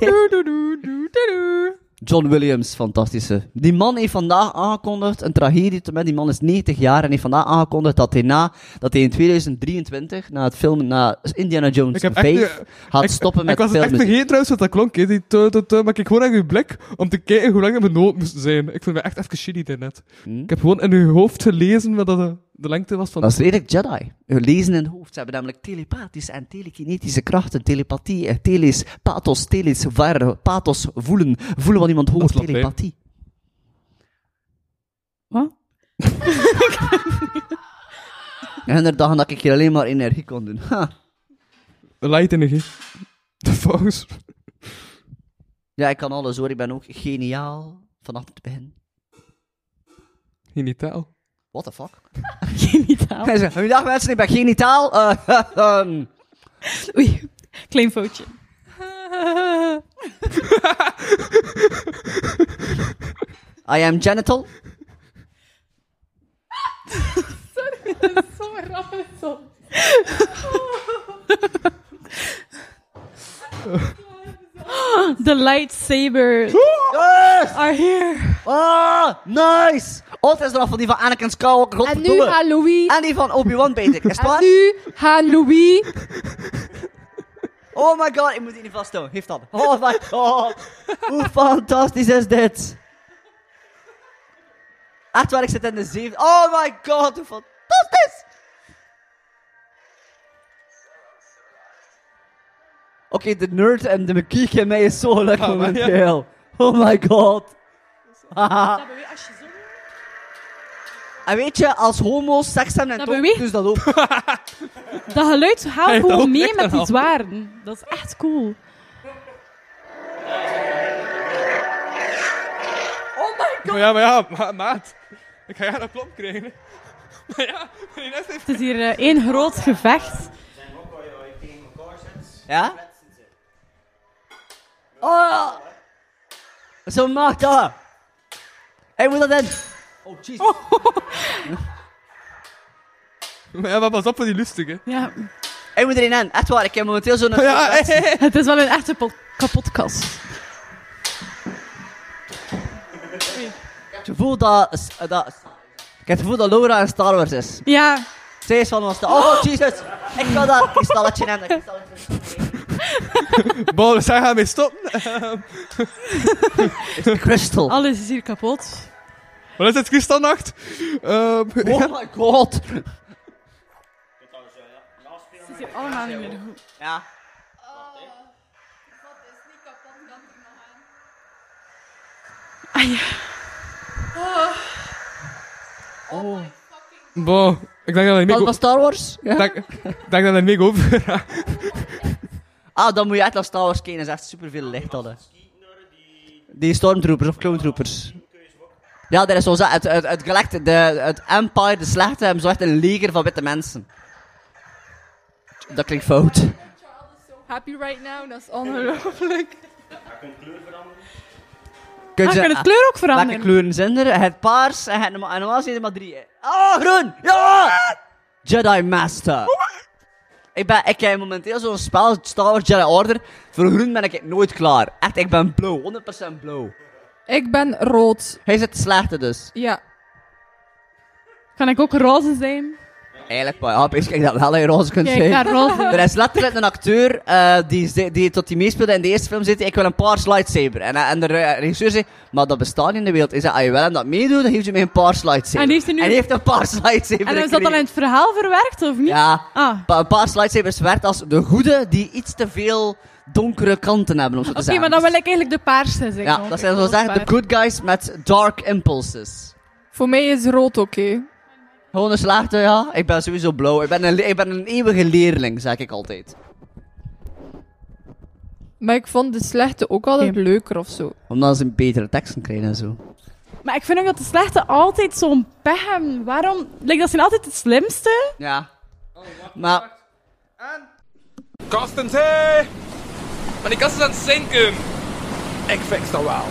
B: John Williams, fantastische. Die man heeft vandaag aangekondigd, een tragedie te met, die man is 90 jaar en heeft vandaag aangekondigd dat hij, na, dat hij in 2023, na het filmen, na Indiana Jones
E: Ik heb
B: 5,
E: echt de-
B: gaat
E: ik-
B: stoppen
E: Ik
B: met
E: was het echt
B: filmen.
E: vergeten trouwens wat dat klonk, hè. Die tu, tu, tu, maar ik gewoon aan uw blik om te kijken hoe lang dat mijn noot moest zijn. Ik vond me echt even shitty daarnet.
B: Hm?
E: Ik heb gewoon in uw hoofd gelezen wat dat de, de lengte was van...
B: Dat is redelijk Jedi. Hun lezen in het hoofd. Ze hebben namelijk telepathische en telekinetische krachten. Telepathie, eh, teles, pathos, teles, waar, pathos, voelen. Voelen wat iemand
E: Dat
B: hoort,
E: is Latijn.
B: telepathie.
F: Wat?
B: En er dagen dat ik hier alleen maar energie kon doen. Ha.
E: Light energie. De volgens...
B: Ja, ik kan alles hoor. Ik ben ook geniaal vanaf het begin.
E: Genitaal.
B: What the fuck?
F: Genitaal.
B: Oh. Hij zegt, Goedendag mensen, ik ben genitaal. Eh, ehm,
F: Oei, klein foutje.
B: I am genital.
F: The lightsabers
B: Yes!
F: are here.
B: Ah, nice! Altijd is er nog van die van Anakin Skywalker,
D: En nu
B: godverdomme.
D: gaan Louis...
B: En die van Obi-Wan, weet ik. Is het
D: En
B: waar?
D: nu gaan Louis...
B: Oh my god, ik moet die niet vasthouden. Heeft dat. Oh my god. Hoe fantastisch is dit? Echt waar, ik zit in de zeven. Oh my god, hoe fantastisch! Oké, de nerd en de mekiek in mij is zo gelukkig momenteel. Oh my god. Haha. en weet je, als homo's seks hebben en
F: Dat
B: toch,
F: beweegt.
B: dus dat ook.
F: Dat geluid haalt
E: heeft dat ook
F: gewoon mee
E: echt
F: met die
E: aan.
F: zwaarden. Dat is echt cool.
E: Maar ja, maar ja, ma- maat. Ik ga jou een klomp krijgen. hè. Maar ja, die rest heeft...
F: Het is hier eh, één groot gevecht.
B: Ja? Oh! Zo mag dat! Ik moet dat in! Oh, jeez.
E: Maar ja, maar pas op voor die lustig, hè.
F: Ja,
B: Ik moet erin aan. Echt waar, ik heb momenteel zo'n...
E: Ja, eh.
F: het is wel een echte po- kapotkast.
B: Ik heb het gevoel dat, dat... Ik heb het gevoel dat Laura een Star Wars is.
F: Ja,
B: Zij is van ons. Oh, oh, Jesus. Ik wil daar een stalletje in. Ik zal het-
E: Bon, we zijn gaan mee stoppen.
B: Een crystal.
F: alles is hier kapot.
E: Wat is het, Christelnacht? Ehm ja.
B: Oh my god.
F: Het is hier allemaal niet meer goed.
B: Ja.
F: Ah ja,
E: Bon, ik denk dat hij
B: Was
E: mee
B: was Star Wars? Ja.
E: denk, ik denk dat hij mee over
B: Ah, dan moet je echt naar Star Wars kijken. Dat is echt superveel licht hadden. Die stormtroopers of clone troopers. Ja, dat is zo. Het, het, het, gelijk- de, het Empire, de slechte, hebben zo echt een leger van witte mensen. Dat klinkt fout.
D: Happy right now, dat is ongelooflijk.
B: Kun
F: ah, kan het
B: ah,
F: kleur ook veranderen?
B: Welke kleuren zijn er? Het paars en het normaal. En normaal zijn er maar drie. hè. Oh, groen! Ja! Jedi Master. Ik, ben, ik heb momenteel zo'n spel, Star Wars Jedi Order. Voor groen ben ik nooit klaar. Echt, ik ben blauw. 100% blauw.
D: Ik ben rood.
B: Hij zit te slechte dus.
D: Ja.
F: Kan ik ook roze zijn?
B: Eigenlijk, maar ja, ik denk dat wel een roze kunt
F: Kijk,
B: zijn.
F: daar roze.
B: Er is letterlijk een acteur eh, die, ze- die tot die meespeelde in de eerste film zit. Ik wil een paars lightsaber. En, eh, en de re- regisseur zei, maar dat bestaat niet in de wereld. Is dat, als je wel hem dat meedoet, dan geeft je mij een paars lightsaber.
F: En heeft hij nu-
B: En heeft een paars lightsaber
F: En is dat dan
B: gekregen.
F: in het verhaal verwerkt, of niet?
B: Ja,
F: Ah.
B: Pa- een paar lightsabers werd als de goede die iets te veel donkere kanten hebben, om zo te
F: Oké,
B: zeggen.
F: maar dan wil ik eigenlijk de paarse zeggen.
B: Ja, dat zijn zo zeggen de good guys met dark impulses.
D: Voor mij is rood oké.
B: Gewoon een slaagte, ja. Ik ben sowieso blauw. Ik ben een, le- ik ben een eeuwige leerling, zeg ik altijd.
D: Maar ik vond de slechte ook altijd leuker of zo.
B: Omdat ze betere teksten krijgen en zo.
F: Maar ik vind ook dat de slechte altijd zo'n pech hebben. Waarom? Like, dat zijn altijd de slimste.
B: Ja. Maar,
H: Kastens, hé! Maar die kast is aan het zinken. Ik fix dat wel.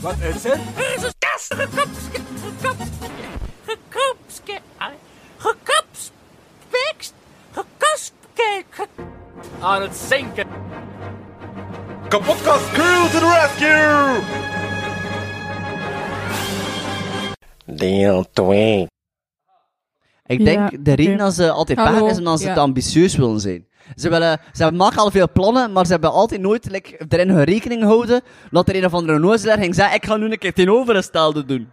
H: Wat is het?
G: Er is een kast gekapske, gekapske, gekapske, gekapspekst, gekaspke, aan het zinken.
H: Kapotkast crew to the rescue!
I: Deel 2.
B: ik denk,
F: Ja,
B: de reden dat ze altijd
D: Hallo,
B: pijn is, omdat ze
D: ja.
B: te ambitieus willen zijn. Ze, willen, ze maken al veel plannen, maar ze hebben altijd nooit like, erin hun rekening gehouden dat er een of andere nozelaar ging zeggen, ik ga nu een keer tegenovergestelde doen.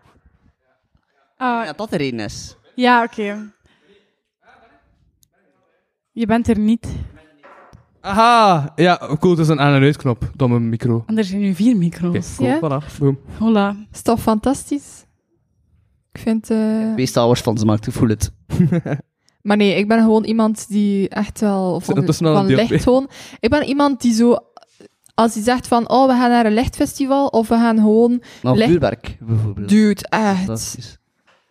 F: Ah,
B: Ja, dat dat de reden is.
F: ja, oké. Je bent er niet.
E: Aha, ja, cool, het is een aan- en uitknop. Domme micro.
F: En er zijn nu vier micro's.
E: Cool,
D: Ja?
E: voilà. Boom.
F: Hola.
D: Is toch fantastisch? Ik vind... eh,
B: Twee Star Wars fans maakt, ik voel het.
D: Maar nee, ik ben gewoon iemand die echt wel van,
E: ondertussen al
D: van
E: een deel
D: licht
E: twee.
D: gewoon... Ik ben iemand die zo... Als hij zegt van, oh, we gaan naar een lichtfestival, of we gaan gewoon...
B: Nou,
D: Leg-
B: vuurwerk, bijvoorbeeld.
D: Dude,
B: Dat
D: echt.
B: is...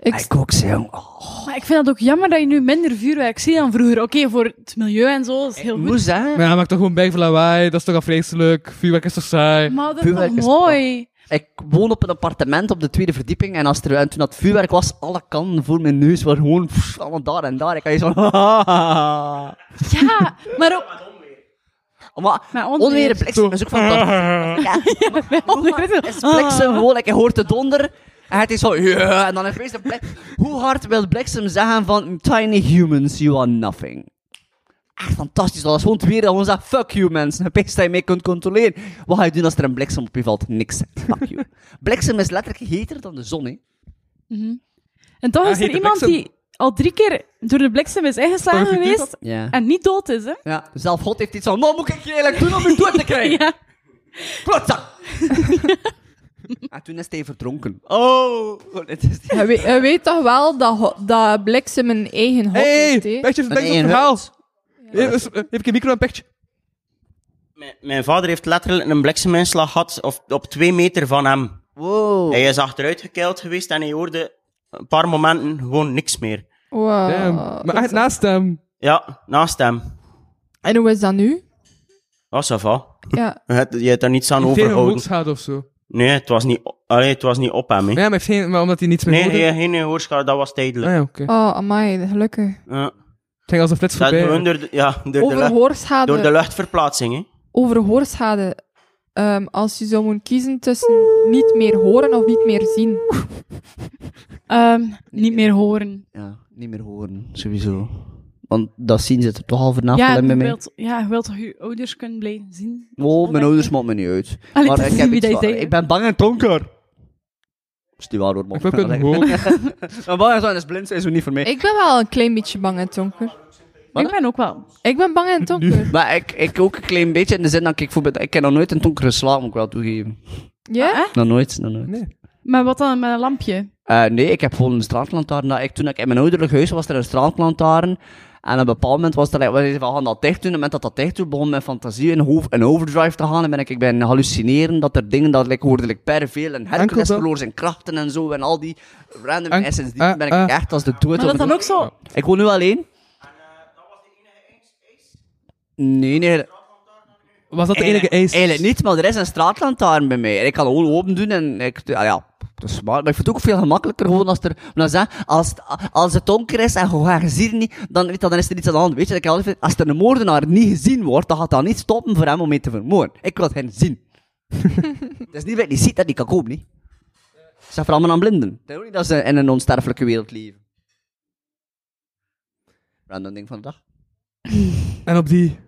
D: Ik,
B: Ik ook, zeg, jong. Oh,
F: Maar ik vind het ook jammer dat je nu minder vuurwerk ziet dan vroeger. Oké, voor het milieu en zo is het heel
B: ik
F: goed.
B: moest, hè.
E: Maar ja, maak toch gewoon bij van lawaai, dat is toch afvreselijk. Vuurwerk is toch saai.
F: Maar dat is toch
B: Vuurwerk is-
F: mooi?
B: Ik woon op een appartement op de tweede verdieping en, als er, en toen dat vuurwerk was, alle kanten voor mijn neus waren gewoon pff, allemaal daar en daar. Ik had je zo van...
F: Ja, maar ook...
B: maar
F: Maar onweer.
B: onweer en bliksem is ook fantastisch. Ja, Oh,
F: Onweer.
B: is bliksem gewoon, like, je hoort de donder en het is zo... ja, en dan is de blik. Hoe hard wil bliksem zeggen van... Tiny humans, you are nothing. Echt fantastisch. Dat is gewoon het weer dat gewoon zegt... Fuck you, mensen. Het beste dat je mee kunt controleren. Wat ga je doen als er een bliksem op je valt? Niks. Fuck you. bliksem is letterlijk heter dan de zon, hè.
F: En toch
E: Ah,
F: is
E: heet
F: er
E: de
F: iemand
E: bliksem.
F: die al drie keer door de bliksem is ingeslagen
E: Parachute?
F: geweest
B: Ja.
F: en niet dood is, hè?
B: Ja. Zelf God heeft iets van... Nou moet ik je eigenlijk doen om je dood te krijgen.
F: Ja.
B: Klootzak. en Ah, toen is hij verdronken. Oh. Het is...
D: hij, weet, hij weet toch wel dat, ho- dat bliksem een eigen hot
E: Hé,
D: heeft, hè?
E: hey, Pechtje, verdenk
I: Nee,
E: op het
I: een
E: verhaal. Eh, dus, eh, Heb ik een micro en Pechtje?
I: Mijn, mijn vader heeft letterlijk een blikseminslag gehad of, op twee meter van hem.
B: Wow.
I: Hij is achteruitgekeild geweest en hij hoorde een paar momenten gewoon niks meer.
D: Wow.
E: Damn. Maar echt naast hem.
I: Ja, naast hem.
D: En hoe is dat nu?
I: Ah, ça va.
D: Ja.
I: Je hebt, je hebt daar niets aan
E: Heeft hij een
I: overhouden.
E: hoekschade of zo?
I: Nee, het was niet, o- allee, het was niet op hem. hè.
E: Ja, maar, heeft hij- maar omdat hij niets meer
I: Nee,
E: hoorde?
I: geen, geen hoorschade, dat was
E: Ah
I: tijdelijk.
E: ja, oké.
D: Oh, amai, gelukkig.
I: Ja.
E: Het ging als een flits
I: Dat
E: voorbij.
I: gewoon door, de- ja, door, de
D: Over
I: lucht,
D: hoorschade.
I: door de luchtverplaatsing. Hè.
D: Over hoorschade. Ehm, als je zou moeten kiezen tussen niet meer horen of niet meer zien.
F: Ehm, niet meer horen.
B: Ja, niet meer horen, sowieso. Want dat zien ze er toch al vanaf
F: Ja,
B: alleen
F: je
B: bij mij.
F: wilt, ja, je wilt toch je ouders kunnen blijven zien?
B: Oh, mijn ouders maken me niet uit.
F: Allee,
B: maar
F: dat
B: ik,
F: is
B: heb
F: niet
B: iets
F: wie dat
B: van-
F: zei.
B: ik ben bang en donker. Is die waar hoor, man.
E: Ik heb ook een
B: Allee.
E: hoop.
B: Maar bang en donker is blind, zijn zo niet voor mij.
D: Ik ben wel een klein beetje bang en donker.
B: Wat?
F: Ik ben ook wel.
D: Ik ben bang en donker.
B: Maar ik, ik ook een klein beetje in de zin dat ik voorbeeld... Ik heb nog nooit een donkere slaap, moet ik wel toegeven.
D: Ja?
B: Nog nooit, nog nooit.
E: Nee.
F: Maar wat dan met een lampje?
B: Eh, nee, ik heb gewoon een straatlantaarn. Dat ik, toen ik in mijn ouderlijk huis was, was er een straatlantaarn. En op een bepaald moment was er, like, we zeiden van, we gaan dat dicht doen. En op het moment dat dat dicht doet, begon mijn fantasie in, hoofd, in overdrive te gaan. En ben ik, ik ben hallucineren dat er dingen, dat ik hoorde like, per veel. En Hercules
E: Enkel dat-
B: verloor zijn krachten en zo. En al die random
E: En-
B: essence. Die
E: eh,
B: ben ik
E: eh.
B: echt als de dood.
F: Maar dat dan ook zo...
B: Ik woon nu alleen. Nee, nee.
E: Was dat de enige
B: Eigenlijk-
E: eis?
B: Eigenlijk niet, maar er is een straatlantaarn bij mij. En ik kan gewoon open doen en ik... ah ja, dat is maar, maar ik vind het ook veel gemakkelijker gewoon als er... om dat te zeggen, Als het, als het donker is en je gaat- je ziet het niet, dan, weet je, dan is er iets aan de hand. Weet je, ik heb altijd vind, als er een moordenaar niet gezien wordt, dan gaat dat niet stoppen voor hem om mee te vermoorden. Ik wil hem zien. het is niet dat je ziet dat die kan komen, niet? Ze zijn vooral maar aan blinden. Ik denk ook niet dat ze in een onsterfelijke wereld leven. Random ding van de dag.
E: En op die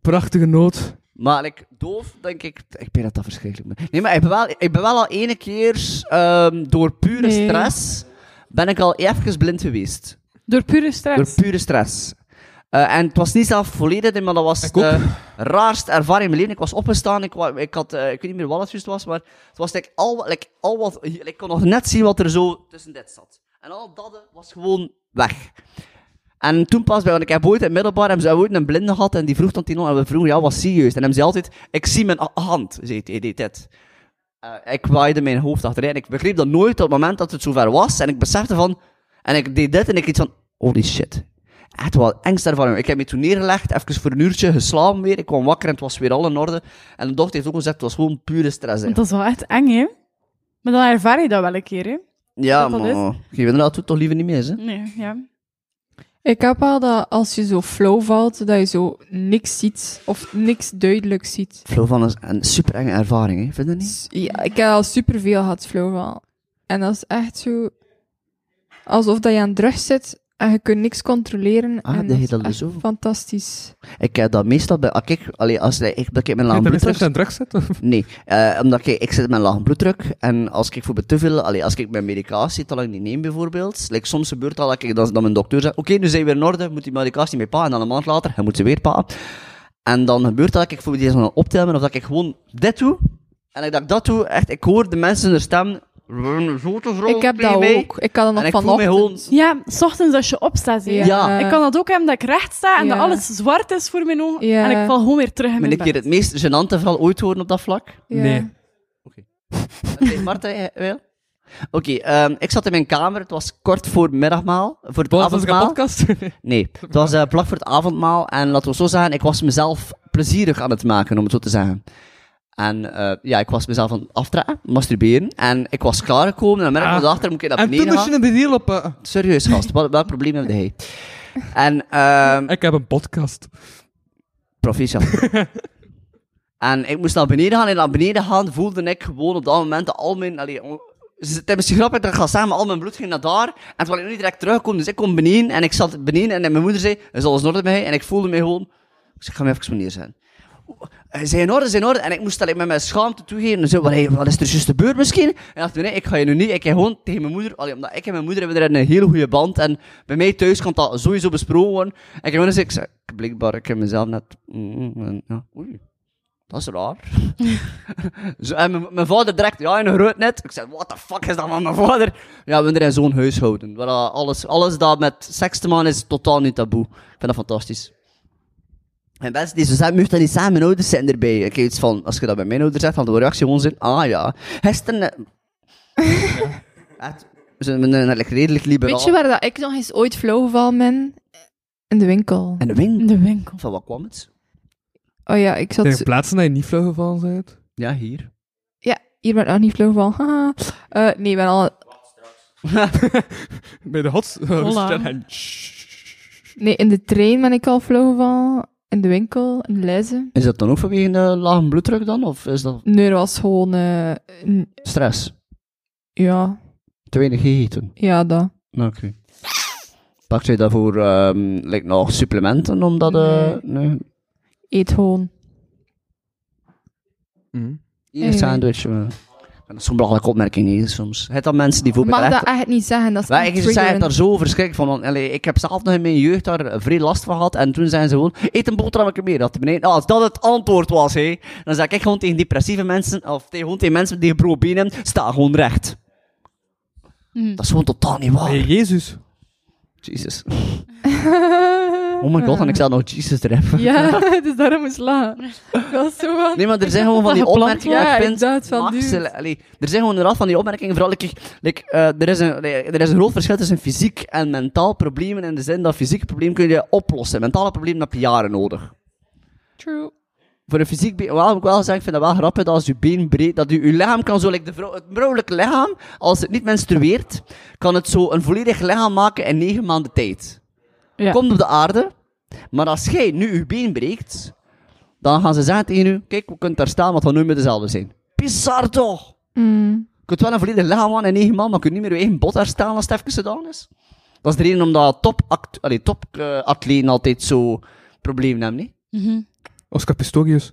E: prachtige noot.
B: Maar ik, doof, denk ik, ik ben dat dat verschrikkelijk. is. Nee, maar ik ben wel, ik ben wel al ene keer ehm, door pure
F: Nee.
B: stress, ben ik al even blind geweest.
F: Door pure stress.
B: Door pure stress. Eh, en het was niet zelf volledig, maar dat was
E: Ik ook.
B: de raarste ervaring in mijn leven. Ik was opgestaan, ik, wa- ik, had, eh, ik weet niet meer wat het juist was, maar het was like, al, wat- like, al wat, ik kon nog net zien wat er zo tussen dit zat. En al dat eh, was gewoon weg. En toen pas, bij- want ik heb ooit in het middelbaar hebben ze ooit een blinde gehad en die vroeg dan tegen ons, en we vroegen, ja, wat zie je juist? En hem zei altijd, ik zie mijn a- hand, zei hij, deed dit. Eh, ik waaide mijn hoofd achterin en ik begreep dat nooit tot het moment dat het zover was. En ik besefte van, en ik deed dit en ik iets van, holy shit. Echt wel angst daarvan. Ik heb me toen neergelegd, even voor een uurtje geslapen weer. Ik kwam wakker en het was weer al in orde. En de dochter heeft ook gezegd, het was gewoon pure stress. hè.
F: Want dat is wel echt eng, hè? Maar dan ervaar je dat wel een keer, hè?
B: ja,
F: dat dat
B: maar je wil dat doet toch liever niet meer, hè?
F: Nee, ja.
D: Ik heb wel dat als je zo flow valt, dat je zo niks ziet of niks duidelijk ziet.
B: Flow van is een super enge ervaring, hè? Vind je niet?
D: S- Ja, ik heb al superveel gehad, flow wel. En dat is echt zo... Alsof dat je aan drugs zit en je kunt niks controleren.
B: Ah,
D: en
B: deed je
D: is
B: dat
D: echt
B: dus ook?
D: fantastisch.
B: Ik heb dat meestal bij... ah, Kijk, allee, als ik, ik, dat ik mijn
E: Ja,
B: laag
E: dat is
B: bloeddruk-
E: echt aan drugs zitten.
B: Nee, eh, omdat ik, ik zit met laag bloeddruk. En als ik voor te veel, allee, als ik mijn medicatie te lang niet neem bijvoorbeeld. Like, soms gebeurt dat, dat ik dan, dan mijn dokter zegt: Oké, nu zijn we weer in orde, moet die medicatie mee pa. En dan een maand later, hij moet ze weer pa. En dan gebeurt dat, dat ik voor deze gaan optillen. Of dat ik gewoon dit doe. En dat ik dat- dat doe, echt, ik hoor de mensen hun stem. Zo te vrolijk
D: Ik heb
B: tegen
D: dat
B: mij.
D: ook. Ik kan dat
B: En
D: nog
B: ik voel mij gewoon.
D: vanochtend.
F: Ja, s ochtends als je opstaat, hè.
B: Ja.
F: Ik kan dat ook hebben dat ik recht sta en
D: Ja.
F: dat alles zwart is voor mijn ogen.
D: Ja.
F: En ik val gewoon weer terug in
B: Ben
F: mijn
B: ik hier
F: bed.
B: het meest gênante verhaal ooit horen op dat vlak?
D: Ja.
E: Nee.
B: Dat zei Marta, eh, wel? Oké, ehm, ik zat in mijn kamer. Het was kort voor het middagmaal. Voor het
E: Was dat een
B: avondmaal.
E: podcast?
B: Nee, het was eh, vlak voor het avondmaal. En laten we zo zeggen, ik was mezelf plezierig aan het maken, om het zo te zeggen. En eh, ja, ik was mezelf aan het aftrekken, masturberen. En ik was klaargekomen en dan merkte ik
E: Ah.
B: me achter, moet ik naar
E: En toen
B: beneden
E: moest
B: gaan.
E: je een deal op... eh,
B: Serieus, gast, wat, welk probleem heb jij? En ehm
E: ik heb een podcast.
B: proficiat. en ik moest naar beneden gaan en naar beneden gaan voelde ik gewoon op dat moment dat al mijn... Allee, on- ze- het is misschien grappig dat ik ga samen, al mijn bloed ging naar daar. En toen ik nog niet direct terugkwam, dus ik kom beneden en ik zat beneden en mijn moeder zei, is alles in orde bij mij? En ik voelde mij gewoon, ik zeg, ga me even meneer zijn. Eh, Hij zei in orde, zijn in orde. En ik moest dat ik met mijn schaamte toegeven. En zei, wat, hey, wat is er juist gebeurd misschien? En ik dacht, nee, ik ga je nu niet. Ik ga gewoon tegen mijn moeder. Allee, omdat ik en mijn moeder hebben er een hele goede band. En bij mij thuis kan dat sowieso besproken worden. En ik heb gewoon gezegd, ik zei, blijkbaar, ik heb mezelf net... mm, mm, en, ja, oei, dat is raar. Zo, en mijn, mijn vader direct, ja, in een groot net. Ik zei, what the fuck is dat van mijn vader? Ja, we hebben er in zo'n huishouden. Waar, eh, alles, alles dat met seks te maken is, totaal niet taboe. Ik vind dat fantastisch. En mensen die zo zeggen, moet dat niet samen, mijn ouders zijn erbij. Ik heb iets van, als je dat bij mijn ouders zegt, dan de reactie gewoon zijn, ah ja. Gisteren... eh, Echt, we zijn een redelijk- redelijk liberaal.
D: Weet je waar dat ik nog eens ooit flow gevallen ben? In de winkel.
B: En de wing,
F: In de winkel.
B: van wat kwam het?
D: Oh ja, ik zat...
E: Zijn er plaatsen dat je niet flauw gevallen bent?
B: Ja, hier.
D: Ja, hier ben ik nog niet vlug van. Haha. Eh, nee, ik ben al...
E: Bij de hot...
F: Hola.
D: Nee, in de trein ben ik al vlug van. In de winkel, in de lijzen.
B: Is dat dan ook vanwege een lage bloeddruk dan? Of is dat
D: Nee, dat was gewoon... eh, n-
B: stress?
D: ja,
B: Te weinig gegeten?
D: ja, dat.
B: Oké. Pakt jij daarvoor ehm like, nog supplementen? Omdat, eh nee.
D: Eet gewoon.
B: Hier een
D: Eh.
B: sandwich. eh. Dat is zo'n belachelijke opmerking hier soms. Het dan mensen die
D: Ik
B: voor
D: mag dat echt niet zeggen. Dat is
B: Wij,
D: echt
B: ik zei het
D: triggerend.
B: daar zo verschrikkelijk van. want, allee, ik heb zelf nog in mijn jeugd daar vrij last van gehad. En toen zijn ze gewoon, eet een boterhammetje meer. Dat de beneden, als dat het antwoord was, hé, dan zeg ik gewoon tegen depressieve mensen, of tegen, gewoon tegen mensen die gebroken benen hebben, sta gewoon recht.
D: Hm.
F: Mm.
B: Dat is gewoon totaal niet waar.
E: Hey, Ah, Jezus.
B: Jesus. Oh my god, en ik zou nog Jesus treffen.
D: Ja, dus daarom is la. Ik was zo van...
B: Nee, maar er
D: Ik
B: zijn
D: dacht
B: gewoon van
D: dat
B: die
D: dat gepland
B: opmerkingen.
D: was.
B: dat ik
D: Ja,
B: vind,
D: ik dacht van,
B: mag
D: dude.
B: ze- allee, er zijn gewoon inderdaad van die opmerkingen. Vooral, like, like, eh, er, is een, allee, er is een groot verschil tussen fysiek en mentaal problemen. In de zin dat fysieke problemen kun je oplossen. Mentale problemen heb je jaren nodig.
D: True.
B: Voor een fysiek been, wel, moet ik wel zeggen, ik vind dat wel grappig dat als je been breed, dat je, je lichaam kan zo, like de vrouw, het vrouwelijke lichaam, als het niet menstrueert, kan het zo een volledig lichaam maken in negen maanden tijd.
F: Ja.
B: Komt op de aarde, maar als jij nu je been breekt, dan gaan ze zeggen tegen je, kijk, we kunnen daar staan, want we gaan nooit meer dezelfde zijn. Bizar toch?
D: Mm.
B: Je kunt wel een volledig lichaam aan in negen maanden, maar je kunt niet meer je eigen bot daar staan als het even gedaan is. Dat is de reden omdat topact- allee, topatleten altijd zo problemen hebben, niet?
F: Mhm.
E: Oscar Pistorius.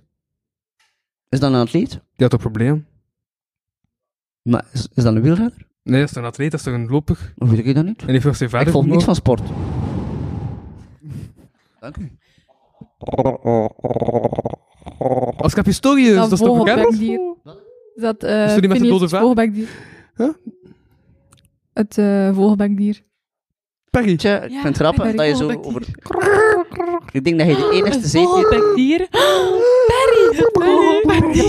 B: Is dat een atleet?
E: Die had een probleem.
B: Maar is, is dat een wielrenner?
E: Nee, dat is toch een atleet, dat is toch een loper.
B: Hoe weet ik dat niet?
E: En die heeft zijn vader
B: ik vond niets
E: vermoord.
B: van sport. Dank u.
E: Oscar Pistorius, Dus dat, is toch bekend?
D: vogelbekdier. Is dat eh
E: Is er die met de
D: Phineas,
E: dode
D: het
E: vaak?
D: vogelbekdier?
E: Huh?
D: Het eh vogelbekdier.
E: Perry.
B: Tja, ik vind het grappig dat je zo over... Ik denk dat je de enige
F: Het
B: zeep hier...
F: vogelbekdier. Perry, het vogelbekdier.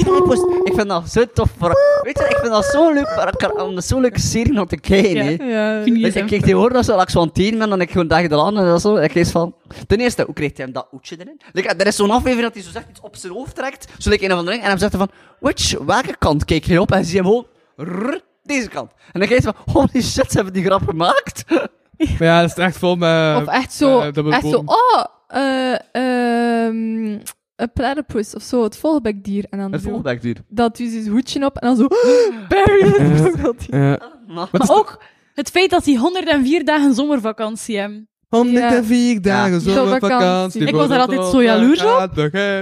B: Ik vind dat zo tof. voor- Weet je, ik vind dat zo leuk voor elkaar, om dat zo'n leuke serie nog te kijken. hè.
D: Ja.
F: Vind je
B: Dus
F: zo?
B: ik keek die horen als ik zo'n tien ben, dan ik gewoon dagen de land en dat zo. Ik lees van... Ten eerste, hoe kreeg hij hem dat oetje erin? Like, er is zo'n aflevering dat hij zo zegt iets op zijn hoofd trekt, zo like een of andere ding, en hem zegt hij van... Which, welke kant keek je op? En zie je hem gewoon... "Rrr, deze kant. En dan kijkt hij van... Holy shit, ze hebben die grap gemaakt.
E: Maar ja, dat is echt vol met...
D: Of echt zo,
E: eh, dat we
D: echt zo,
E: boven-
D: oh, eh, ehm, een platypus of zo, het vogelbekdier. En dan
B: Het
D: zo,
B: volgende duur.
D: dat hij zijn hoedje op en dan zo, "Oh, Barry, dat is
E: Eh,
F: Ah, Maar ook het feit dat hij 104 dagen zomervakantie hebben.
E: 104
B: Ja.
E: dagen
D: Zomervakantie.
E: zomervakantie.
F: Ik was daar altijd zo jaloers op.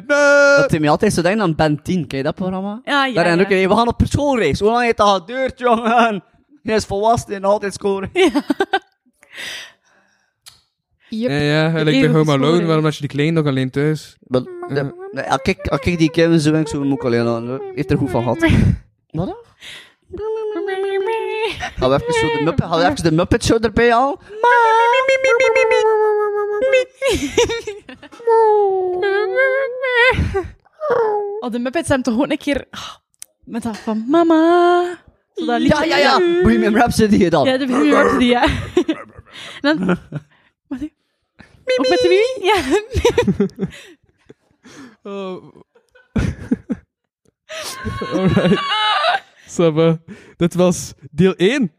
B: Dat deed mij altijd zo denken aan Ben 10, ken je dat programma?
F: Ah, ja,
B: Daar en
F: ja.
B: ook in, we gaan op schoolreis. Hoe lang heeft dat geduurd, jongen? Hij is volwassen en altijd schoolreis.
D: Yep.
E: Ja, ja, gelijk bij
F: eeuwige
E: Home Alone.
F: sporen.
E: Waarom was je die kleine nog alleen thuis?
B: Maar,
F: Mm.
B: de- nee, als ik- als ik die kinderen zo denk, zo moet ik alleen aan. hoor. Heeft er goed van gehad. Wat dan? Gaan we even, zo de, Muppet, gaan we even de Muppet Show erbij al?
F: Oh, de Muppets hebben toch gewoon een keer ah, met dat van mama. Zo dat
B: Ja,
F: liedje.
B: ja, ja. Bohemian Rhapsody dan.
F: Ja, de Bohemian Rhapsody, ja. En dan... Wat? Ook met de wie? Ja.
E: Alright. Saba. Dit was deel 1.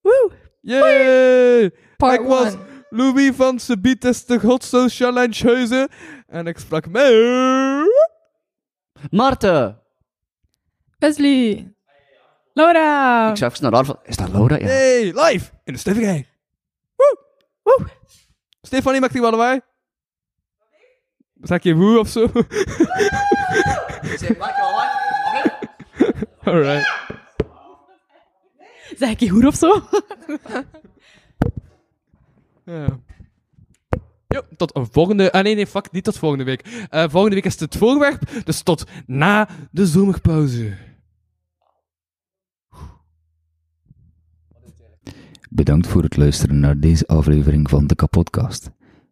F: Woe.
E: Yay!
D: Part
E: Ik was
D: one.
E: Louis van Sebietes de Godso Challengeheuze. En ik sprak mee.
B: Maarten.
D: Wesley.
F: Laura.
B: Ik zou even naar haar van, is dat Laura? Ja.
E: Hey, live in de Stevigheid. Woe! Woe! Stefanie maakt die wel lawaai. Zeg je woe of zo? Alright.
F: Zeg ik je goed of zo?
E: Ja. Jo, tot een volgende... Ah nee, nee, fuck, niet tot volgende week. Eh, volgende week is het het voorwerp, dus tot na de zomerpauze.
J: Bedankt voor het luisteren naar deze aflevering van de Kapodcast.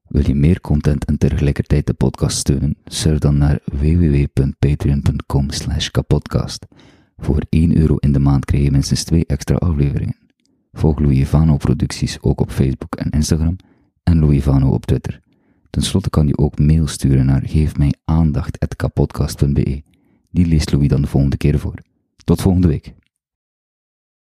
J: Wil je meer content en tegelijkertijd de podcast steunen? Surf dan naar www.patreon.com slash kapodcast. Voor 1 euro in de maand krijg je minstens 2 extra afleveringen. Volg Louis Vano producties ook op Facebook en Instagram en Louis Vano op Twitter. Ten slotte kan je ook mail sturen naar geefmijaandacht.kapodcast.be. Die leest Louis dan de volgende keer voor. Tot volgende week.